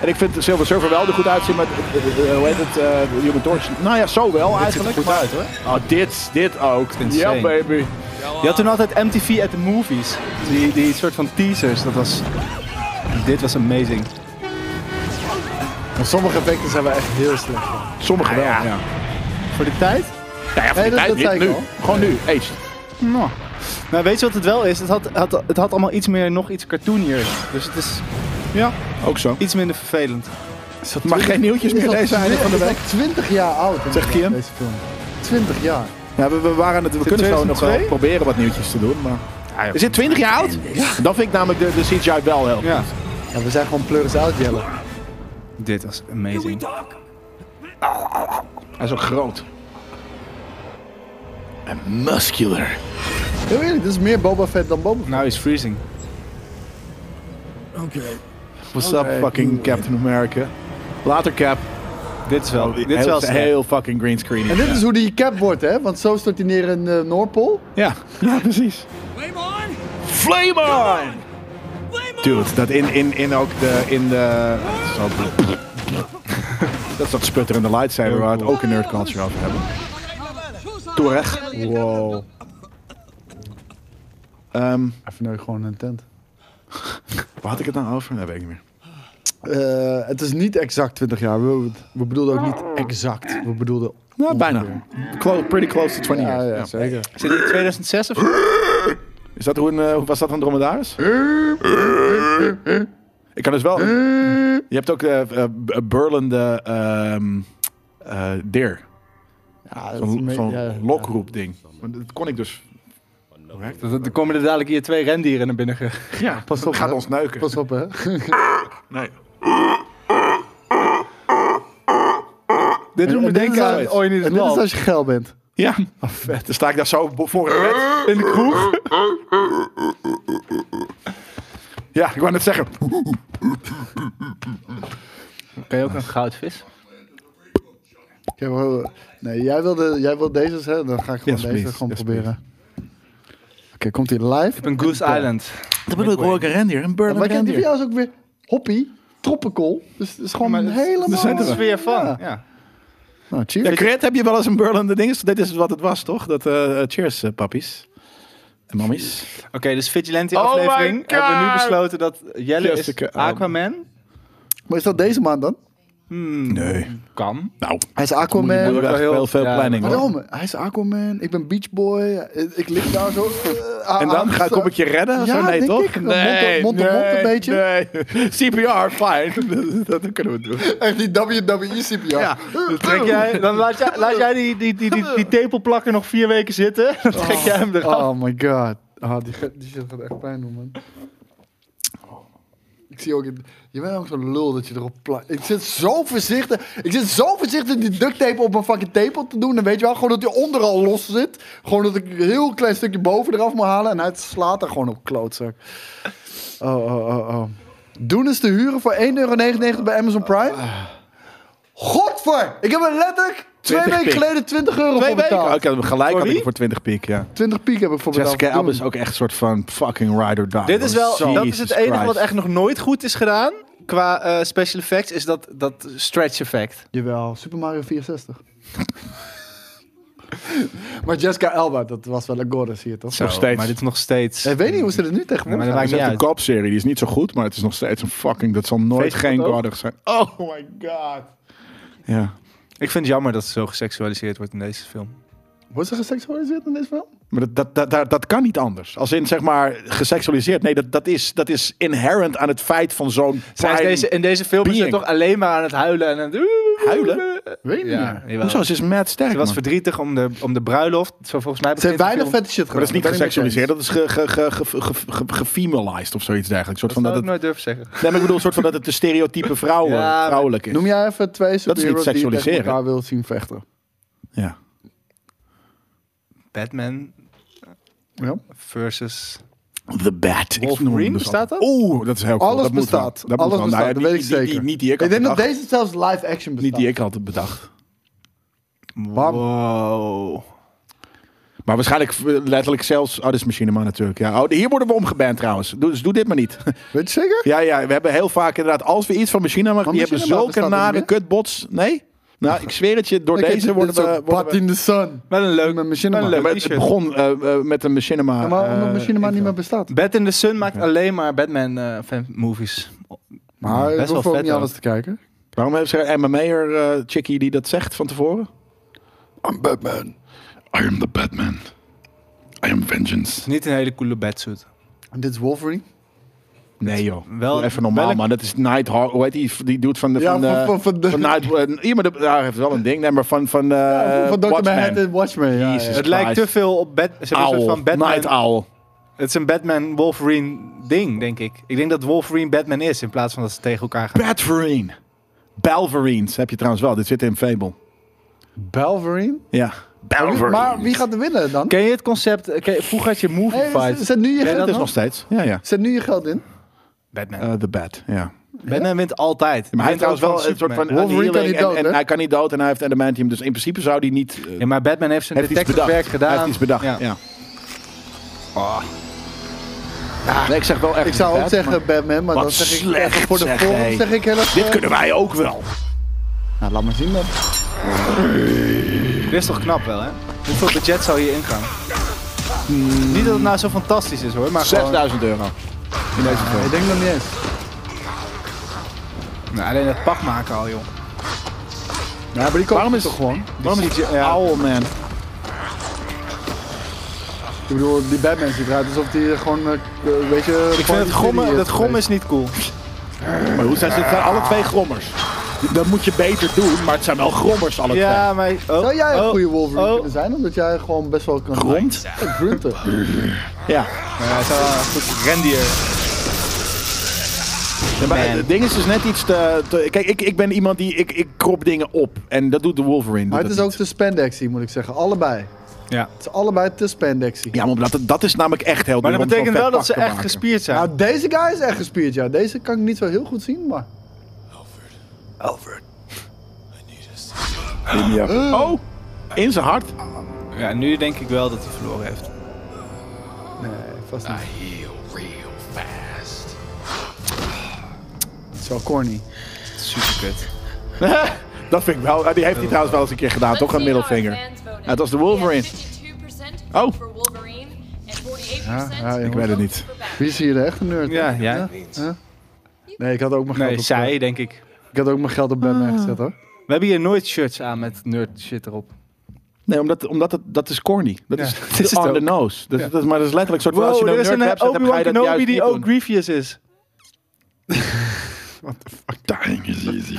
S3: En ik vind Silver Surfer wel er goed uitzien met, eh, eh, eh, hoe heet het, eh, Human Torch. Nou ja, zo wel eigenlijk. maar-
S2: hoor.
S3: Oh, dit, dit ook.
S2: insane.
S3: Ja, baby.
S2: Je had toen altijd MTV at the Movies. Die, die soort van teasers. Dat was... Dit was amazing.
S1: Want sommige effecten zijn we echt heel slecht.
S3: Sommige wel, Ah, ja.
S2: Voor de tijd?
S3: Ja, ja, voor
S1: Nee,
S3: die
S1: dat-
S3: tijd
S1: dat zei
S3: dit
S1: ik al.
S3: nu. Gewoon nu. Aged.
S2: Nou, weet je wat het wel is? Het had, had, het had allemaal iets meer, nog iets cartoonier. Dus het is
S3: Ja, ook zo.
S2: iets minder vervelend.
S3: Maar geen nieuwtjes meer deze einde van de week.
S1: 20 jaar oud.
S3: Zegt Kim?
S1: Deze film. 20 jaar.
S3: Ja, we, we, waren het, we kunnen zo nog wel
S2: 2002?
S3: proberen wat nieuwtjes te doen, maar... Is dit 20 jaar oud? Dan vind ik namelijk de, de CGI wel heel.
S2: Ja.
S1: Ja, we zijn gewoon pleuris oud, Jelle.
S2: Dit was amazing.
S3: Hij is ook groot. En muscular.
S1: Heel eerlijk, dit is meer Boba Fett dan Boba Fett.
S2: Nou is freezing.
S3: What's up, fucking Captain America? Later, Cap.
S2: Dit is wel,
S3: Dit
S2: dit is wel snel.
S3: heel fucking greenscreen.
S1: En dit is hoe die cap wordt, hè? Want zo stort hij neer in eh, Noordpool.
S3: Ja, ja precies. Flame on! Flame on! Dude, dat in, in, in ook de... In de zo, dat is dat sputterende lightsaber waar we het ook in Nerd Culture over hebben. Toereg.
S1: Wow.
S3: Ehm,
S1: Even nu gewoon een tent.
S3: waar had ik het nou over? Dat weet ik niet meer.
S1: Eh, het is niet exact 20 jaar. We, we bedoelden ook niet exact. We bedoelden.
S3: Nou, bijna. Clo- pretty close to 20
S1: Ja,
S3: years.
S1: ja,
S3: Ja.
S1: zeker.
S2: Zit dit in 2006 of zo?
S3: Is dat hoe een, eh, was dat een dromedaris? Ik kan dus wel... Je hebt ook eh eh, b- burlende ehm eh, deer.
S1: Ja, dat is
S3: Zo'n
S1: mee-
S3: zo'n
S1: ja, ja.
S3: lokroepding. Maar Dat kon ik dus.
S2: Dan komen er dadelijk hier twee rendieren naar binnen. ge-
S3: Ja, pas op. Gaat ons neuken.
S1: Pas op, hè?
S3: Nee.
S2: Dit doet me
S1: En dit is
S2: denken aan
S1: als-
S2: Ooit in
S1: en
S2: het
S1: dit is
S2: land.
S1: als je geil bent.
S3: Ja. Oh, vet. Dan sta ik daar zo bo- voor het bed.
S2: In de kroeg.
S3: Ja, ik wou net zeggen.
S2: Kan je ook een goudvis?
S1: heb wel- nee, jij wilde, jij wilde deze, hè? Dan ga ik gewoon
S3: Yes,
S1: deze
S3: please.
S1: gewoon
S3: Yes,
S1: proberen. Oké, komt hij live?
S2: Een Goose Island.
S3: Dat bedoel ik, hoor ik een rendier. Een
S1: Ja,
S3: burn
S1: maar ik heb die
S3: rendier.
S1: voor jou is ook weer hoppy, tropical. Dus het is gewoon
S2: Maar dat-
S1: helemaal...
S2: Dat is weer van.
S1: Ja.
S2: Ja.
S1: Nou, cheers.
S3: Ja, Crit, heb je wel eens een burlende ding? Dit is wat het was, toch? Dat, eh, eh, cheers, eh, pappies. En mammies.
S2: Oké, dus Vigilante
S3: Oh my
S2: aflevering. hebben we nu
S3: God.
S2: besloten dat Jelle
S3: Jessica
S2: is
S3: Alba.
S2: Aquaman.
S1: Maar is dat deze maand dan?
S3: Nee.
S2: Kan.
S3: Nou,
S1: Hij is
S3: er
S1: Aquaman.
S3: wordt
S2: wel
S3: echt
S2: heel-
S3: wel veel
S2: ja,
S3: planning, hoor.
S1: Waarom? Hij is Aquaman, ik ben Beach Boy. eh, Ik lig daar zo... eh, aan-
S3: En dan
S1: aan-
S3: ga, kom ik je redden? of
S1: Ja,
S3: zo? Nee,
S1: denk
S3: toch?
S1: ik. Mond op- mond op mond een beetje.
S3: Nee. CPR, fine. dat, dat kunnen we doen.
S1: Echt die E WWE-CPR.
S3: Ja,
S2: Dan, trek jij, dan laat jij, laat jij die, die, die, die, die tepelplakker nog vier weken zitten. Dan trek jij hem eraf.
S1: Oh my god. Ah, die, ge- die shit gaat echt pijn doen, man. Ik zie ook... Je bent ook zo'n lul dat je erop plakt. Ik zit zo voorzichtig... Ik zit zo voorzichtig die duct tape op mijn fucking tepel te doen. Dan weet je wel, gewoon dat die onder al los zit. Gewoon dat ik een heel klein stukje boven eraf moet halen. En hij slaat er gewoon op klootzak. Oh, oh, oh, oh. Doen is te huren voor 1,99 euro bij Amazon Prime? Godver! Ik heb er letterlijk twee
S3: 20
S1: weken
S3: piek.
S1: geleden 20 euro
S3: Twee
S1: voor
S3: weken.
S1: betaald.
S3: Oh, ik had hem gelijk
S2: Voor
S3: had ik
S2: wie?
S3: hem voor 20 piek, ja.
S1: 20 piek heb ik voor betaald.
S3: Jessica Alba
S1: Doen.
S3: is ook echt een soort van fucking ride or die.
S2: Dit is wel, dat is het
S3: Oh, Jesus
S2: enige
S3: Christ.
S2: wat echt nog nooit goed is gedaan qua eh, special effects, is dat, dat stretch effect.
S1: Jawel, Super Mario 64. maar Jessica Alba, dat was wel een goddess hier, toch?
S3: Nog steeds.
S2: Maar dit is nog steeds.
S1: Ik weet niet hoe ze er nu
S2: Nee, maar
S1: tegenwoordig
S2: dat
S1: gaan.
S2: maakt
S3: Het is
S2: niet
S3: echt
S2: uit.
S3: een kopserie, die is niet zo goed, maar het is nog steeds een fucking... Dat zal nooit
S2: Facebook
S3: geen
S2: ook?
S3: goddess zijn. Oh my god. Ja.
S2: Ik vind het jammer dat ze zo geseksualiseerd wordt in deze film.
S1: Wordt ze geseksualiseerd in dit film?
S3: Maar dat, dat, dat, dat, dat kan niet anders. Als in, zeg maar, geseksualiseerd. Nee, dat, dat, is, dat is inherent aan het feit van zo'n...
S2: Zijn ze
S3: prime-
S2: deze, in deze film is ze
S3: being.
S2: toch alleen maar aan het huilen en aan het... Eh,
S3: Huilen?
S1: Weet ik niet
S2: Ja,
S1: meer.
S2: jawel.
S3: Hoezo? Ze is mad sterk,
S2: Ze was
S3: man.
S2: verdrietig om de, om de bruiloft. Zo volgens mij
S1: Ze heeft
S2: begint de
S1: weinig
S2: film.
S1: vette shit gedaan.
S3: Maar dat is niet
S1: ben ik met je eens.
S3: geseksualiseerd, dat is ge- ge- ge- ge- ge- ge- gefemalized of zoiets dergelijks. Soort
S2: Dat
S3: van
S2: zou
S3: dat
S2: ik
S3: het, nee,
S2: nooit durven zeggen.
S3: maar ik bedoel, een soort van dat het de stereotype vrouw, eh,
S2: Ja, maar-
S3: vrouwelijk is. Oh,
S1: Noem jij even twee superheroes die je tegen
S3: seksualiseren.
S1: elkaar wil zien vechten.
S3: Ja.
S2: Batman
S1: Ja.
S2: versus...
S3: The Bat. Ik
S2: Wolverine,
S3: noem hem dus
S2: bestaat
S3: altijd. Oeh, dat is heel cool.
S1: Alles
S3: dat moet wel.
S1: bestaat.
S3: Dat moet
S1: Alles
S3: wel. Nou ja,
S1: bestaat, dat weet ik
S3: niet- niet-
S1: zeker.
S3: niet- Niet die ik
S1: Ik
S3: had
S1: denk dat
S3: bedacht.
S1: deze zelfs live action bestaat.
S3: Niet die ik had bedacht.
S1: Bam.
S2: Wow.
S3: Maar waarschijnlijk eh, letterlijk zelfs... Oh, dit is Machine Man natuurlijk. Ja. Oh, hier worden we omgeband trouwens. Doe- Dus doe dit maar niet.
S1: Weet je zeker?
S3: Ja, ja, we hebben heel vaak inderdaad, als we iets van Machine Man, die
S1: Machine
S3: hebben
S1: Man
S3: zulke
S1: bestaat er
S3: nare
S1: niet
S3: kutbots. Nee? Nou, ik zweer het je, door
S1: Oké,
S3: deze eh,
S1: dit
S3: worden
S1: is ook
S3: we... worden
S1: Bad
S3: we-
S1: in the Sun.
S2: Wel een leuk,
S1: Met Machinima.
S2: wel een
S3: Ja,
S2: leuk
S3: maar het
S2: t-shirt.
S3: begon eh, eh, met een Machinima.
S1: Ja, maar omdat
S3: eh,
S1: Machinima niet
S3: intro.
S1: meer bestaat.
S2: Bat in the Sun maakt alleen maar Batman eh, fan movies.
S1: Maar ik
S2: Best wel
S1: hoef ook
S2: vet
S1: niet
S2: ook.
S1: alles te kijken.
S3: Waarom hebben ze een MMA'er eh, chickie die dat zegt van tevoren?
S1: I'm Batman.
S3: I am the Batman. I am vengeance.
S2: Het is niet een hele coole batsuit.
S1: En dit is Wolverine.
S3: Nee joh,
S2: Wel-
S3: Doe even normaal
S2: welk-
S3: man. Dat is Nighthawk, hoe heet die, die doet van de...
S1: Ja,
S3: van, de-
S1: van- van- van de-
S3: van Night... eh, ja, maar dat- daar heeft wel een ding. Nee, maar van... Van, eh
S1: van Dr.
S3: Watchmen.
S1: Manhattan Watchmen. Ja,
S3: Jezus.
S1: ja.
S2: Het lijkt te veel op Bat ze hebben een
S3: Owl.
S2: soort van Batman.
S3: Night Owl.
S2: Het is een Batman-Wolverine ding, denk ik. Ik denk dat Wolverine Batman is, in plaats van dat ze tegen elkaar gaan.
S3: Batverine. Balverines heb je trouwens wel. Dit zit in Fable.
S1: Balverine?
S3: Ja. Balverine.
S1: Maar wie gaat er winnen dan?
S2: Ken je het concept? eh, ken je- vroeger had je Movie
S1: Hey,
S2: Fight.
S1: zet nu je
S2: Ken je
S1: geld
S2: dat
S3: Dat is
S1: in.
S3: nog steeds. Ja, ja.
S1: Zet nu je geld in.
S2: Batman.
S3: Eh, The Bat, ja.
S2: Batman wint altijd.
S3: Maar hij heeft trouwens wel een soort van
S1: Wolverine kan niet
S3: annihilating
S1: dood,
S3: en,
S1: hè?
S3: en hij kan niet dood en hij heeft adamantium. Dus in principe zou die niet... eh,
S2: Ja, maar Batman heeft zijn
S3: heeft iets bedacht.
S2: detectivewerk gedaan.
S3: Hij heeft iets bedacht, ja. Ah. Nee, ik zeg wel echt
S1: Ik zou
S3: The
S1: ook
S3: Bat,
S1: zeggen
S3: maar-
S1: Batman, maar
S3: Wat
S1: dan zeg ik
S3: slecht,
S1: voor de
S3: zeg,
S1: volgende
S3: hey.
S1: zeg ik eh, helemaal.
S3: Dit kunnen wij ook wel.
S1: Nou, laat maar zien dan.
S2: Dit is toch knap wel, hè? Hoeveel budget zou hier ingaan?
S3: Hmm.
S2: Niet dat het nou zo fantastisch is, hoor. Maar gewoon...
S3: 6000 euro. In deze film.
S1: Ik denk dat niet eens.
S2: Nou, alleen het pak maken al, joh.
S1: Ja, maar die
S3: Waarom
S1: komt
S3: is-
S1: toch gewoon.
S3: Waarom is die Owl, man?
S1: Ik bedoel, die Batman ziet eruit alsof die gewoon, eh, eh, weet je...
S2: Ik vind het
S1: eh,
S2: grommen, dat grommen is niet cool.
S3: Maar hoe zijn ze? Het zijn alle twee grommers. Dat moet je beter doen, maar het zijn wel grommers alle
S2: Ja, maar... Oh,
S1: Zou jij een
S2: oh,
S1: goede Wolverine
S2: oh.
S1: kunnen zijn? Omdat jij gewoon best wel kan...
S3: twee. Grond?
S1: Grunten.
S3: Ja.
S2: Ja, hij zou wel een goed rendier.
S3: Ja, maar
S2: Man.
S3: het ding is dus net iets te... te- kijk, ik, ik ben iemand die... Ik, ik krop dingen op. En dat doet de Wolverine.
S1: Maar
S3: doet
S1: het is
S3: dat
S1: ook
S3: niet.
S1: te spandexy, moet ik zeggen. Allebei.
S2: Ja.
S1: Het is allebei te spandexy.
S3: Ja, maar dat, dat is namelijk echt heel
S2: Maar
S3: duur
S2: dat
S3: om zo'n
S2: betekent
S3: vet
S2: wel dat
S3: pak
S2: ze
S3: te
S2: echt
S3: maken.
S2: gespierd zijn.
S1: Nou, deze guy is echt gespierd, ja. Deze kan ik niet zo heel goed zien, maar...
S9: I need a
S3: India. Oh, in zijn hart.
S2: Ja, nu denk ik wel dat hij verloren heeft.
S1: Nee, vast niet. Het is wel corny.
S2: Super kut.
S3: Dat vind ik wel. eh, Die heeft hij trouwens wel eens een keer gedaan, toch? Een middelvinger. Ja, Het was de Wolverine. Oh.
S1: ja,
S3: Ik weet het niet.
S1: Wie is hier de echte nerd?
S2: Ja, Nou, jij?
S1: Nee, ik had ook mijn geld
S2: Nee,
S1: op, eh,
S2: zij, denk ik.
S1: Ik had ook mijn geld op Ben gezet hoor.
S2: We hebben hier nooit shirts aan met nerd shit erop.
S3: Nee, omdat, omdat het, dat is corny. Dat
S2: Ja,
S3: is
S2: dat is
S3: on
S2: het
S3: the
S2: ook.
S3: nose. Dat, dat is, maar dat is letterlijk een soort van... als je nou nerd hebt, dan ga je dat juist niet
S2: die ook
S3: doen.
S2: Grievous is.
S3: Dying is easy.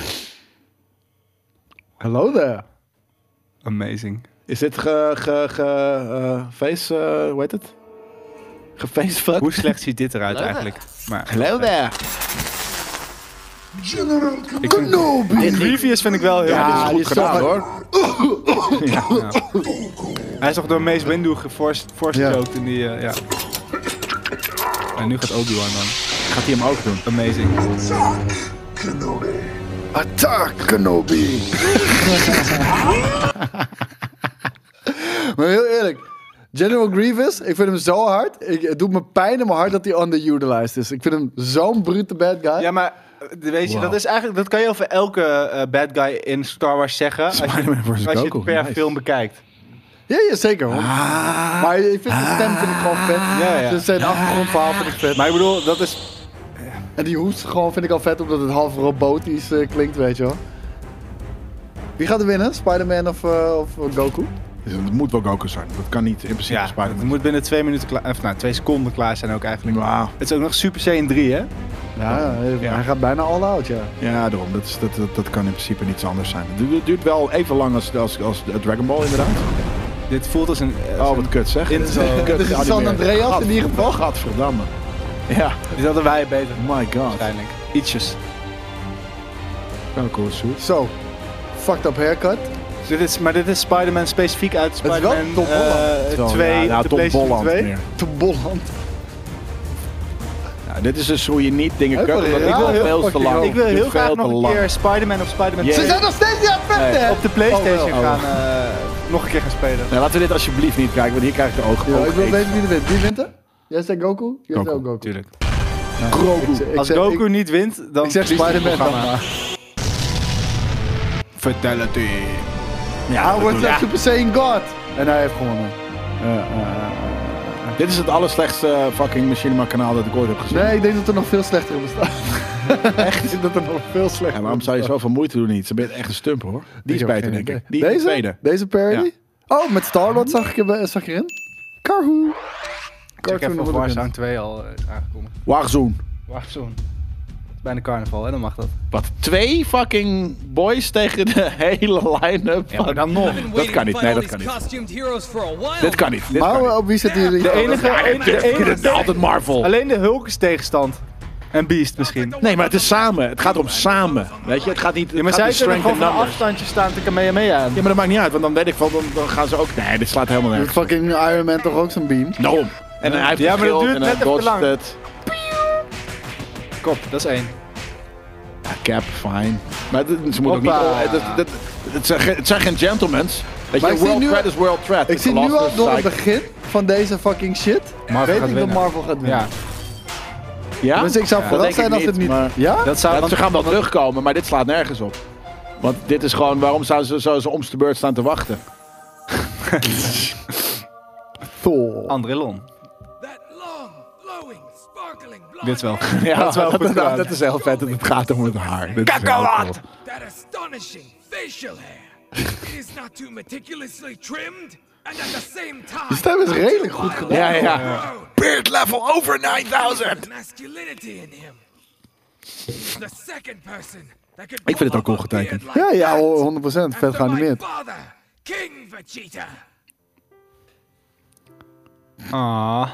S1: Hallo there.
S2: Amazing.
S3: Is dit ge... ge, ge eh, face... eh, hoe heet het? Gefacefucked?
S2: Hoe slecht ziet dit eruit eigenlijk? Maar
S3: Hello there.
S2: Grievous vind ik wel heel
S3: Ja,
S2: erg
S3: die is gedaan, hoor.
S2: Hij is toch door Mace Windu geforced forced
S1: Ja.
S2: choked in die... eh, ja. En nu gaat Obi-Wan dan.
S3: Gaat hij hem ook doen?
S2: Amazing.
S1: Attack Kenobi. maar heel eerlijk. General Grievous, ik vind hem zo hard. Ik, het doet me pijn in mijn hart dat hij underutilized is. Ik vind hem zo'n brute bad guy.
S2: Ja, maar eh, weet je, dat is eigenlijk... Dat kan je over elke eh, bad guy in Star Wars zeggen. Als je,
S3: Spider-Man vs.
S2: als je
S3: Goku,
S2: het per
S3: nice.
S2: film bekijkt.
S1: Ja, ja, zeker hoor. maar ik vind zijn stem vind ik gewoon vet.
S2: Ah. Ja, ja.
S1: Dus zijn achtergrondverhaal vind ik vet.
S2: Maar ik bedoel, dat is
S1: En die hoest gewoon vind ik al vet, omdat het half robotisch eh, klinkt, weet je wel. Wie gaat er winnen? Spider-Man of, eh, of Goku?
S3: Dus dat moet wel Goku zijn. Dat kan niet in principe
S2: Ja, het
S3: Spider-Man.
S2: moet binnen twee minuten klaar, of nou, twee seconden klaar zijn ook eigenlijk.
S3: Wauw.
S2: Het is ook nog Super Saiyan 3, hè?
S1: Ja, eh,
S2: Ja.
S1: hij gaat bijna all out, ja.
S3: Ja, daarom. Dat, is, dat, dat, dat kan in principe niets anders zijn. Het du- duurt wel even lang als, als, als Dragon Ball inderdaad.
S2: Dit voelt als een... eh, als
S3: Oh,
S2: een-
S3: wat kut zeg.
S2: Dit
S3: Dit
S2: is-
S3: is wel een
S1: dit is
S3: anime.
S1: San Andreas in ieder geval.
S3: Gadverdamme. Ja,
S2: Dit hadden wij beter.
S3: my god.
S2: Waarschijnlijk. Ietsjes.
S3: Wel cool suit.
S1: Zo, fucked up haircut.
S2: Dus dit is, maar dit is Spider-Man specifiek uit
S1: wel
S2: Spider-Man
S1: Tom Holland.
S2: eh,
S3: Wel,
S2: 2,
S3: ja, nou,
S2: de
S3: Tom
S2: PlayStation
S3: Bolland
S2: 2.
S3: meer.
S1: Te bolland.
S3: Nou, dit is dus hoe je niet dingen
S1: Ook
S3: kunt.
S1: wel
S3: want
S1: raar.
S3: Ik wil
S1: Heel
S3: veel te
S1: fucking
S3: lang.
S1: raar.
S2: Ik wil
S3: Duurt
S2: heel graag
S3: Oh, veel
S2: nog
S3: te
S2: een
S3: lang.
S2: keer Spider-man of Spider-Man
S3: Jee.
S1: Ze
S2: 2
S1: zijn nog steeds niet aan het vechten, hè?
S2: op de PlayStation
S1: Oh, wel.
S2: gaan eh, nog een keer gaan spelen.
S3: Nee, laten we dit alsjeblieft niet kijken, want hier krijg ik de ogen.
S1: Ja,
S3: ogen
S1: ik wil
S3: eten.
S1: weten wie er wint. Wie wint er? Jij zei Goku? Jij
S3: Goku,
S1: zei ook Goku.
S2: Tuurlijk.
S1: Ik zeg- ik
S2: Als
S1: zeg-
S2: Goku
S1: ik-
S2: niet wint, dan
S1: Ik zeg
S2: verliest het
S1: Spider-Man dan
S2: programma.
S1: maar.
S3: Fatality.
S1: Hij wordt
S3: Ja.
S1: een Super Saiyan God. En hij heeft gewonnen.
S3: Dit is het allerslechtste eh, fucking Machinima kanaal dat ik ooit heb gezien.
S1: Nee, ik denk dat er nog veel slechtere bestaat. Echt? Ik denk dat er nog veel
S3: Ja,
S1: slechtere
S3: waarom zou je zoveel moeite doen niet? Ze bent echt een stumper hoor. Die is
S1: Ik heb
S3: beter
S1: geen
S3: denk ik.
S1: idee.
S3: Die
S1: Deze?
S3: tweede.
S1: Deze parody? Oh, met Star-Lord zag ik, er- zag ik erin. Karhu.
S2: Ik heb
S1: Cartoon
S2: voor
S1: Robin.
S2: Warzone 2 al eh, aangekondigd.
S3: Warzone.
S2: Warzone. Het is bijna carnaval, hè? Dan mag dat.
S3: Wat? Twee fucking boys tegen de hele line-up.
S2: Ja, maar
S3: van-
S2: Oh, dan nog.
S3: Dat kan niet. Nee, dat kan niet. Dit kan niet. Dit
S1: Maar
S3: kan niet.
S1: op wie zit hier?
S2: De enige...
S3: Ja, dit-
S2: de
S3: dit-
S2: enige
S3: dit- Altijd Marvel.
S2: Alleen de Hulk is tegenstand. En Beast misschien.
S3: Nee, maar het is samen. Het gaat erom samen. Weet je, het gaat niet. Het
S2: Ja, maar
S3: gaat
S2: zij
S3: niet
S2: kunnen
S3: strength
S2: gewoon
S3: in
S2: van een
S3: numbers.
S2: afstandje staan te Kamehameha aan.
S3: Ja, maar dat maakt niet uit, want dan weet ik van, dan, dan gaan ze ook. Nee, dit slaat helemaal
S1: Doet
S3: nergens.
S1: fucking Iron Man toch ook zijn beam?
S3: Daarom. En hij heeft
S2: Ja, maar dat
S3: geschild
S2: duurt
S3: en
S2: net
S3: hij
S2: even te
S3: dodged
S2: lang.
S3: het.
S2: Kop, dat is één.
S3: Ja, cap, fine. Maar dit- ze moeten ook niet.
S2: Hoppa.
S3: eh, dat- dat- Het zijn geen- het zijn geen gentlemen's. Weet
S1: Maar
S3: je,
S1: ik zie
S3: world
S1: nu-
S3: threat is world threat.
S1: Ik
S3: It's
S1: zie
S3: a
S1: nu
S3: loss,
S1: al
S3: it's
S1: door
S3: a
S1: het
S3: psych.
S1: begin van deze fucking shit. weet
S2: Marvel gaat
S1: ik dat
S2: winnen.
S1: Marvel gaat winnen.
S2: Ja,
S3: Ja?
S1: Dus ik zou
S3: Ja,
S1: verrast
S3: dat denk
S1: zijn
S3: ik
S1: als het niet.
S3: maar-
S1: Ja?
S2: dat zou
S3: Ja,
S2: dan...
S3: ze gaan wel terugkomen, maar dit slaat nergens op. Want dit is gewoon, waarom zouden ze, zouden ze om de beurt staan te wachten?
S1: Thor.
S2: André Lon. Dit wel.
S3: Ja, dat is wel
S2: goed gedaan.
S3: Nou, Dat is heel vet dat het gaat om het haar. Dit is heel cool.
S9: That astonishing facial hair is not too meticulously trimmed, and at the same time,
S1: De stem is redelijk goed gedaan.
S3: Ja, ja. Beard level over 9000!
S9: masculinity in him. The second person that could
S3: Ik vind het ook cool
S9: pull off a
S3: getekend.
S9: beard
S1: Ja,
S9: like
S1: ja,
S9: that.
S1: 100%. Vet
S9: After my
S1: geanimeerd.
S9: father, King Vegeta.
S2: Ah.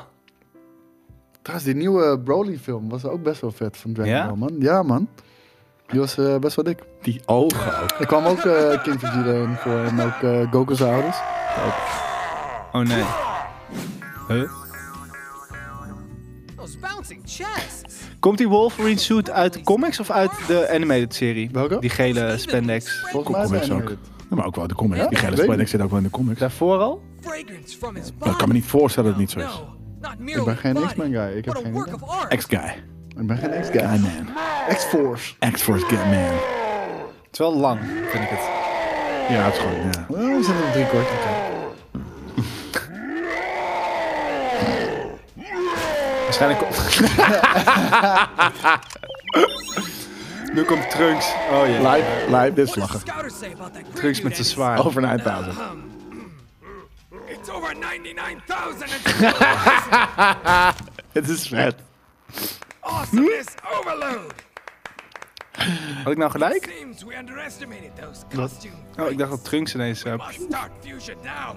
S1: Trouwens, die nieuwe Broly-film was ook best wel vet van Dragon
S2: Ja?
S1: Ball, man. Ja, man. Die was eh, best wel dik.
S3: Die ogen ook.
S1: Er kwam ook eh, King Vegeta in voor en ook eh, Goku's ouders.
S2: Oh nee. Huh?
S9: Those bouncing chests.
S2: Komt die Wolverine suit uit de comics of uit de animated serie?
S1: Welke?
S2: Die gele spandex.
S1: Volgens mij
S3: Comics
S1: zijn
S3: ook.
S1: het.
S3: maar ook wel de comics. Die
S1: weet
S3: gele spray
S1: niet.
S3: zit ook wel in de comics.
S2: Daarvoor al?
S9: Fragrance from his body.
S3: Maar ik kan me niet voorstellen dat het niet zo is.
S9: No, not merely
S1: ben geen
S9: body,
S1: X-Men guy, ik heb
S9: but a
S1: geen
S9: work
S1: idee.
S9: of art.
S3: X-Guy.
S1: Ik ben geen X-guy.
S3: Guy-Man.
S1: X-Force.
S3: X-Force Guy-Man.
S1: Het is wel lang, vind ik het.
S3: Ja, het is gewoon, ja.
S1: Oh, we zitten op drie kwart.
S2: Waarschijnlijk... nu komt Trunks. Oh jee.
S3: Lijp, lijp, dit is
S9: What
S3: lachen.
S9: does Scouter say about that
S2: Trunks met zijn zwaard.
S3: Over 9000.
S9: It's over 99,000 and
S3: Het is vet.
S9: awesomeness overload.
S2: Had ik nou gelijk?
S9: Seems we underestimated those costume
S2: Oh, ik dacht dat
S9: traits.
S2: Trunks ineens... eh,
S9: Must start fusion now,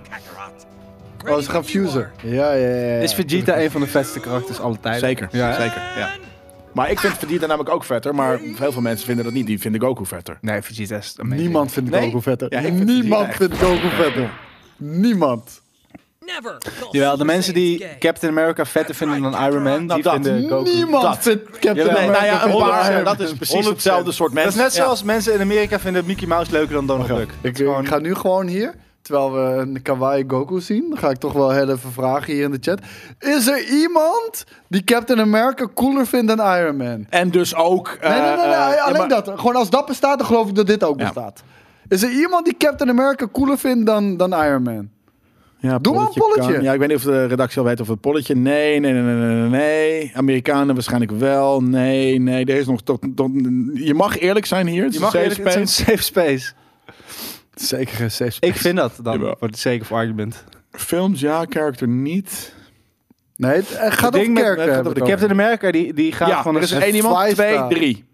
S9: Kakarot.
S1: Oh, ze gaan fusen. Ja, ja, ja. ja.
S2: Is Vegeta een van de vetste karakters alle tijden?
S3: Zeker,
S2: Ja.
S3: zeker. Ja. Maar ik vind Vegeta namelijk ook vetter, maar heel veel mensen vinden dat niet. Die vinden Goku vetter.
S2: Nee, Vegeta is amazing.
S1: Niemand vindt
S2: Nee?
S1: Goku vetter.
S3: Ja, ik vind
S1: Niemand
S3: Vegeta
S1: vindt Goku vetter. Niemand.
S9: Never.
S2: Jawel, de mensen die Captain America vetter vinden dan Iron Man, die
S3: dat.
S2: vinden Goku...
S1: Niemand
S3: Dat.
S1: vindt Captain
S2: Jawel.
S1: America
S2: Nou ja, een
S1: vetter.
S2: paar,
S1: Ja.
S3: dat is precies
S2: 100%.
S3: hetzelfde soort
S2: Dat is
S3: mensen.
S2: net
S3: Ja. Oh,
S2: zoals mensen in Amerika vinden Mickey Mouse leuker dan Donald Duck.
S1: Ik,
S3: eh,
S1: ik ga nu gewoon hier, terwijl we een kawaii Goku zien, dan ga ik toch wel heel even vragen hier in de chat. Is er iemand die Captain America cooler vindt dan Iron Man?
S3: En dus ook...
S1: Nee, nee, nee, nee, alleen dat. Gewoon als dat bestaat, dan geloof ik dat dit ook
S3: eh, Ja.
S1: bestaat. Is er iemand die Captain America cooler vindt dan, dan Iron Man?
S3: Ja,
S1: Doe maar een polletje.
S3: kan. Ja, ik weet niet of de redactie al weet of het polletje. Nee, nee, nee, nee, nee, nee. Amerikanen waarschijnlijk wel. Nee, nee. Er is nog tot, tot- je mag eerlijk zijn hier. Het
S2: Je
S3: is
S2: mag
S3: een safe
S2: eerlijk het is een
S3: space.
S2: safe space.
S1: Zeker geen safe
S2: Ik vind dat dan,
S3: Jawel.
S2: voor het zeker voor argument.
S3: Films ja, character niet.
S1: Nee, het eh, gaat over
S2: met-
S1: kerken.
S2: met-
S1: hebben we het
S2: Captain America die, die gaat
S3: Ja,
S2: van
S3: er is
S1: een
S3: één iemand,
S1: five
S3: twee,
S1: star.
S3: drie.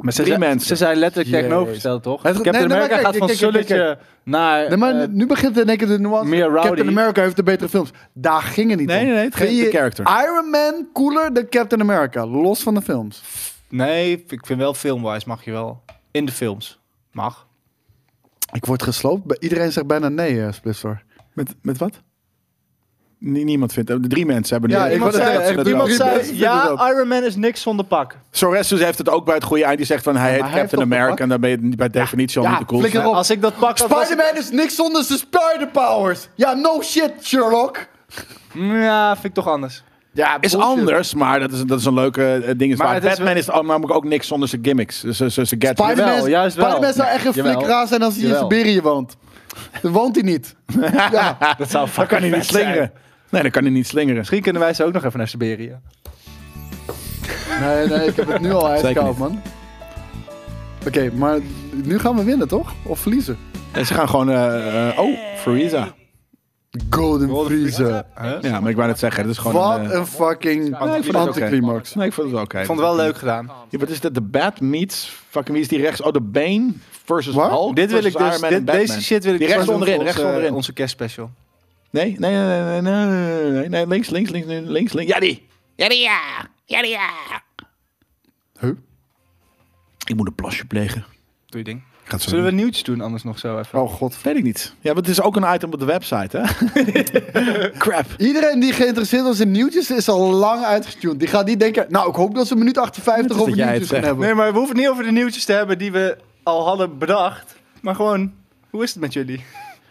S2: maar ze
S3: drie
S2: zijn-
S3: mensen.
S2: Ze zijn letterlijk
S1: Jezus.
S2: tegenovergesteld, toch?
S1: Het-
S2: Captain
S1: nee, nee, maar
S2: America
S1: kijk,
S2: gaat van
S1: kijk, kijk, kijk, kijk.
S2: Sulletje naar...
S1: Nee, maar
S2: eh,
S1: nu begint in één keer de nuance.
S2: meer rowdy.
S1: Captain America heeft de betere films. Daar ging het niet
S3: Nee,
S1: om.
S3: nee, nee, het ging
S1: Vind
S3: om de
S1: je
S3: character.
S1: Iron Man cooler dan Captain America, los van de films.
S2: nee, ik vind wel filmwise mag je wel. In de films. Mag.
S1: Ik word gesloopt. Bij- Iedereen zegt bijna nee, eh, Splitsor.
S3: Met, met wat? Nie- niemand vindt... eh, Drie mensen hebben
S1: Ja,
S3: nu...
S1: ik wou net zeggen, echt
S3: iemand
S1: drie
S3: zei...
S1: mensen.
S2: Ja, Iron Man is niks zonder pak.
S3: Sorestus heeft het ook bij het goede eind. Die zegt van hij heet
S1: maar hij
S3: Captain
S1: heeft toch
S3: America. En dan ben je niet- bij definitie al
S1: ja,
S3: niet de coolste.
S1: flikker op.
S2: Als ik dat pak had... was ik-
S1: Spider-Man is niks zonder zijn spider-powers. Ja, no shit, Sherlock.
S2: Ja, vind ik toch anders.
S1: Ja,
S3: Is anders, maar dat is, dat is een leuke eh, ding. Is
S2: Maar
S3: waar.
S2: het is
S3: Batman is, al- namelijk ook niks zonder zijn gimmicks. Dus zijn zijn gadgets.
S1: Spider-Man
S2: Jawel,
S1: is-
S2: juist wel.
S1: Spider-Man zou
S2: Ja,
S1: echt een
S2: jawel.
S1: flikkraas zijn als hij in
S2: Jawel.
S1: Siberië woont. Dan woont hij niet. Ja.
S2: Dat zou
S3: Dan kan hij niet slingeren. Nee, dan kan hij niet slingeren.
S2: Misschien kunnen wij ze ook nog even naar Siberië.
S1: Nee, nee, ik heb het nu al ijskoud,
S3: niet.
S1: man. Oké, maar nu gaan we winnen, toch? Of verliezen?
S3: En ze gaan gewoon... eh, eh, oh, Frieza.
S1: Golden, Freezer.
S3: Ja, maar ik wou net zeggen. Dat is gewoon
S1: Wat
S3: een... eh,
S1: een fucking
S2: Nee, ik vond het oké.
S1: anticlimax.
S3: Nee, ik vond het wel oké.
S2: Ik vond het wel leuk gedaan.
S3: Ja, wat is dat? De Bat meets... Fucking wie is die rechts? Oh, de Bane versus
S1: Waar?
S3: Hulk
S2: Dit wil ik
S3: versus
S2: dus,
S3: Iron Man
S2: dit-
S3: en Batman.
S2: deze shit wil ik
S3: Die
S2: dus
S3: rechts
S2: doen voor
S3: onderin,
S2: onze-
S3: rechts onderin.
S2: Onze kerstspecial.
S3: Nee, nee, nee, nee, nee, nee, nee, nee, links, links, links, nee, links, links. Ja, die.
S7: Ja, die ja. Ja, die ja.
S3: Ik moet een plasje plegen.
S2: Doe je ding. Hmm.
S3: Gaat zo.
S2: Zullen we nieuwtjes doen anders nog zo even?
S1: Oh god.
S3: Weet ik niet. Ja, want het is ook een item op de website, hè? Crap.
S1: Iedereen die geïnteresseerd was in nieuwtjes is al lang uitgetuned. Die gaat niet denken, nou ik hoop dat ze een minuut
S3: Net
S1: 58
S3: als
S1: over
S3: dat jij
S1: nieuwtjes
S3: het
S1: gaan hebben.
S2: Nee, maar we hoeven het niet over de nieuwtjes te hebben die we al hadden bedacht. Maar gewoon, hoe is het met jullie?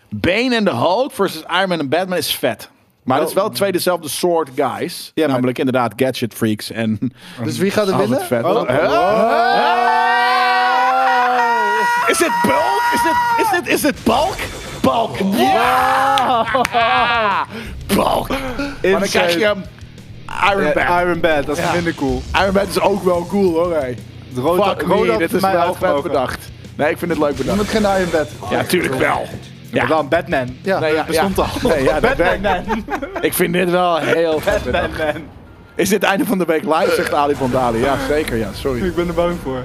S3: Bane en de Hulk versus Iron Man en Batman is vet. Maar het is wel twee dezelfde soort guys.
S2: Oh. maar-
S3: Namelijk inderdaad gadget freaks en...
S1: Dus wie gaat er
S3: Altijd
S1: winnen?
S3: vet. Oh, hè? Is dit Bulk? Is dit, is dit, is dit Bulk? Bulk. Ja! Bulk. Maar dan krijg je hem. Iron
S2: Eh,
S3: Man.
S2: Iron Bad, dat is
S3: Ja.
S2: minder cool.
S3: Iron Man is ook wel cool hoor. Hey.
S2: De rode,
S3: Fuck me, Oh, dit is wel vet bedacht. Nee, ik vind het leuk
S1: Iemand
S3: bedacht.
S1: geen Iron bed.
S3: Ja, tuurlijk wel.
S2: Ja,
S3: Ja,
S2: dan Batman.
S1: Ja.
S3: nee, ja,
S2: bestond
S3: ja.
S2: al.
S3: Nee, ja, dat
S2: Batman,
S3: werkt. Ik vind dit wel heel vet bedacht.
S2: Batman, man.
S3: Is dit het einde van de week live, zegt Ali van Dali. Ja, zeker. Ja, sorry.
S2: Ik ben er bang voor.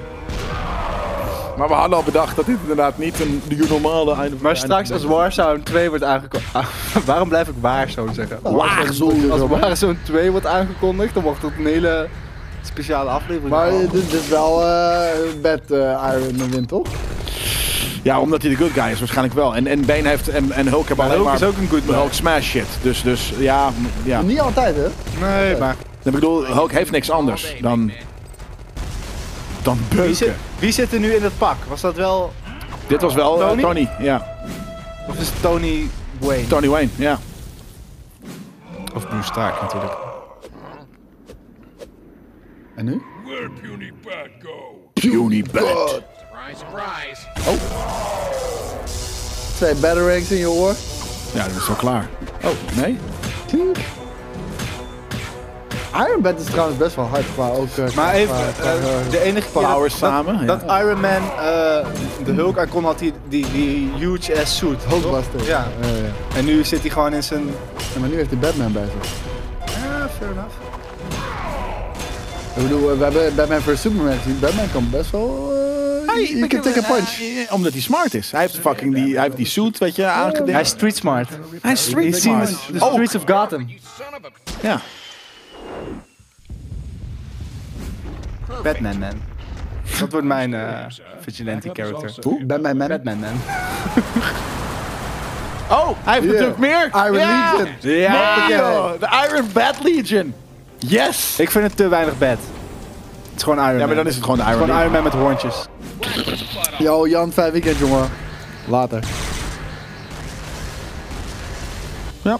S3: Maar we hadden al bedacht dat dit inderdaad niet een de normale einde
S2: Maar straks als Warzone 2 wordt aangekondigd... Ah, waarom blijf ik Warzone zeggen?
S3: Oh.
S1: Warzone.
S2: Als Warzone 2 wordt aangekondigd, dan wordt dat een hele speciale aflevering.
S1: Maar
S2: worden.
S1: eh, dit is wel eh bed eh, Iron Man wint, toch?
S3: Ja, omdat hij de good guy is waarschijnlijk wel. En, en Bane heeft en, en Hulk hebben alleen
S2: Hulk
S3: maar...
S2: is ook een good guy.
S3: Hulk smash shit. Dus, dus ja, m- ja.
S1: Ah, Niet altijd, hè?
S2: Nee, maar...
S3: Ik bedoel, Hulk heeft niks anders dan... Dan
S2: Wie zit,
S3: beuken.
S2: wie zit er nu in dat pak? Was dat wel...
S3: Dit was wel eh,
S2: Tony?
S3: Tony. Ja.
S2: Of is het Tony Wayne?
S3: Tony Wayne, ja. Of Bruce Stark natuurlijk.
S1: En nu?
S9: Where puny bat go?
S3: Puny Bat.
S9: Surprise, surprise.
S1: Twee batarangs in je oor.
S3: Ja, dat is wel klaar. Oh, nee?
S1: Tink. Iron Man is trouwens best wel hard qua ook. eh,
S2: Maar even,
S1: qua- qua-
S2: eh,
S1: qua-
S2: de enige keer
S3: Powers
S2: dat,
S3: samen,
S2: dat,
S3: ja.
S2: dat Iron Man eh, de Hulk aan kon, had die, die, die huge ass suit. toch?
S1: Hulkbuster.
S2: Ja.
S1: Ja, ja.
S2: En nu zit hij gewoon in zijn...
S1: Ja, maar nu heeft hij Batman bij zich.
S2: Ja, fair enough.
S1: Ik bedoel, eh, we hebben Batman vs Superman gezien. Batman kan best wel. eh
S3: Hey,
S1: you can take a punch.
S3: Eh, omdat hij smart is. Hij heeft fucking die, hij heeft die suit, weet je, Ah, aangedicht.
S2: Hij is street smart.
S3: hij is
S2: He's seen the the
S3: Oh,
S2: streets of Gotham.
S9: You son of a...
S3: ja.
S2: Batman Man. Dat wordt mijn eh, vigilante character.
S1: Batman Man.
S2: Batman Man.
S3: Oh, hij heeft natuurlijk meer.
S1: Iron
S3: ja.
S1: Legion.
S2: Ja!
S3: Nee, joh, de Iron Bat Legion. Yes.
S2: Ik vind het te weinig bad. Het is gewoon Iron Man.
S3: Ja, maar dan is het gewoon de Iron
S2: gewoon Iron Man
S3: Legion.
S2: met hoortjes.
S1: Yo, Jan, fijn weekend, jongen. Later.
S3: Ja.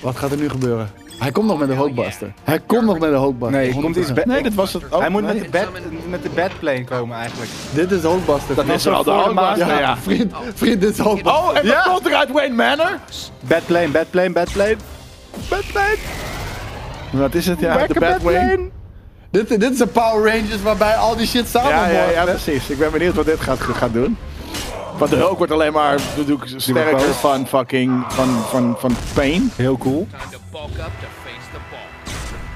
S1: Wat gaat er nu gebeuren? Hij komt nog met de Hulkbuster. Hij komt nog met de Hulkbuster.
S2: Nee, komt iets bad.
S3: Nee, dat was het. Oh,
S2: Hij moet
S3: nee.
S2: met de bad, met de badplane komen eigenlijk.
S1: Dit is de Hulkbuster.
S2: Dat is
S3: er al de
S2: Voor de
S3: Hulkbuster,
S2: maat-
S1: Ja, ja. Vriend, vriend, dit is Hulkbuster.
S3: Oh, en
S2: Ja.
S3: dat komt er uit Wayne Manor.
S2: Badplane, badplane, badplane. Badplane.
S3: Wat is het? Ja,
S2: Back
S3: de
S2: a
S3: Bat Wayne.
S1: Dit, dit is een Power Rangers waarbij al die shit samen
S3: Ja, ja,
S1: hoort,
S3: ja,
S1: hè?
S3: precies. Ik ben benieuwd wat dit gaat, gaat doen. Want de Hulk wordt alleen maar natuurlijk sterker
S2: boos.
S3: van fucking, van, van, van pain.
S2: Heel cool.
S9: Time to bulk up to face the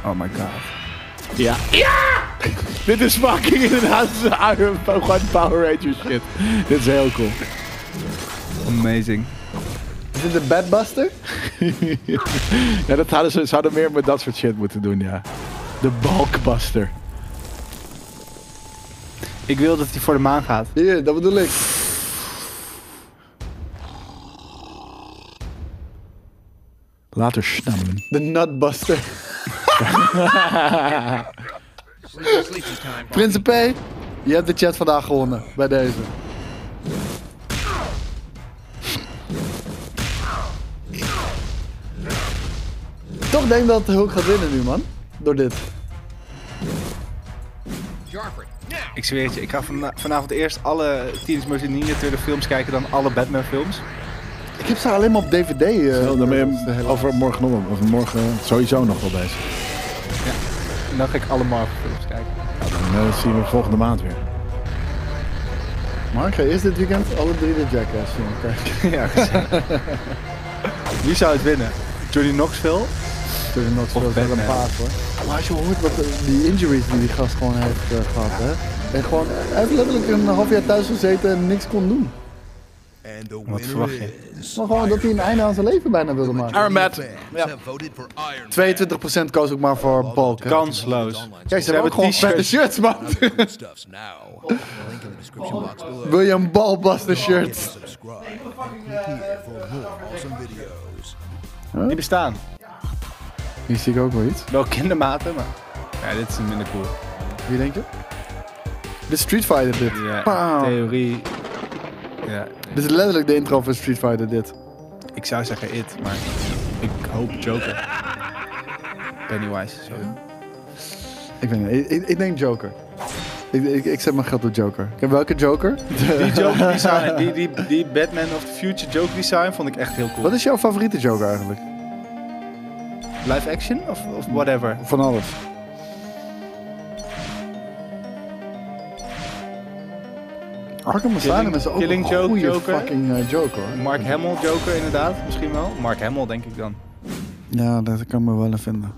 S9: ball.
S2: Oh my god.
S3: Ja. Ja! Dit is fucking inderdaad Iron gewoon Power Rangers shit. Dit is heel cool.
S2: Amazing.
S1: Is dit de Badbuster?
S3: Ja, dat hadden ze, ze hadden meer met dat soort shit moeten doen, ja. De Balkbuster.
S2: Ik wil dat hij voor de maan gaat.
S1: Hier, dat bedoel ik.
S3: Later snammen.
S1: De Nutbuster.
S9: Sleepy time.
S1: Prinsen P, je hebt de chat vandaag gewonnen. Bij deze. Toch denk dat Hulk gaat winnen nu, man. Door dit.
S9: Jarford, now!
S2: Ik zweer het je, ik ga vana- vanavond eerst alle Teenage Mutant Ninja Turtle films kijken dan alle Batman films.
S1: Ik heb ze alleen maar op DVD. eh,
S3: dan ben
S1: de
S3: je
S1: hele-
S3: over morgen nog wel- of morgen sowieso nog wel bezig.
S2: En dan ga ik alle Marvel films kijken.
S3: En eh, dat zien we volgende maand weer.
S1: Maar ik ga eerst dit weekend alle drie de Jackass filmen kijken.
S2: ja, Wie zou het winnen? Johnny Knoxville?
S1: Toen nog veel wel een
S2: Batman.
S1: paard hoor. Maar als je hoort wat de- die injuries die die gast gewoon heeft eh, gehad, hè. En gewoon, eh, hij heeft letterlijk een half jaar thuis gezeten en niks kon doen.
S10: And the
S2: Wat verwacht je?
S1: Maar gewoon dat hij een einde aan zijn leven bijna wilde maken.
S3: Matt.
S10: yeah. have voted for Iron
S1: 22% koos ook maar voor Balk. hè.
S2: Kansloos.
S1: Kijk, ze hebben ook gewoon
S2: hebben
S1: vette shirts, man.
S10: Man stuffs now. Link in the description box below.
S1: William Ballbuster shirts.
S10: Subscribe. Click here for more awesome videos.
S2: Die bestaan.
S1: Hier zie ik ook wel iets.
S2: Wel kindermaten, maar... Ja, dit is minder cool.
S1: Wie denk je? De Street Fighter dit.
S2: Ja,
S1: Pauw.
S2: theorie... Ja,
S1: Dit is letterlijk de intro van Street Fighter dit.
S2: ik zou zeggen it, maar ik hoop Joker. Pennywise, sorry.
S1: Ik, weet niet, ik, ik, ik denk Joker. Ik, ik, ik zet mijn geld op Joker. Ik heb welke Joker?
S2: Die Joker design, die, die, die Batman of the Future Joker design vond ik echt heel cool.
S1: Wat is jouw favoriete Joker eigenlijk?
S2: Live action of, of whatever?
S1: Van alles. Arkham Asylum is ook
S2: Killing
S1: een
S2: Joke,
S1: goede
S2: Joker.
S1: fucking eh, Joker. hoor.
S2: Mark Hamill Joker inderdaad, misschien wel. Mark Hamill denk ik dan.
S1: Ja, dat kan ik me wel in vinden.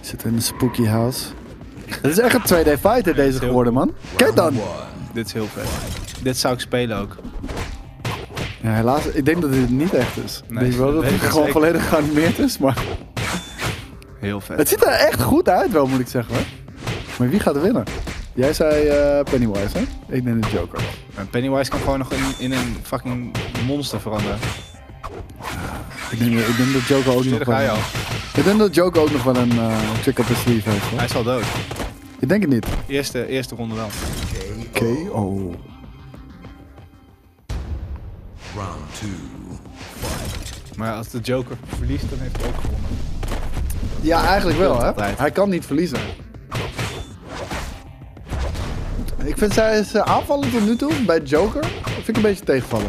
S1: Ik zit in een spooky house. Het is echt een 2D fighter deze
S2: heel
S1: geworden, man. Kijk dan.
S2: Dit is heel vet. Dit zou ik spelen ook.
S1: Ja, helaas, ik denk dat dit niet echt is. Ik
S2: Nee,
S1: denk wel
S2: dat
S1: dat
S2: weet
S1: het
S2: ik
S1: gewoon
S2: zeker.
S1: volledig geanimeerd is, maar...
S2: Heel vet.
S1: Het ziet er echt goed uit wel, moet ik zeggen. hoor. Maar wie gaat er winnen? Jij zei eh, Pennywise, hè? Ik denk de Joker.
S2: En Pennywise kan gewoon nog in, in een fucking monster veranderen.
S1: Ik denk, ik denk dat Joker ook
S2: Dus
S1: nog
S2: daar
S1: wel...
S2: ga je al.
S1: Ik denk dat Joker ook nog wel een eh trick op de sleeve heeft, hoor.
S2: Hij is al dood.
S1: Ik denk het niet.
S2: Eerste,
S1: oh.
S2: eerste ronde wel.
S1: KO.
S10: Round two. Fight.
S2: Maar als de Joker verliest, dan heeft hij ook gewonnen.
S1: Ja, eigenlijk wel, hè?
S2: Altijd.
S1: Hij kan niet verliezen. Ik vind zij- ze aanvallen tot nu toe bij Joker. Vind ik een beetje tegenvallen.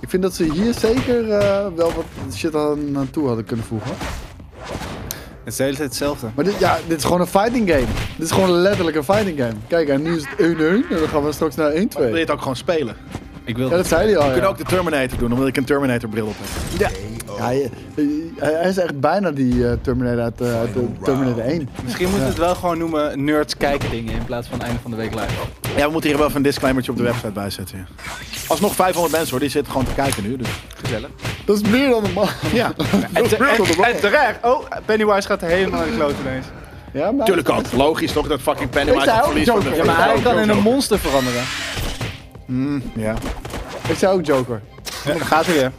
S1: Ik vind dat ze hier zeker eh, wel wat shit aan, aan toe hadden kunnen voegen.
S2: Het is de hele tijd hetzelfde.
S1: Maar dit, ja, dit is gewoon een fighting game. Dit is gewoon letterlijk een fighting game. Kijk, en nu is het 1-1 en dan gaan we straks naar 1-2.
S3: Wil je het ook gewoon spelen?
S2: Ik wil
S1: Ja, dat zei hij al.
S3: We kunnen
S1: ja.
S3: ook de Terminator doen, omdat ik een Terminator bril op heb.
S1: Ja. hij, hij- hij is echt bijna die eh, Terminator uit, eh, uit de Terminator 1.
S2: Misschien moeten we het wel gewoon noemen nerds kijken dingen in plaats van einde van de week live.
S3: Ja, we moeten hier wel even een disclaimertje op de website bij zetten. Ja. Alsnog 500 mensen hoor, die zitten gewoon te kijken nu. Dus.
S2: Gezellig.
S1: Dat is meer dan normaal.
S3: Ja,
S2: En, te- en- en terecht. Oh, Pennywise gaat helemaal in de kloot ineens.
S1: Ja, maar...
S3: natuurlijk ook. Logisch toch dat fucking
S1: Ik
S3: Pennywise
S1: zei
S3: het
S1: ook
S3: verlies van de
S1: Joker.
S2: Ja, maar hij kan in een monster veranderen.
S3: Ja.
S1: Ik zei ook Joker.
S2: Ja, dan gaat hij weer.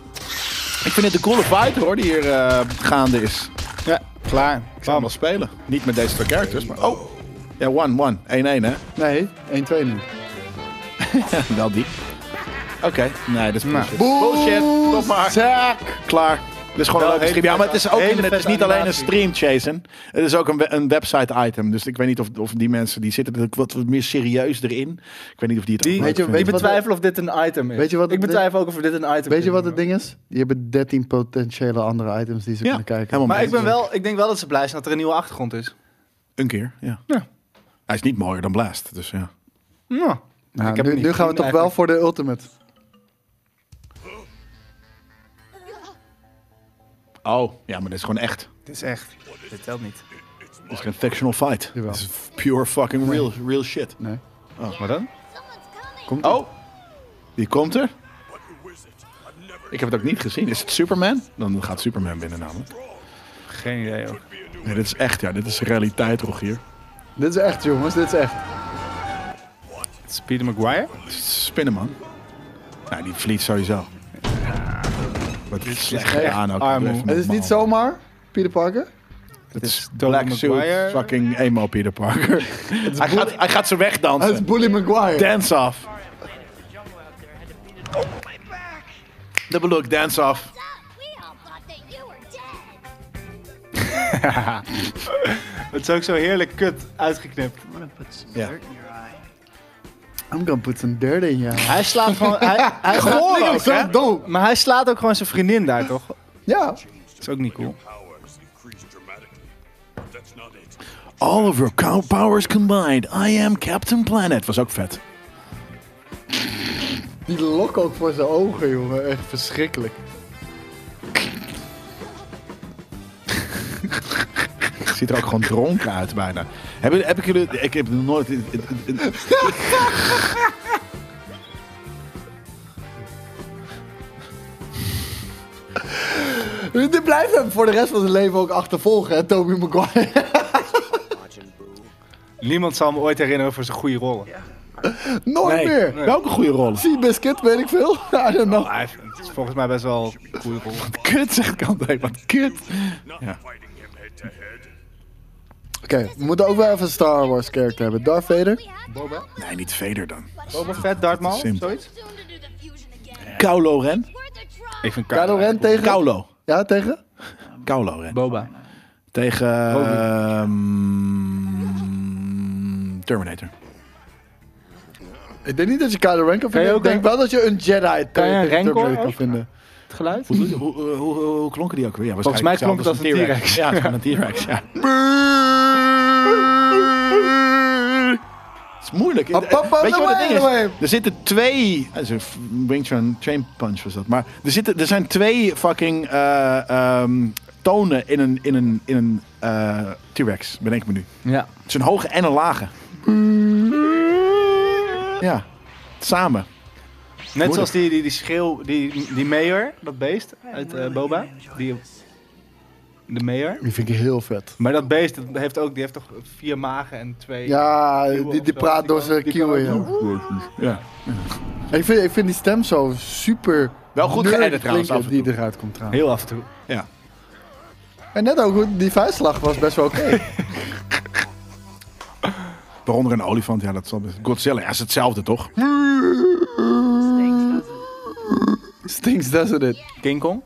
S3: Ik vind het een coole fight hoor, die hier eh, gaande is.
S2: Ja, klaar.
S3: Ik zou hem wel spelen. Niet met deze twee characters, maar... Oh! Ja, 1-1. 1-1 hè?
S1: Nee, 1-2 nu.
S3: Wel die. Oké. Nee, dat is
S2: Nou.
S3: bullshit.
S1: Bullshit.
S3: Stop maar. Klaar. Dit is gewoon
S2: Wel
S3: een leuke
S2: hele
S3: stream. Ja, maar het is, ook
S2: vet-
S3: een-
S2: hele
S3: het is
S2: vette
S3: niet alleen een
S2: animatie.
S3: stream, Jason. Het is ook een, we- een website item. Dus ik weet niet of, of die mensen die zitten er wat meer serieus erin. Ik weet niet of die het ook
S2: Die,
S3: leuk
S1: Weet je-
S3: vinden.
S2: ik
S1: wat-
S2: betwijfel of dit een item is.
S1: Weet je wat
S2: ik
S1: het-
S2: betwijfel ook of we dit een item
S1: Weet je
S2: kunnen
S1: wat het
S2: noemen.
S1: ding is? Je hebt 13 potentiële andere items die ze
S3: Ja,
S1: kunnen kijken.
S3: helemaal
S2: Maar
S3: mee.
S2: ik, ben wel, ik denk wel dat ze blij zijn dat er een nieuwe achtergrond is.
S3: Een keer, ja.
S2: Ja.
S3: Hij is niet mooier dan Blast, dus ja.
S2: Nou,
S1: Nou,
S2: ik heb
S1: nu,
S2: hem niet
S1: nu gaan we
S2: gezien
S1: toch wel
S2: eigenlijk.
S1: voor de ultimate.
S3: Oh, ja, maar dit is gewoon echt.
S2: Dit is echt. Dit telt niet.
S3: Dit is geen fictional fight.
S1: Jawel.
S3: Dit is pure fucking real, real shit.
S1: Nee.
S2: Maar dan?
S1: Komt
S3: Oh, die komt er. Ik heb het ook niet gezien. Is het Superman? Dan gaat Superman binnen namelijk.
S2: Geen idee hoor.
S3: Nee, dit is echt, ja. Dit is realiteit, Rogier.
S1: Dit is echt, jongens. Dit is echt.
S2: Speedy Maguire?
S3: Spinnen, man. Nou, die vliegt sowieso. Wat slecht gedaan ook.
S2: armoe.
S3: Even
S1: Het is
S3: normaal.
S1: niet zomaar Peter Parker.
S3: Het is
S2: Tobey
S3: Black Suit
S2: Maguire.
S3: fucking emo Peter Parker. hij, gaat, hij gaat ze
S1: Het is
S3: wegdansen.
S1: Bully Maguire.
S3: Dance off. Double look, dance off.
S2: Het is ook zo heerlijk kut uitgeknipt.
S3: Ja.
S1: I'm gonna put some dirt in ya.
S2: Hij slaat gewoon... Hij, hij
S1: Goor ook, zo dope.
S2: Maar hij slaat ook gewoon zijn vriendin daar, toch?
S1: Ja.
S2: Dat is ook niet cool.
S3: All of your cow powers combined, I am Captain Planet. Was ook vet.
S1: Die lok ook voor zijn ogen, jongen. Echt verschrikkelijk.
S3: Ziet er ook gewoon dronken uit bijna. Heb, heb ik jullie... Ik heb nog nooit...
S1: Dit blijft hem voor de rest van zijn leven ook achtervolgen, hè, Toby Maguire.
S2: Niemand zal me ooit herinneren voor zijn goede rollen.
S1: Nooit meer.
S3: Welke goede rol?
S1: Sea Biscuit, weet ik veel. I don't know.
S2: Hij heeft- het is volgens mij best wel een goede rol.
S3: Kut, zegt Kante. Wat kut.
S1: Oké, we moeten ook wel even een Star Wars character hebben. Darth Vader.
S3: Nee, niet Vader dan.
S2: Boba Fett, Darth Maul,
S3: Simpel.
S2: zoiets?
S3: Kaulo Ren?
S2: Ik vind
S1: Kylo Ren tegen...
S3: Kaulo.
S1: Ja, tegen?
S3: Kaulo Ren.
S2: Boba.
S3: Tegen...
S2: Obi.
S3: ehm, Terminator.
S1: Ik denk niet dat je Kylo Ren kan
S2: je
S1: vinden.
S2: ook
S1: ik denk
S2: een-
S1: wel dat je een Jedi
S2: Kan je een
S1: tegen
S2: Rancor
S1: Terminator kan
S2: ook?
S1: vinden.
S2: Het geluid?
S3: Hoe, hoe, hoe, hoe, hoe, hoe klonken die ook weer? Ja,
S2: Volgens mij klonk het als een T-Rex.
S3: Ja, het is gewoon een T-Rex, ja. Het is moeilijk.
S1: Ah, papa,
S3: Weet je wat het ding
S1: away.
S3: is? Er zitten twee... Dat is een f- Wing Chun Chain Punch was dat. Maar er, zitten, er zijn twee fucking eh, ehm, tonen in een, in een, in een eh, T-Rex. Bedenk me nu.
S2: Ja.
S3: Het is een hoge en een lage. Ja. Samen.
S2: Net zoals die, die, die schreeuw, die, die mayor, dat beest uit eh, Boba. Die, de mayor.
S1: Die vind ik heel vet.
S2: Maar dat beest dat heeft ook, die heeft toch vier magen en twee...
S1: Ja, die,
S2: of zo,
S1: die praat
S2: die
S1: door
S2: kan-
S1: zijn
S2: die kan
S1: kieuwen.
S2: ook
S1: ja.
S3: Ja.
S1: Ik vind, ik vind die stem zo super...
S3: Wel goed
S1: nerd
S3: geëdit trouwens,
S1: klinken
S3: af en toe.
S1: Die eruit komt trouwens.
S2: Heel af en toe.
S3: ja.
S1: En net ook, hoe- die vuistslag was best wel oké.
S3: Waaronder een olifant. Ja, dat zal best. Godzilla. Ja, is hetzelfde toch?
S1: Stinks, doesn't it?
S3: King Kong?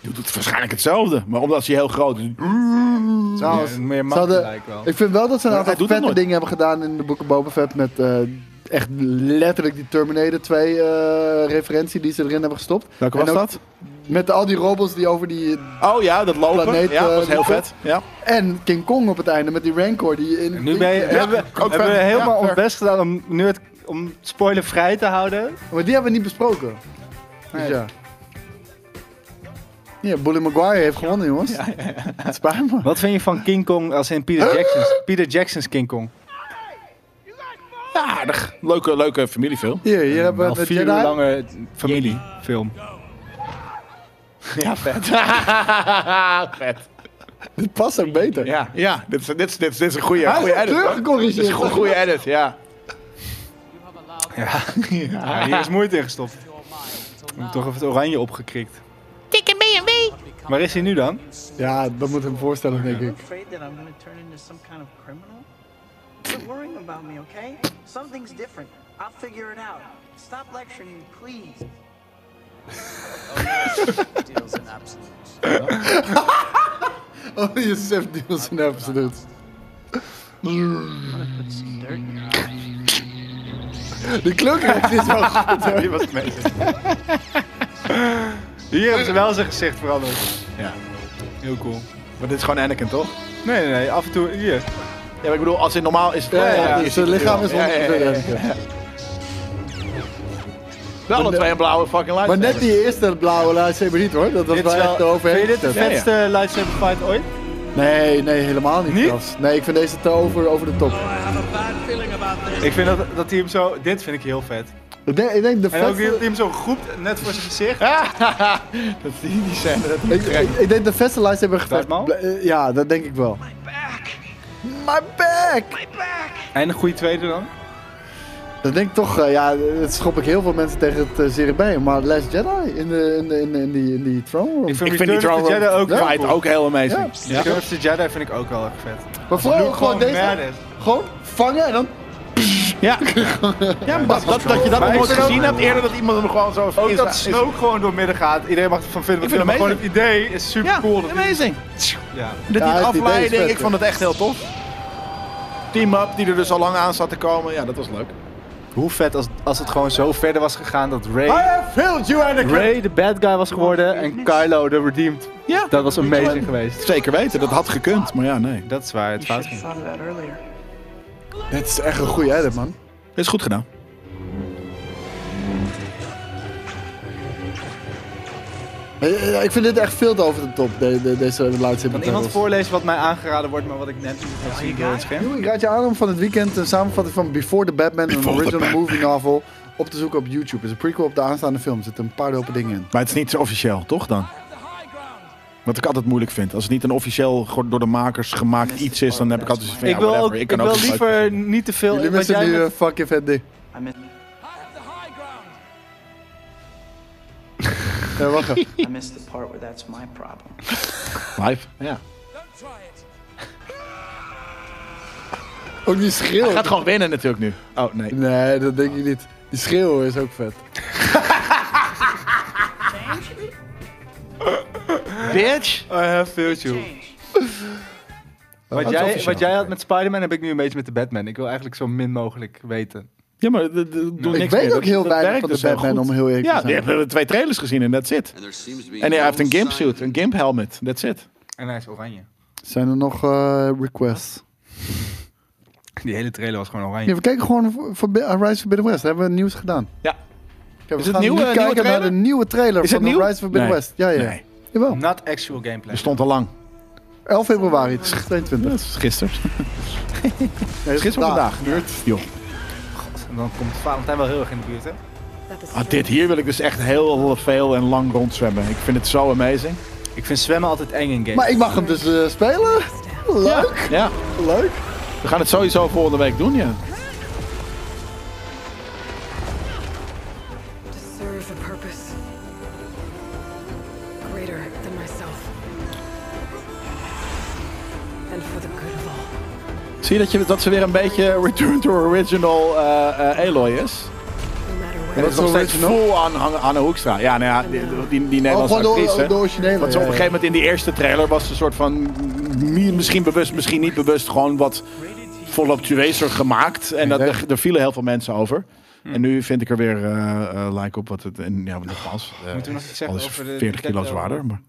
S3: Doet het waarschijnlijk hetzelfde, maar omdat hij heel groot is.
S1: Trouwens,
S2: Meer- meer
S1: ze
S2: macht
S1: hadden-
S2: lijkt wel.
S1: ik vind wel dat ze een
S3: Maar
S1: aantal
S3: hij doet het
S1: vette
S3: nooit.
S1: dingen hebben gedaan in de boeken Boba Fett. Met eh, echt letterlijk die Terminator 2 eh, referentie die ze erin hebben gestopt.
S3: Welke
S1: En
S3: was
S1: ook
S3: dat?
S1: Met al die robots die over die...
S3: Oh ja, dat lopen.
S1: Planeet,
S3: ja, dat was
S1: eh,
S3: heel
S1: liepen.
S3: vet. Ja.
S1: En King Kong op het einde met die Rancor. Die in,
S2: Nu ben je,
S1: Ja,
S2: hebben, we-
S1: ook
S2: hebben we
S1: vet.
S2: helemaal
S1: Ja,
S2: ons
S1: vet.
S2: best gedaan om, nu het, om spoilervrij te houden.
S1: Maar die hebben we niet besproken. Dus ja. Ja, Bully Maguire heeft gewonnen, jongens. Het spijt me.
S2: Wat vind je van King Kong als in Peter Jackson's, Peter Jackson's King Kong?
S3: Ja, aardig. Leuke, leuke familiefilm.
S1: Hier, hier hebben
S2: Wel
S1: we de
S2: vier uur
S1: Jedi.
S2: lange familiefilm.
S3: Ja, vet. vet.
S1: Dit past ook beter.
S3: Ja, ja dit, is, dit, is, dit, is, dit is een goede
S1: Hij is
S3: goede edit. hoor. Dit
S1: teruggecorrigeerd.
S3: is gewoon een goede edit, ja.
S2: Ja, hier is moeite in gestopt. Ik heb toch even het oranje opgekrikt.
S7: Dikke B&B.
S2: Waar is hij nu dan?
S1: Ja, dat moet hem voorstellen, denk
S6: I'm
S1: ik.
S6: afraid that I'm gonna turn into some kind of criminal.
S11: Quit worrying about me, okay? Something's different. I'll figure it out. Stop lecturing me, please.
S6: Deals in absolutes.
S1: Oh, je Seth Nielsen absoluut.
S6: Put some dirt in your eye.
S1: De kleurcorrectie is wel goed.
S3: Die was het meest.
S2: Hier hebben ze wel zijn gezicht veranderd.
S3: Ja.
S2: Heel cool.
S3: Maar dit is gewoon Anakin, toch?
S2: Nee, nee, nee. Af en toe hier.
S3: Ja, maar ik bedoel, als in normaal is het...
S1: Ja, ja,
S3: die
S1: ja, zijn
S3: het
S1: lichaam
S3: wel.
S1: is 100%
S3: Ja, ja, ja, ja.
S1: Anakin.
S3: Wel alle twee een blauwe fucking light.
S1: Maar net die eerste blauwe lightsaber niet hoor. Dat was
S2: Dit is
S1: wel echt de
S2: wel, vind je
S1: overheen.
S2: dit de
S1: gezet.
S3: vet?
S2: vetste lightsaber fight ooit?
S1: Nee, nee, helemaal niet.
S2: Niet?
S1: zelfs. Nee, ik vind deze te over, over de top.
S2: Ik vind dat, dat hij hem zo... Dit vind ik heel vet.
S1: Ik denk, ik denk de
S2: En ook dat hij
S1: vetste...
S2: hem zo groept, net voor zijn gezicht.
S3: Dat is die, die scène. Dat
S1: Ik, ik, ik denk de vetste lightsaber gevecht.
S2: Darth Maul?
S1: ble- eh, Ja, dat denk ik wel. My back!
S2: En een goede tweede dan?
S1: Dat denk ik toch, eh, ja, dat schop ik heel veel mensen tegen het uh, zere Maar Last Jedi in, de, in, de, in, de- in die, in die throne room.
S2: Ik vind,
S3: ik vind die
S2: Return of
S3: Throne
S2: the Jedi ook
S1: Ja.
S2: heel
S3: fight
S2: cool.
S3: ook heel amazing.
S1: Ja.
S2: Ja. Return of the Jedi vind ik ook wel erg vet.
S1: maar vooral
S2: Doe
S1: ook gewoon
S2: gewoon
S1: deze.
S2: badass.
S1: Gewoon vangen en dan...
S3: Ja. Ja, maar dat, dat, dat je dat
S2: Maar
S3: nog
S2: ik
S3: nooit
S2: vind ook-
S3: gezien hebt eerder dat iemand hem gewoon zo...
S2: Ook
S3: is-
S2: dat
S3: is-
S2: Snoke gewoon door midden gaat. Iedereen mag ervan vinden
S3: Ik
S2: wat
S3: vind
S2: wil, maar
S3: hem
S2: gewoon het idee is super
S3: Ja,
S2: cool. Dat die-
S3: amazing.
S2: ja.
S3: Dat
S1: Ja,
S3: die
S1: het idee is
S3: afleiding,
S1: vet,
S3: ik vond het echt heel tof. Team-up die er dus al lang aan zat te komen. Ja, dat was leuk.
S2: Hoe vet als, als het gewoon zo verder was gegaan dat Ray,
S1: I have failed you, Anakin!
S2: Ray de bad guy was geworden en Kylo de redeemed.
S3: Ja.
S2: Dat was amazing geweest.
S3: Zeker weten, dat had gekund. Maar ja, nee.
S2: Dat is waar het fout ging.
S11: thought of that earlier.
S1: Dit is echt een goede edit, man.
S3: Is goed gedaan.
S1: Eh, eh, Ik vind dit echt veel te over de top, de, de, deze lightsaber.
S2: Kan iemand
S1: battles.
S2: voorlezen wat mij aangeraden wordt, maar wat ik net niet kan zien door het scherm?
S1: Joe, Ik raad je aan om van het weekend een samenvatting van Before the Batman, een
S3: Before the
S1: original
S3: Batman.
S1: movie novel, op te zoeken op YouTube. Het is een prequel op de aanstaande film. Er zitten een paar dope dingen in.
S3: Maar het is niet zo officieel, toch dan? Wat ik altijd moeilijk vind. Als het niet een officieel gewoon door de makers gemaakt iets is, dan heb ik altijd zoiets van,
S2: Ik
S3: ja,
S2: wil,
S3: whatever,
S2: ook, ik wil
S3: ook niet
S2: liever niet te veel.
S1: Jullie
S2: wat
S1: missen
S2: jij
S1: nu
S2: net-
S1: eh, fucking vet ding.
S6: I miss,
S1: Eh, wacht even.
S6: I missed the part where that's my problem.
S3: Live. Ja.
S1: Ook die schreeuw.
S3: Gaat gewoon winnen natuurlijk nu. Oh, nee.
S1: Nee, dat denk ik niet. Die schreeuw is ook vet.
S2: eh,
S3: Bitch!
S2: I have failed you. Wat
S3: is
S2: jij,
S3: officieel.
S2: wat jij had met Spider-Man heb ik nu een beetje met de Batman. Ik wil eigenlijk zo min mogelijk weten.
S3: Ja, maar dat- dat- dat doe
S1: Ik
S3: niks
S1: weet
S3: meer.
S1: ook
S3: Dat-
S1: heel
S3: dat
S1: weinig
S3: werkt
S1: van de
S3: dus heel
S1: Batman,
S3: goed.
S1: om heel eerlijk te
S3: Ja,
S1: zijn.
S3: die hebben twee trailers gezien en that's it. En hij heeft een gimp suit, een gimp helmet, that's it.
S2: En hij is oranje.
S1: Zijn er nog eh, requests?
S2: Die hele trailer was gewoon
S1: Ja,
S2: oranje.
S1: we kijken gewoon voor, voor Bi- eh, Rise of Forbidden West. Daar hebben we nieuws gedaan.
S3: Ja.
S1: Kijk,
S3: Is
S1: we
S3: het
S1: gaan
S3: nieuw,
S1: nu
S3: eh, nieuwe
S1: kijken naar de
S3: trailer?
S1: nieuwe trailer
S3: Is
S1: van
S3: het
S1: de
S3: nieuw?
S1: Rise of Forbidden
S3: Nee.
S1: West. Ja, ja.
S3: Nee.
S1: Jawel.
S2: Not actual gameplay.
S3: Er stond al lang.
S1: 11 februari 2022.
S3: Dat is gisteren.
S1: Nee, dat is
S3: Gisteren of vandaag. Joh.
S2: En dan komt Valentijn wel heel erg in de buurt, hè?
S3: Ah, dit hier wil ik dus echt heel veel en lang rondzwemmen. Ik vind het zo amazing.
S2: Ik vind zwemmen altijd eng in games.
S1: Maar ik mag hem dus eh, spelen. Leuk,
S3: Ja,
S1: leuk.
S3: we gaan het sowieso volgende week doen, ja.
S5: Serve a purpose greater than myself. And for the good of all.
S3: Zie je dat, je dat ze weer een beetje Return to Original eh eh Aloy is?
S5: No matter what
S3: dat is nog steeds vol aan Hanne- Hanne Hoekstra. Ja, nou ja, die, die, die Nederlandse
S1: gewoon de-
S3: actrice.
S1: de originele,
S3: Want ze op
S1: ja,
S3: een gegeven moment in die eerste trailer was ze een soort van... mi- Misschien bewust, misschien niet bewust, gewoon wat voluptueuzer gemaakt. En dat, er, er vielen heel veel mensen over. En nu vind ik er weer eh, eh, like op wat het... En ja, wat nogmaals, eh,
S2: Moeten we nog iets zeggen
S3: alles
S2: over de-
S3: 40
S2: de
S3: kilo
S2: Dead
S3: zwaarder. Maar,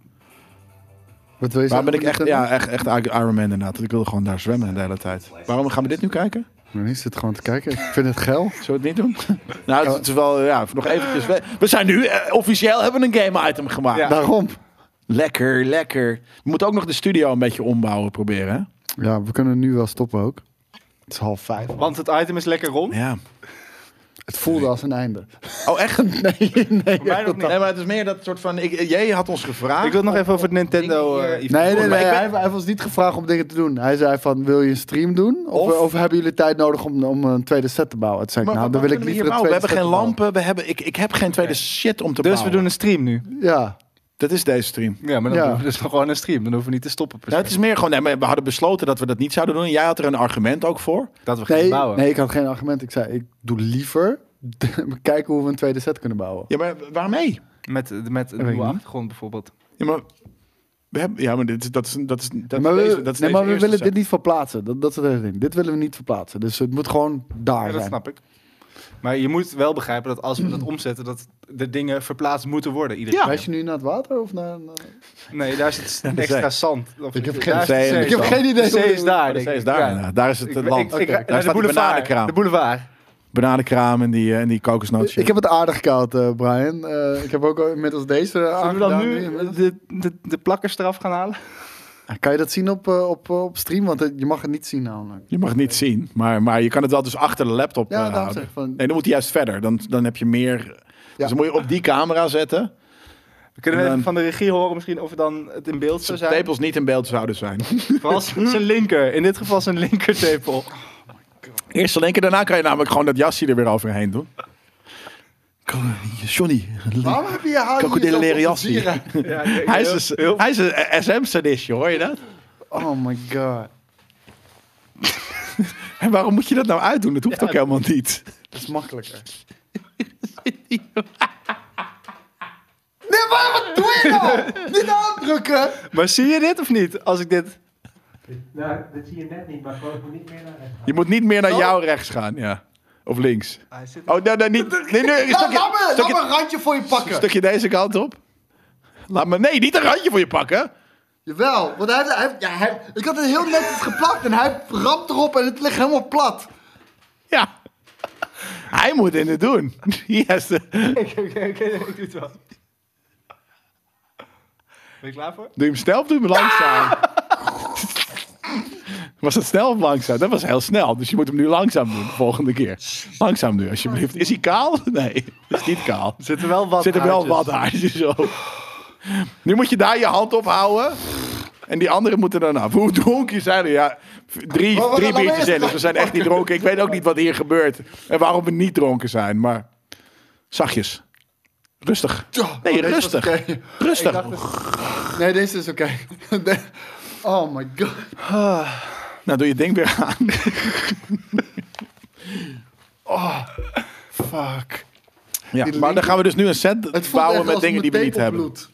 S1: Wat wil je
S3: maar
S1: zeggen?
S3: ben ik echt,
S1: Wat
S3: ja, echt, echt Iron Man inderdaad. Ik wilde gewoon daar zwemmen de hele tijd. Waarom gaan we dit nu kijken?
S1: Nou, ik zit gewoon te kijken. Ik vind het geil.
S3: Zullen we het niet doen? Nou, het is wel, ja, nog eventjes. We, we zijn nu, eh, officieel hebben we een game item gemaakt.
S2: Ja. Nou.
S1: Daarom.
S3: Lekker, lekker. We moeten ook nog de studio een beetje ombouwen proberen,
S1: Ja, we kunnen nu wel stoppen ook. Het is half vijf.
S2: Want het item is lekker rond.
S3: hè? Ja.
S1: Het voelde als een einde.
S3: Oh, echt? Nee, nee.
S2: Voor mij nog niet.
S3: Nee, maar het is meer dat soort van, ik, jij had ons gevraagd.
S2: Ik wil het nog even over het Nintendo... eh, event.
S1: Nee, nee,
S3: Maar
S1: nee.
S3: ik ben-
S1: Hij, hij was niet gevraagd om dingen te doen. Hij zei van, wil je een stream doen? Of,
S3: Of-
S1: of hebben jullie tijd nodig om, om een tweede set te bouwen? Het zei ik,
S3: Maar
S1: nou,
S3: wat-
S1: dan wil
S3: wat
S1: ik
S3: kunnen
S1: liever
S3: we
S1: een
S3: hier
S1: tweede
S3: bouwen?
S1: set te
S3: We hebben geen
S1: bouwen.
S3: lampen, we hebben, ik, ik heb geen tweede shit om te
S2: Dus we
S3: bouwen.
S2: doen een stream nu.
S1: Ja.
S3: Dat is deze stream.
S2: Ja, maar dan
S1: Ja.
S2: doen we dus nog gewoon een stream. Dan hoeven we niet te stoppen. per se.
S3: Nou, het is meer gewoon, nee, maar we hadden besloten dat we dat niet zouden doen. En jij had er een argument ook voor.
S2: Dat we gaan
S1: Nee,
S2: bouwen.
S1: nee, ik had geen argument. Ik zei, ik doe liever kijken hoe we een tweede set kunnen bouwen.
S3: Ja, maar waarmee?
S2: Met, met een
S1: weet
S2: nieuwe
S1: ik niet.
S2: achtergrond bijvoorbeeld.
S3: Ja, maar, we hebben, ja, maar dit, is- dat is, dat is, dat
S1: maar
S3: is
S1: we,
S3: deze- dat is
S1: nee,
S3: deze
S1: maar we
S3: eerste
S1: willen
S3: set.
S1: dit niet verplaatsen. Dat, dat is het hele ding. Dit willen we niet verplaatsen. Dus het moet gewoon daar
S2: Ja, dat
S1: zijn.
S2: snap ik. Maar je moet wel begrijpen dat als we dat omzetten, dat de dingen verplaatst moeten worden. Iedere
S1: Wijs je nu naar het water of naar... naar-
S2: keer. Nee, daar zit
S3: de
S2: extra
S3: zee.
S2: zand. Of-
S1: Ik heb
S2: daar
S1: geen
S2: is de
S3: zee en
S2: zee.
S3: de zand. Ik heb
S1: geen idee
S2: De
S1: hoe
S2: zee is
S1: dit-
S2: daar,
S3: De
S2: denk
S3: zee
S2: ik.
S3: is daar,
S2: Ja.
S3: inderdaad. daar is
S2: Ik-
S3: het,
S2: ik-
S3: het land.
S2: ik-
S3: Oké,
S2: ik-
S3: Daar
S2: naar de
S3: staat die
S2: boulevard.
S3: bananenkraam.
S2: De boulevard.
S3: Bananenkraam en die, eh, en die kokosnootjes.
S1: Ik heb het aardig koud, eh, Brian. Eh, ik heb ook al inmiddels deze
S3: Ah,
S2: Zullen we dan
S1: aangedaan. nu
S2: nu
S1: inmiddels.
S2: de, de, de plakkers eraf gaan halen?
S1: Kan je dat zien op, eh, op, eh, op stream? Want eh, je mag het niet zien namelijk.
S3: Je mag het niet zien, maar, maar je kan het wel dus achter de laptop
S1: Ja,
S3: eh,
S1: daarom
S3: houden.
S1: zeg ik van-
S3: Nee, dan moet hij juist verder. Dan, dan heb je meer... Dus dan moet je op die camera zetten.
S2: We kunnen we
S3: En
S2: even
S3: dan-
S2: van de regie horen misschien of het dan het in beeld zou
S3: Zijn
S2: zijn.
S3: tepels niet in beeld zouden zijn.
S2: Vooral zijn zijn linker. In dit geval zijn linkertepel.
S3: Eerst de linker, daarna kan je namelijk gewoon dat jasje er weer overheen doen. Kom, Johnny.
S1: Waarom heb je je haar
S3: Krokodillen
S1: hier zo
S3: leren
S1: op
S3: jassen.
S1: de dieren?
S3: Hij is een, hij is een SM-sadistje, hoor je dat?
S1: Oh my god.
S3: En waarom moet je dat nou uitdoen? Dat hoeft ook helemaal niet.
S1: Dat is makkelijker. Nee, maar Ah, wat doe je nou? Niet aandrukken!
S2: Maar zie je dit of niet? Als ik dit...
S3: Je moet niet meer naar
S2: Oh.
S3: jou rechts gaan, ja. Of links. Oh, nee, nee, niet. Nee, nee, een
S1: Nou,
S3: stukje,
S1: laat me, laat
S3: stukje-
S1: me een randje voor je pakken.
S3: stukje deze kant op. Laat me, nee, niet een randje voor je pakken.
S1: Jawel, want hij, heeft- hij, heeft- ja, hij, ik had het heel netjes geplakt en hij ramt erop en het ligt helemaal plat.
S3: Ja. Hij moet in het doen. Yes.
S2: Ik doe het wel. Ben je klaar voor?
S3: Doe je hem snel of doe je hem langzaam? Was dat snel of langzaam? Dat was heel snel. Dus je moet hem nu langzaam doen de volgende keer. Langzaam nu, alsjeblieft. Is hij kaal? Nee, is niet kaal.
S2: Zit er wel wat
S3: Zit er wel
S2: haartjes.
S3: wat haartjes op. Nu moet je daar je hand op houden. En die anderen moeten dan af. Hoe dronken zijn er? Ja, drie,
S1: Maar we
S3: drie
S1: gaan
S3: biertjes
S1: dan
S3: in. Dus we zijn echt niet dronken. Ik weet ook niet wat hier gebeurt. En waarom we niet dronken zijn. Maar zachtjes. Rustig. Nee,
S1: deze was
S3: rustig.
S1: oké.
S3: Rustig.
S1: Nee, deze is oké. De- oh my god.
S3: Nou, doe je ding weer aan.
S1: Fuck.
S3: Ja,
S1: Die
S3: maar dan gaan we dus nu een set
S1: Het voelt
S3: bouwen
S1: echt
S3: met
S1: als
S3: dingen die we
S1: meteen
S3: niet
S1: op
S3: hebben.
S1: Bloed.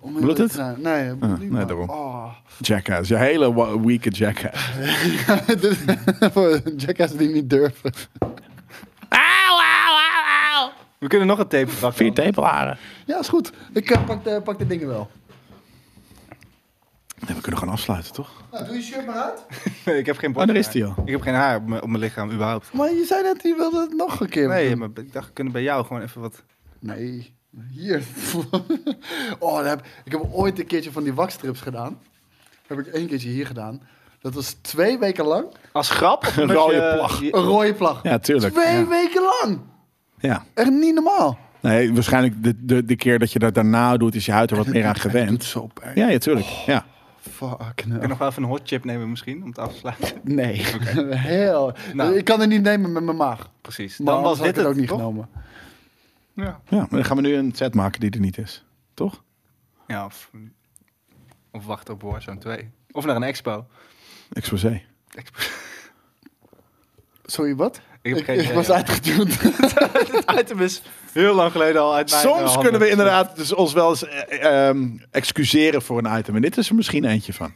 S1: Om heel
S3: Bloedt
S1: eerlijk te
S3: het? Ah,
S1: zijn. Nee, het bloedt niet,
S3: nee,
S1: maar-
S3: daarom.
S1: Oh.
S3: Jackass. Je hele wa- weeke jackass.
S1: Ah, Dit- voor jackass die niet durven.
S7: Auw, auw, auw, auw.
S2: We kunnen nog een tape pakken.
S3: Vier tepelharen.
S1: Ja, is goed. Ik eh, pak, de, pak de dingen wel.
S3: Nee, we kunnen gewoon afsluiten, toch?
S1: Nou, doe je shirt maar uit.
S2: Nee, ik heb geen
S3: Oh, daar is
S2: borsthaar.
S3: die al.
S2: Ik heb geen haar op mijn, op mijn lichaam, überhaupt.
S1: Maar je zei net, je wilde het nog een keer
S2: Nee,
S1: doen.
S2: maar ik dacht, we kunnen bij jou gewoon even wat...
S1: Nee. Hier. oh, daar heb, ik heb ooit een keertje van die wakstrips gedaan. Heb ik één keertje hier gedaan. Dat was twee weken lang.
S2: Als grap? Een
S3: rode plag.
S1: Een rode vlag.
S3: Ja, tuurlijk.
S1: twee
S3: Ja.
S1: weken lang.
S3: Ja.
S1: Echt niet normaal.
S3: Nee, waarschijnlijk de, de, de keer dat je dat daarna doet, is je huid er wat meer aan
S1: Doet
S3: gewend.
S1: zo pijn. Oh.
S3: Ja, ja, tuurlijk. Ja.
S1: Fuck.
S2: Ik kan
S1: No.
S2: nog wel even een hot chip nemen misschien, om het af te sluiten.
S1: Nee. Heel.
S2: Nou.
S1: Ik kan het niet nemen met mijn maag.
S2: Precies.
S1: Maar
S3: Nou,
S2: Dan was dit
S1: ik het ook niet
S2: toch?
S1: genomen.
S2: Ja.
S3: ja, maar dan gaan we nu een set maken die er niet is. Toch?
S2: ja of, of wacht op Warzone 2. Of naar een expo.
S3: Exposé.
S2: Expo-
S1: Sorry, wat?
S2: Ik, heb geen
S1: Ik
S2: idee.
S1: was uitgetuned.
S2: Het item is heel lang geleden al uit mijn eh,
S3: Soms
S2: handen.
S3: kunnen we inderdaad dus ons wel eens eh, ehm, excuseren voor een item. En dit is er misschien eentje van.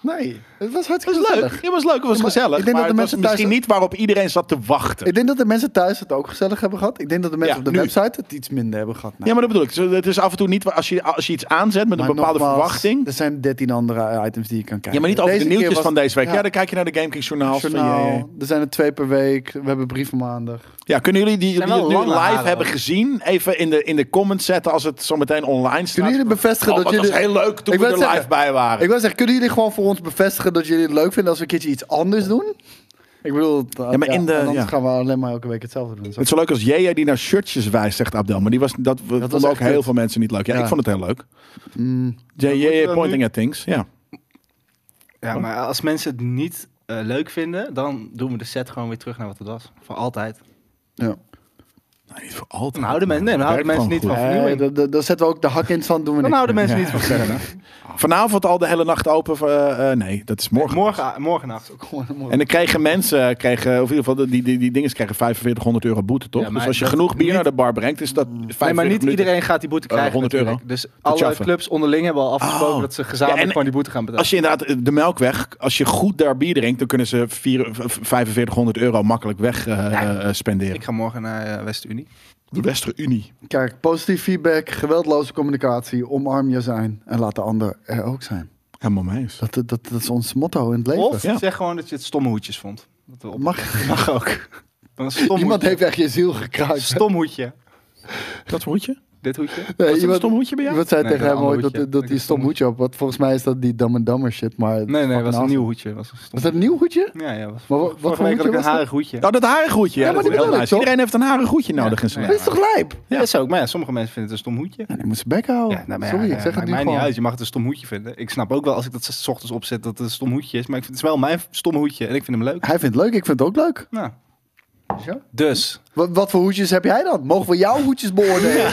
S1: Nee, het was hartstikke
S3: Het was leuk.
S1: gezellig.
S3: Het was leuk. Het was
S1: maar
S3: gezellig.
S1: ik denk
S3: maar
S1: dat de
S3: het was
S1: mensen thuis-
S3: misschien niet waarop iedereen zat te wachten.
S1: Ik denk dat de mensen thuis het ook gezellig hebben gehad. Ik denk dat de mensen
S3: Ja,
S1: op de
S3: nu.
S1: website het iets minder hebben gehad. Nou,
S3: Ja, maar dat bedoel ik. Zo, Het is af en toe niet waar- als je, als je iets aanzet met een
S1: maar
S3: bepaalde
S1: nogmaals,
S3: verwachting.
S1: Er zijn 13 andere items die je kan kijken.
S3: Ja, maar niet over
S1: Deze
S3: de
S1: keer
S3: nieuwtjes
S1: was-
S3: van deze week. Ja.
S1: Ja,
S3: dan kijk je naar de Game Kings journaal. van,
S1: journaal.
S3: ja, ja.
S1: Er zijn er twee per week. We hebben brieven maandag.
S3: Ja, kunnen jullie die, die
S2: Zijn
S3: het
S2: wel
S3: nu live
S2: lange halen,
S3: hebben
S2: hoor.
S3: gezien even in de, in de comments zetten als het zo meteen online staat?
S1: Kunnen jullie bevestigen
S3: Oh,
S1: dat
S3: wat
S1: jullie...
S3: was heel leuk toen
S1: Ik
S3: we
S1: wou
S3: er
S1: zeggen,
S3: live bij waren.
S1: Ik wil zeggen, kunnen jullie gewoon voor ons bevestigen dat jullie het leuk vinden als we een keertje iets anders doen? Ik bedoel, het-
S3: Ja, maar in de-
S1: anders
S3: ja.
S1: gaan we alleen maar elke week hetzelfde doen. Zo.
S3: Het is zo leuk als Jea die naar shirtjes wijst, zegt Abdel. Maar die was, dat, we vonden
S1: was
S3: ook
S1: echt
S3: heel
S1: kut.
S3: veel mensen niet leuk. Ja,
S1: Ja.
S3: ik vond het heel leuk.
S1: Mm,
S3: Jea
S2: moeten we
S3: pointing
S2: nu-
S3: at things. Ja.
S2: Ja, maar als mensen het niet eh, leuk vinden, dan doen we de set gewoon weer terug naar wat het was. Voor altijd.
S1: ja.
S3: Nou, niet voor altijd.
S2: Dan houden mensen- nee, dan houden
S3: Werkt
S2: mensen
S3: gewoon
S2: niet
S3: goed.
S2: van vernieuwing.
S1: Nee, dat- dat- Dan zetten we ook de hak in het zand, doen we
S2: Dan
S1: niks
S2: houden
S1: meer.
S2: mensen
S3: Ja,
S2: niet van
S3: fair enough. Vanavond al de hele nacht open. eh, eh, nee, dat is morgen.
S2: Morgen, morgennacht.
S3: En dan kregen mensen, kregen, of in ieder geval die, die, die, dingen krijgen 4500 euro boete, toch?
S2: Ja, maar
S3: dus als je
S2: dat-
S3: genoeg bier
S2: niet-
S3: naar de bar brengt, is dat 45
S2: Nee, maar niet
S3: minuten.
S2: iedereen gaat die boete
S3: Eh,
S2: krijgen.
S3: 100 euro.
S2: natuurlijk. Dus
S3: Dat
S2: alle
S3: schaffen.
S2: clubs onderling hebben al afgesproken
S3: Oh.
S2: dat ze gezamenlijk
S3: Ja, en-
S2: gewoon die boete gaan betalen.
S3: Als je inderdaad eh, de melkweg, als je goed daar bier drinkt, dan kunnen ze vier- v- 4500 euro makkelijk weg eh, eh, spenderen.
S2: Ik ga morgen naar eh, West-Unie.
S3: De Wester-Unie.
S1: Kijk, positief feedback, geweldloze communicatie, omarm je zijn en laat de ander er ook zijn.
S3: Helemaal meis.
S1: Dat, dat, dat is ons motto in het leven.
S2: Of
S3: Ja.
S2: zeg gewoon dat je het stomme hoedjes vond. Dat we op-
S1: Mag,
S2: mag ook. Dan een stom
S1: iemand
S2: hoedje.
S1: heeft echt je ziel gekruist.
S2: Stom hoedje.
S3: Dat hoedje?
S2: Dit hoedje.
S1: Nee,
S3: Was dat een
S1: iemand,
S3: stom hoedje bij jou?
S1: iemand zei
S2: Nee,
S1: tegen
S2: dat
S1: hem
S2: andere
S1: ooit dat,
S2: hoedje.
S1: dat, dat
S2: Ik
S1: die
S2: heb
S1: stom
S2: stom
S1: hoedje op. Wat volgens mij is dat die dam en dammer shit. Maar het is
S2: Nee, nee,
S1: fucking
S2: was een
S1: awesome.
S2: nieuw hoedje. Was een stom.
S1: Was dat een nieuw hoedje?
S2: Ja, ja. Was
S1: Maar wa- wat
S2: vorige
S1: voor
S2: week had
S1: hoedje
S2: ik een
S1: was dat?
S2: harig hoedje.
S3: Oh, dat harige hoedje. Ja,
S1: Ja, maar
S3: dat
S1: die
S3: is heel
S1: bedoel ik,
S3: nice.
S1: toch?
S3: Iedereen heeft een harige hoedje nodig in zijn
S2: nee,
S1: Dat
S3: leven.
S1: is toch lijp?
S2: Ja, dat is ook. Maar ja, sommige mensen vinden het een stom hoedje.
S1: Ja, die moest bek houden.
S2: Ja, nou, maar ja,
S1: Oh, Sorry,
S2: ja,
S1: ik zeg het
S2: maakt
S1: nu
S2: mij
S1: gewoon.
S2: niet uit. Je mag het een stom hoedje vinden. Ik snap ook wel als ik dat s ochtends opzet dat het een stom hoedje is. Maar ik vind, het is wel mijn stom hoedje en ik vind hem leuk.
S1: Hij vindt het leuk, ik vind het ook leuk.
S2: Nou.
S1: Zo?
S2: Dus.
S1: Wat, wat voor hoedjes heb jij dan? Mogen we jouw hoedjes beoordelen?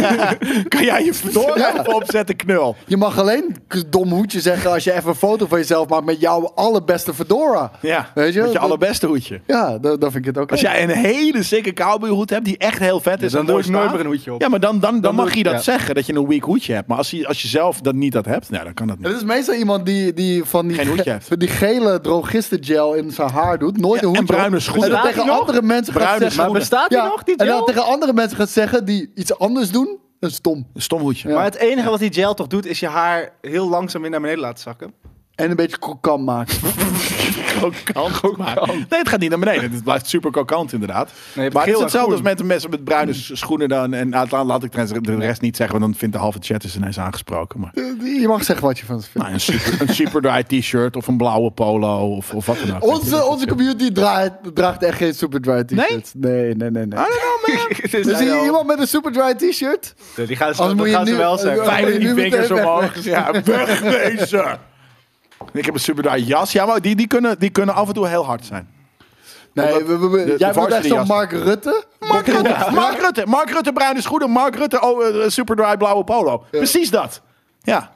S3: Kan jij je verdorie
S1: Ja.
S3: even opzetten, knul?
S1: Je mag alleen k- dom hoedje zeggen als je even een foto van jezelf maakt met jouw allerbeste fedora.
S3: Ja,
S1: Weet je,
S3: met je
S1: dat-
S3: allerbeste hoedje.
S1: Ja, dat, dat vind ik het ook.
S3: Als jij een hele sikke cowboyhoed hebt die echt heel vet is,
S2: dan
S3: en
S2: doe
S3: mooi
S2: ik nooit
S3: staat-
S2: meer een hoedje op.
S3: Ja, maar dan, dan, dan,
S2: Dan
S3: mag
S2: doe ik-
S3: je dat
S2: ja.
S3: zeggen dat je een weak hoedje hebt. Maar als je, als je zelf dat niet dat hebt, nou, dan kan dat niet.
S1: Het is meestal iemand die, die van die,
S3: Geen hoedje
S1: ge-
S3: heeft.
S1: van die gele drogistengel in zijn haar doet. Nooit
S3: Ja,
S1: een hoedje
S3: en bruine
S1: op.
S3: schoenen.
S1: En dan
S3: Bestaat
S1: tegen
S2: die nog?
S1: andere mensen gaat
S3: Bruine
S1: zeggen.
S3: schoenen. Maar
S2: bestaat die nog, die
S1: En dan
S2: gel?
S1: tegen andere mensen gaat zeggen die iets anders doen. Dat is stom.
S3: Een stom hoedje.
S1: Ja.
S2: Maar het enige wat die gel toch doet, is je haar heel langzaam weer naar beneden laten zakken.
S1: En een beetje krokant maken.
S3: Kokant maken. Nee, het gaat niet naar beneden. Het blijft super kokant inderdaad.
S2: hebt
S3: maar het is
S2: geel en
S3: hetzelfde als
S2: groen.
S3: met de mensen met bruine s- schoenen dan. En nou, laat, laat- laat ik trouwens de rest niet zeggen, want dan vindt de halve chat is ineens aangesproken. Maar
S1: Je mag zeggen wat je van ze vindt.
S3: nou, een super, een super dry t-shirt of een blauwe polo of, of wat dan ook.
S1: Onze, onze community draait, draagt echt geen Superdry t-shirts. Nee, nee, nee. nee.
S2: Het
S1: Dus
S2: is nou
S1: hier
S2: wel-
S1: iemand met een Superdry t-shirt?
S2: Die gaan ze,
S1: Anders
S2: dat
S1: moet je
S2: gaan ze
S1: nu-
S2: wel zeggen.
S1: Ja.
S3: Vijf
S1: Moet je
S3: die
S1: nu
S3: vingers
S1: meteen
S3: omhoog. Ja, wegwezen. Ik heb een super dry jas. Ja, maar die, die, kunnen, die kunnen af en toe heel hard zijn.
S1: Nee, we, we, we-
S3: de
S1: jij wordt echt
S3: varsity
S1: zo'n
S3: jas.
S1: Mark Rutte.
S3: Mark Rutte, Mark Rutte, Mark Rutte bruine schoenen, Mark Rutte oh, eh, super dry blauwe polo. Precies dat. Ja.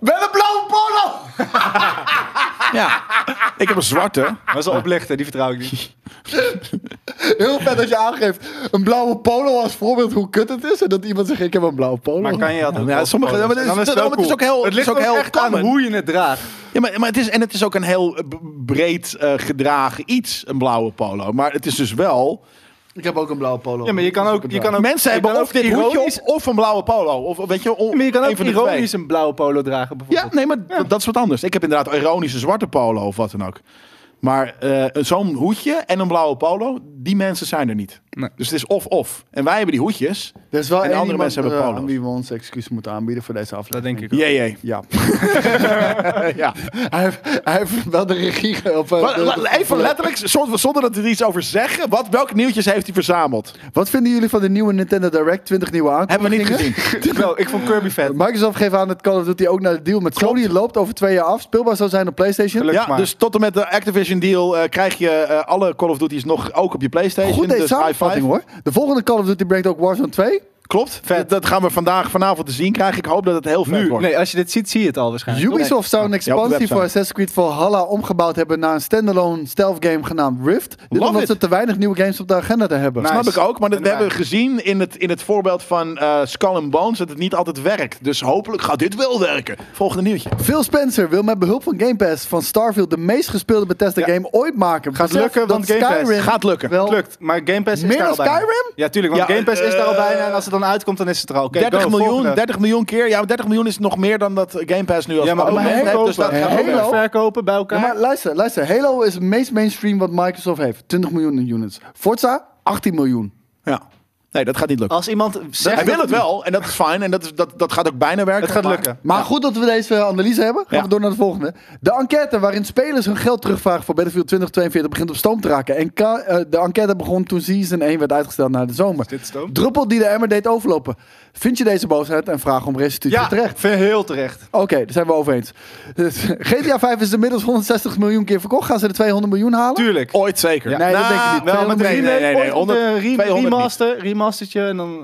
S1: Wel een blauwe polo!
S3: Ja. Ik heb een zwarte.
S2: Maar ze oplichten, die vertrouw ik niet.
S1: Heel vet dat je aangeeft een blauwe polo als voorbeeld hoe kut het is. En dat iemand zegt, ik heb een blauwe polo.
S2: Maar kan je dat ook?
S3: Ja, sommige, maar het is,
S2: Dan
S3: het
S2: wel
S3: is ook
S2: cool. Het
S3: heel, het is
S2: ligt
S3: ook
S2: ook
S3: heel
S2: echt aan
S3: common.
S2: hoe je het draagt.
S3: Ja, maar, maar het is, en het is ook een heel eh, b- breed eh, gedragen iets, een blauwe polo. Maar het is dus wel...
S1: Ik heb ook een blauwe polo.
S2: Ja, maar je kan ook- je kan ook-
S3: mensen
S2: je
S3: hebben
S2: kan
S3: of
S2: ook
S3: dit
S2: ironisch-
S3: hoedje op, of een blauwe polo. Of, of weet je, on-
S2: Maar je kan
S3: een
S2: ook
S3: van de twee.
S2: ironisch een blauwe polo dragen
S3: Ja,
S2: bijvoorbeeld.
S3: nee, maar d- dat is wat anders. Ik heb inderdaad ironische zwarte polo of wat dan ook. Maar eh, zo'n hoedje en een blauwe polo, die mensen zijn er niet.
S2: Nee.
S3: Dus het is of-of. En wij hebben die hoedjes.
S1: Er is wel
S3: En
S1: één
S3: andere
S1: iemand,
S3: mensen hebben
S1: eh,
S3: polo's.
S1: aan wie we ons excuus moeten aanbieden voor deze
S2: Dat
S1: aflevering.
S2: denk ik ook.
S3: Jee, jee.
S1: Ja.
S3: Ja.
S1: hij, heeft, hij heeft wel de regie... ge- Of, eh,
S3: Maar,
S1: de-
S3: la- even letterlijk, zonder, zonder dat we er iets over zeggen. Wat, welke nieuwtjes heeft hij verzameld?
S1: Wat vinden jullie van de nieuwe Nintendo Direct? 20 nieuwe
S3: Hebben we
S1: aankondigingen.
S3: niet gezien.
S2: Wel, ik vond Kirby vet.
S1: Microsoft geeft aan dat Call of Duty ook naar de deal met Sony loopt over twee jaar af. Speelbaar zou zijn op PlayStation.
S2: Gelukkig
S3: Ja,
S2: maar.
S3: dus tot en met de Activision deal eh, krijg je eh, alle Call of Duty's nog ook op je PlayStation.
S1: Goed deze
S3: dus high five.
S1: samenvatting hoor. De volgende Call of Duty brengt ook Warzone 2.
S3: Klopt. Dat- Dat gaan we vandaag, vanavond te zien krijgen. Ik hoop dat het heel vet
S2: Nu,
S3: wordt.
S2: nee, als je dit ziet, zie je het al waarschijnlijk. toch?
S1: Ubisoft zou een
S3: Ja, op de
S1: expansie
S3: website.
S1: voor Assassin's Creed Valhalla omgebouwd hebben naar een standalone stealth game genaamd Rift. Dit
S3: Love
S1: omdat
S3: it.
S1: ze te weinig nieuwe games op de agenda te hebben.
S3: Snap ik ook, maar dat we
S2: Inderdaad.
S3: hebben gezien in het, in het voorbeeld van eh, Skull and Bones dat het niet altijd werkt. Dus hopelijk gaat dit wel werken. Volgende nieuwtje.
S1: Phil Spencer wil met behulp van Game Pass van Starfield de meest gespeelde Bethesda game ooit maken.
S2: Gaat
S1: Besef
S2: lukken,
S1: dat
S2: want Game Pass
S3: gaat lukken.
S1: wel-
S2: Lukt, maar Game Pass is
S1: Meer
S2: daar
S1: dan
S2: al bijna.
S1: Skyrim?
S2: Ja, tuurlijk, want
S3: Ja,
S2: Game Pass is daar al
S3: eh,
S2: bijna. En als het dan uitkomt, dan is het er al. Oké,
S3: 30
S2: go,
S3: miljoen,
S2: volgende.
S3: 30 miljoen keer. Ja, maar 30 miljoen is nog meer dan dat Game Pass nu als
S2: Ja, maar ook
S3: abonnement
S1: maar
S3: heeft.
S2: verkopen.
S3: Dus dat
S1: Halo-
S3: gaat ook
S1: Halo-
S3: werken.
S2: verkopen bij
S1: Ja,
S2: elkaar.
S1: maar luister, luister. Halo is het meest mainstream wat Microsoft heeft. 20 miljoen units. Forza, 18 miljoen.
S3: Ja. Nee, dat gaat niet lukken.
S2: als iemand zegt...
S3: Hij
S2: dat-
S3: wil het wel en dat is fijn en dat, is, dat, dat gaat ook bijna werken.
S2: Het gaat
S3: maar-
S2: lukken.
S1: Maar goed dat we deze analyse hebben. Gaan
S3: Ja.
S1: we door naar de volgende. De enquête waarin spelers hun geld terugvragen voor Battlefield 2042 begint op stoom te raken. En ka- eh, de enquête begon toen Season 1 werd uitgesteld naar de zomer.
S2: dit stoom?
S1: Druppel die de emmer deed overlopen. Vind je deze boosheid en vraag om restitutie
S2: Ja,
S1: terecht?
S2: vind ik heel terecht.
S1: Oké, daar zijn we over eens. GTA 5 is inmiddels 160 miljoen keer verkocht. Gaan ze de 200 miljoen halen?
S2: Tuurlijk.
S3: Ooit zeker.
S1: Nee, dat denk ik niet.
S2: Wel met
S1: 200
S2: remake,
S1: miljoen.
S3: nee, nee, nee,
S2: ooit met
S3: 100,
S2: een re-
S3: 200 niet.
S2: remaster, remastertje en dan...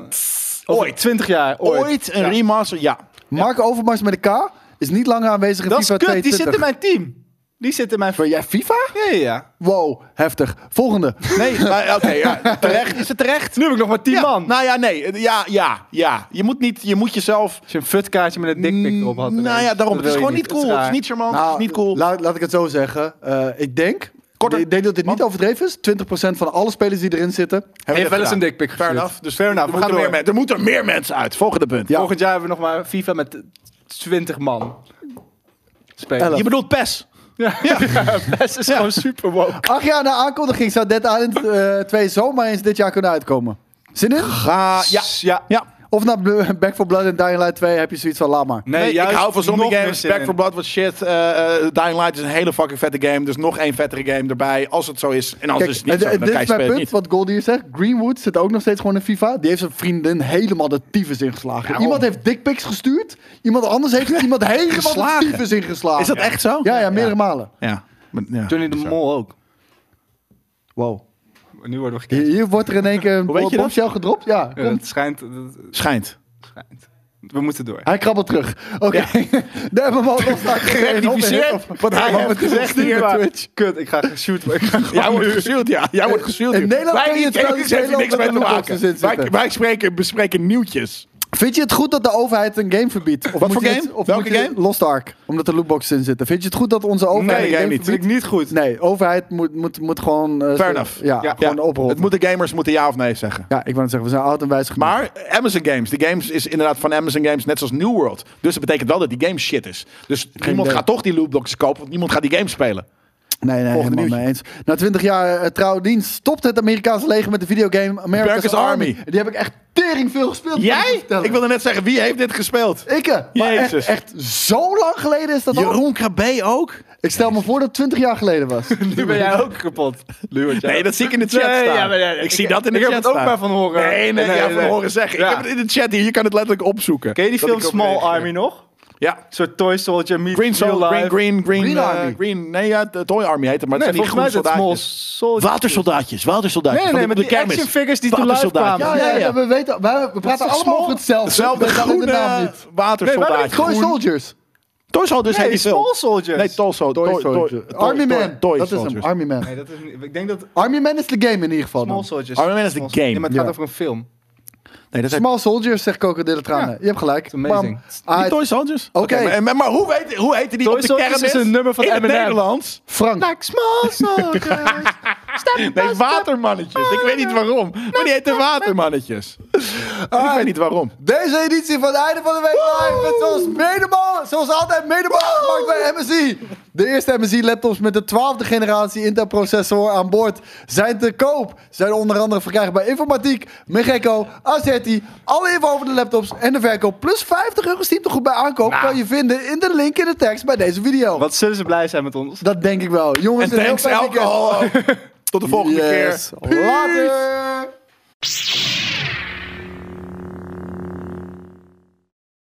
S2: Over
S3: Ooit.
S2: 20 jaar, ooit.
S3: Ooit, een remaster, ja.
S1: Mark Overmars met een K is niet langer aanwezig in
S2: Dat is
S1: FIFA
S2: kut, die zit in
S1: 22.
S2: mijn team. Die zit in mijn...
S1: Ben jij FIFA?
S2: Ja, ja, ja.
S1: Wow, heftig. Volgende.
S3: Nee, maar oké, ja, terecht. Is het terecht?
S2: Nu heb ik nog maar 10
S3: Ja,
S2: man.
S3: Nou ja, nee. Ja, ja, ja. Je moet, niet, je moet jezelf...
S2: Als je een futkaartje met een dikpik erop had.
S3: nou ja, daarom. Het is gewoon niet cool. Het is, niet charmant.
S1: Nou,
S3: het is niet cool.
S1: Laat, laat ik het zo zeggen. Eh, ik denk.
S3: Korter.
S1: Ik denk dat dit niet overdreven is. 20% van alle spelers die erin zitten.
S3: Hebben
S2: heeft
S3: we
S2: wel eens
S3: gedaan.
S2: een dikpik
S3: Fair
S2: gestuurd.
S3: enough. Dus
S2: Fair enough,
S3: er,
S2: we
S3: moeten
S2: gaan
S3: meer,
S2: door.
S3: men- er moeten meer mensen uit. Volgende punt.
S1: Ja.
S2: Volgend jaar hebben we nog maar FIFA met eh, 20 man. Spelen.
S1: Elf.
S3: Je bedoelt PES.
S2: Ja, ja. best is gewoon super woke.
S1: Acht jaar na aankondiging zou Dead Island eh 2 zomaar eens dit jaar kunnen uitkomen. Zin in?
S3: Ga, ja.
S2: ja.
S3: ja.
S1: Of na Bl- Back 4 Blood en Dying Light 2 heb je zoiets van, laat maar.
S2: Nee,
S3: ik
S2: juist
S3: hou van zombie
S2: nog meer
S3: games.
S2: zin
S3: Back
S2: in.
S3: 4 Blood was shit. Eh, eh, Dying Light is een hele fucking vette game. Dus nog één vettere game erbij. Als het zo is. En als
S1: Kijk,
S3: het is
S2: eh,
S3: niet
S1: en-
S3: zo,
S1: en
S3: dan
S1: dit
S3: kan je
S1: is mijn
S3: spelen
S1: punt,
S3: niet.
S1: wat Goldie hier zegt. Greenwood zit ook nog steeds gewoon in FIFA. Die heeft zijn vriendin helemaal de tyfus ingeslagen. Iemand
S3: oh.
S1: heeft dickpics gestuurd. Iemand anders heeft iemand helemaal de
S3: Geslagen?
S1: tyfus ingeslagen.
S3: Is dat echt zo?
S1: Ja, ja, meerdere malen.
S3: Ja. Maar- ja.
S2: Johnny de Mol ook.
S1: Wow.
S2: Nu worden we
S1: Hier,
S2: gekend.
S1: hier wordt er in één keer een
S3: Hoe weet je dat?
S1: bombshell gedropt. Ja,
S2: Ja,
S1: komt.
S2: het schijnt, het
S3: Schijnt.
S2: schijnt. We moeten door.
S1: Hij krabbelt terug. Oké. Daar hebben we al nog
S3: Geredificeerd. Wat hij heeft gezegd hier.
S2: maar-
S3: maar-
S2: Kut, ik ga geshoot. worden. Ik ga gewoon
S3: Jij wordt
S2: nu-
S3: gezield, ja. Jij wordt gezield.
S1: in
S3: ja.
S1: Nederland
S3: wij,
S1: kun je het
S3: ik- ik-
S1: wel
S3: ik-
S1: in
S3: heeft hier
S1: Nederland
S3: niks mee
S1: met
S3: te
S1: de lootboxes in
S3: maken. Wij,
S1: zitten.
S3: wij spreken, bespreken nieuwtjes.
S1: Vind je het goed dat de overheid een game verbiedt? Of moet
S3: voor
S1: je
S3: game?
S1: dit- of
S3: Welke
S1: moet je dit-
S3: game?
S1: Lost Ark. Omdat er lootboxes in zitten. Vind je het goed dat onze overheid
S2: Nee,
S1: een
S2: dat
S1: game
S2: vind ik
S1: verbiedt?
S2: niet goed.
S1: Nee, overheid moet, moet, moet gewoon... eh,
S3: Fair
S1: zo-
S3: enough.
S1: Ja,
S2: Ja,
S1: gewoon oprotten.
S3: Het moeten gamers moeten ja of nee zeggen.
S1: Ja, ik wou net zeggen, we zijn oud en wijs gemaakt.
S3: Maar Amazon Games, die games is inderdaad van Amazon Games net zoals New World. Dus dat betekent wel dat die game shit is. Dus niemand
S1: idee.
S3: gaat toch die lootboxes kopen, want niemand gaat die game spelen.
S1: Nee, nee,
S3: Volgende
S1: helemaal mee eens. Na 20 jaar eh, trouwe dienst stopt het Amerikaanse leger met de videogame America's,
S3: America's
S1: Army.
S3: Army.
S1: Die heb ik echt tering veel gespeeld. kan ik je
S3: Jij?
S1: vertellen.
S3: Ik wilde net zeggen, wie heeft dit gespeeld?
S1: Ikke. Maar echt,
S3: Jezus.
S1: echt zo lang geleden is dat al.
S3: Jeroen Krabbe ook?
S1: Ik stel me voor dat het 20 jaar geleden was.
S2: Nu ben jij ook kapot. Nu word jij-
S3: Nee, dat zie ik in de chat
S2: Nee,
S3: staan.
S2: ja, maar ja,
S3: ik, zie dat in de
S2: ik
S3: chat
S2: heb het ook
S3: staan.
S2: maar van horen.
S3: Nee, nee,
S2: Nee,
S3: ja,
S2: nee,
S3: van
S2: nee.
S3: horen zeggen.
S2: Ja.
S3: Ik heb het in de chat hier. Je kan het letterlijk opzoeken.
S2: Ken je die
S3: Dat
S2: film
S3: ik ook
S2: Small
S3: reageer.
S2: Army nog?
S3: Ja.
S2: Een soort Toy Soldier meets
S3: Green
S2: Real
S3: Sol- Green,
S2: Life.
S3: green, green,
S1: Green
S3: eh,
S1: Army.
S3: green- nee, ja, de Toy Army heet het, maar
S2: Nee,
S3: het zijn die
S2: volgens mij
S3: groene
S2: is het Small
S3: soldaatjes.
S2: Soldier.
S3: Watersoldaatjes, watersoldaatjes.
S2: Nee,
S3: van
S2: nee,
S3: de-
S2: met
S3: de
S2: die
S3: kermis.
S2: actionfigures die toen live
S3: Watersoldaatjes.
S2: kwamen.
S1: Ja, ja, ja, we weten, wij- we praten
S3: Dat is
S1: allemaal
S3: small-
S1: over hetzelfde.
S3: Hetzelfde
S1: We kennen
S3: groene
S1: de naam niet.
S3: watersoldaatje.
S1: Toy Soldiers.
S3: Toy Soldiers
S2: Nee,
S3: heet die
S2: Small
S3: film.
S2: Soldiers.
S3: Nee, Toy Soldiers. Toy- Toy- Toy-
S1: Army
S3: Toy-
S1: Man.
S3: Toy
S1: dat is hem,
S3: Soldiers.
S1: Army Man.
S2: Nee, dat is niet... Ik denk dat...
S1: Army Man is de game in ieder geval
S2: Small
S1: dan.
S2: Soldiers.
S3: Iron Man is de
S2: Small-
S3: game.
S2: Nee, maar het gaat
S1: Ja.
S2: over een film.
S3: Nee, dat is
S1: Small Soldiers, zegt krokodillentranen.
S2: Ja.
S1: Je hebt gelijk.
S2: It's amazing.
S1: Bam. Ah,
S3: Toy Soldiers. Oké,
S1: Oké.
S3: maar- maar, maar hoe, weet, hoe heette die
S2: Toy
S3: op de
S2: Soldiers
S3: kermis?
S2: is een nummer van
S3: in het
S2: M&M.
S3: Nederlands.
S1: Frank.
S2: Small Soldiers.
S3: Nee, watermannetjes. Ik weet niet waarom. Maar die heette watermannetjes. Ik weet niet waarom.
S1: Deze editie van het einde van de week live. Met zoals, medebal, zoals altijd medebal gemaakt bij MSI. De eerste MSI laptops met de 12e generatie Intel processor aan boord zijn te koop. Zijn onder andere verkrijgbaar bij Informatiek, Megecco, Azetti. Alle info over de laptops en de verkoop plus 50 euro goed bij aankoop kan je vinden in de link in de tekst bij deze video.
S2: Wat zullen ze blij zijn met ons?
S1: Dat denk ik wel. Jongens,
S3: En
S1: een heel
S3: thanks
S1: fijn weekend.
S3: alcohol. Tot de volgende keer.
S1: Yes. Later.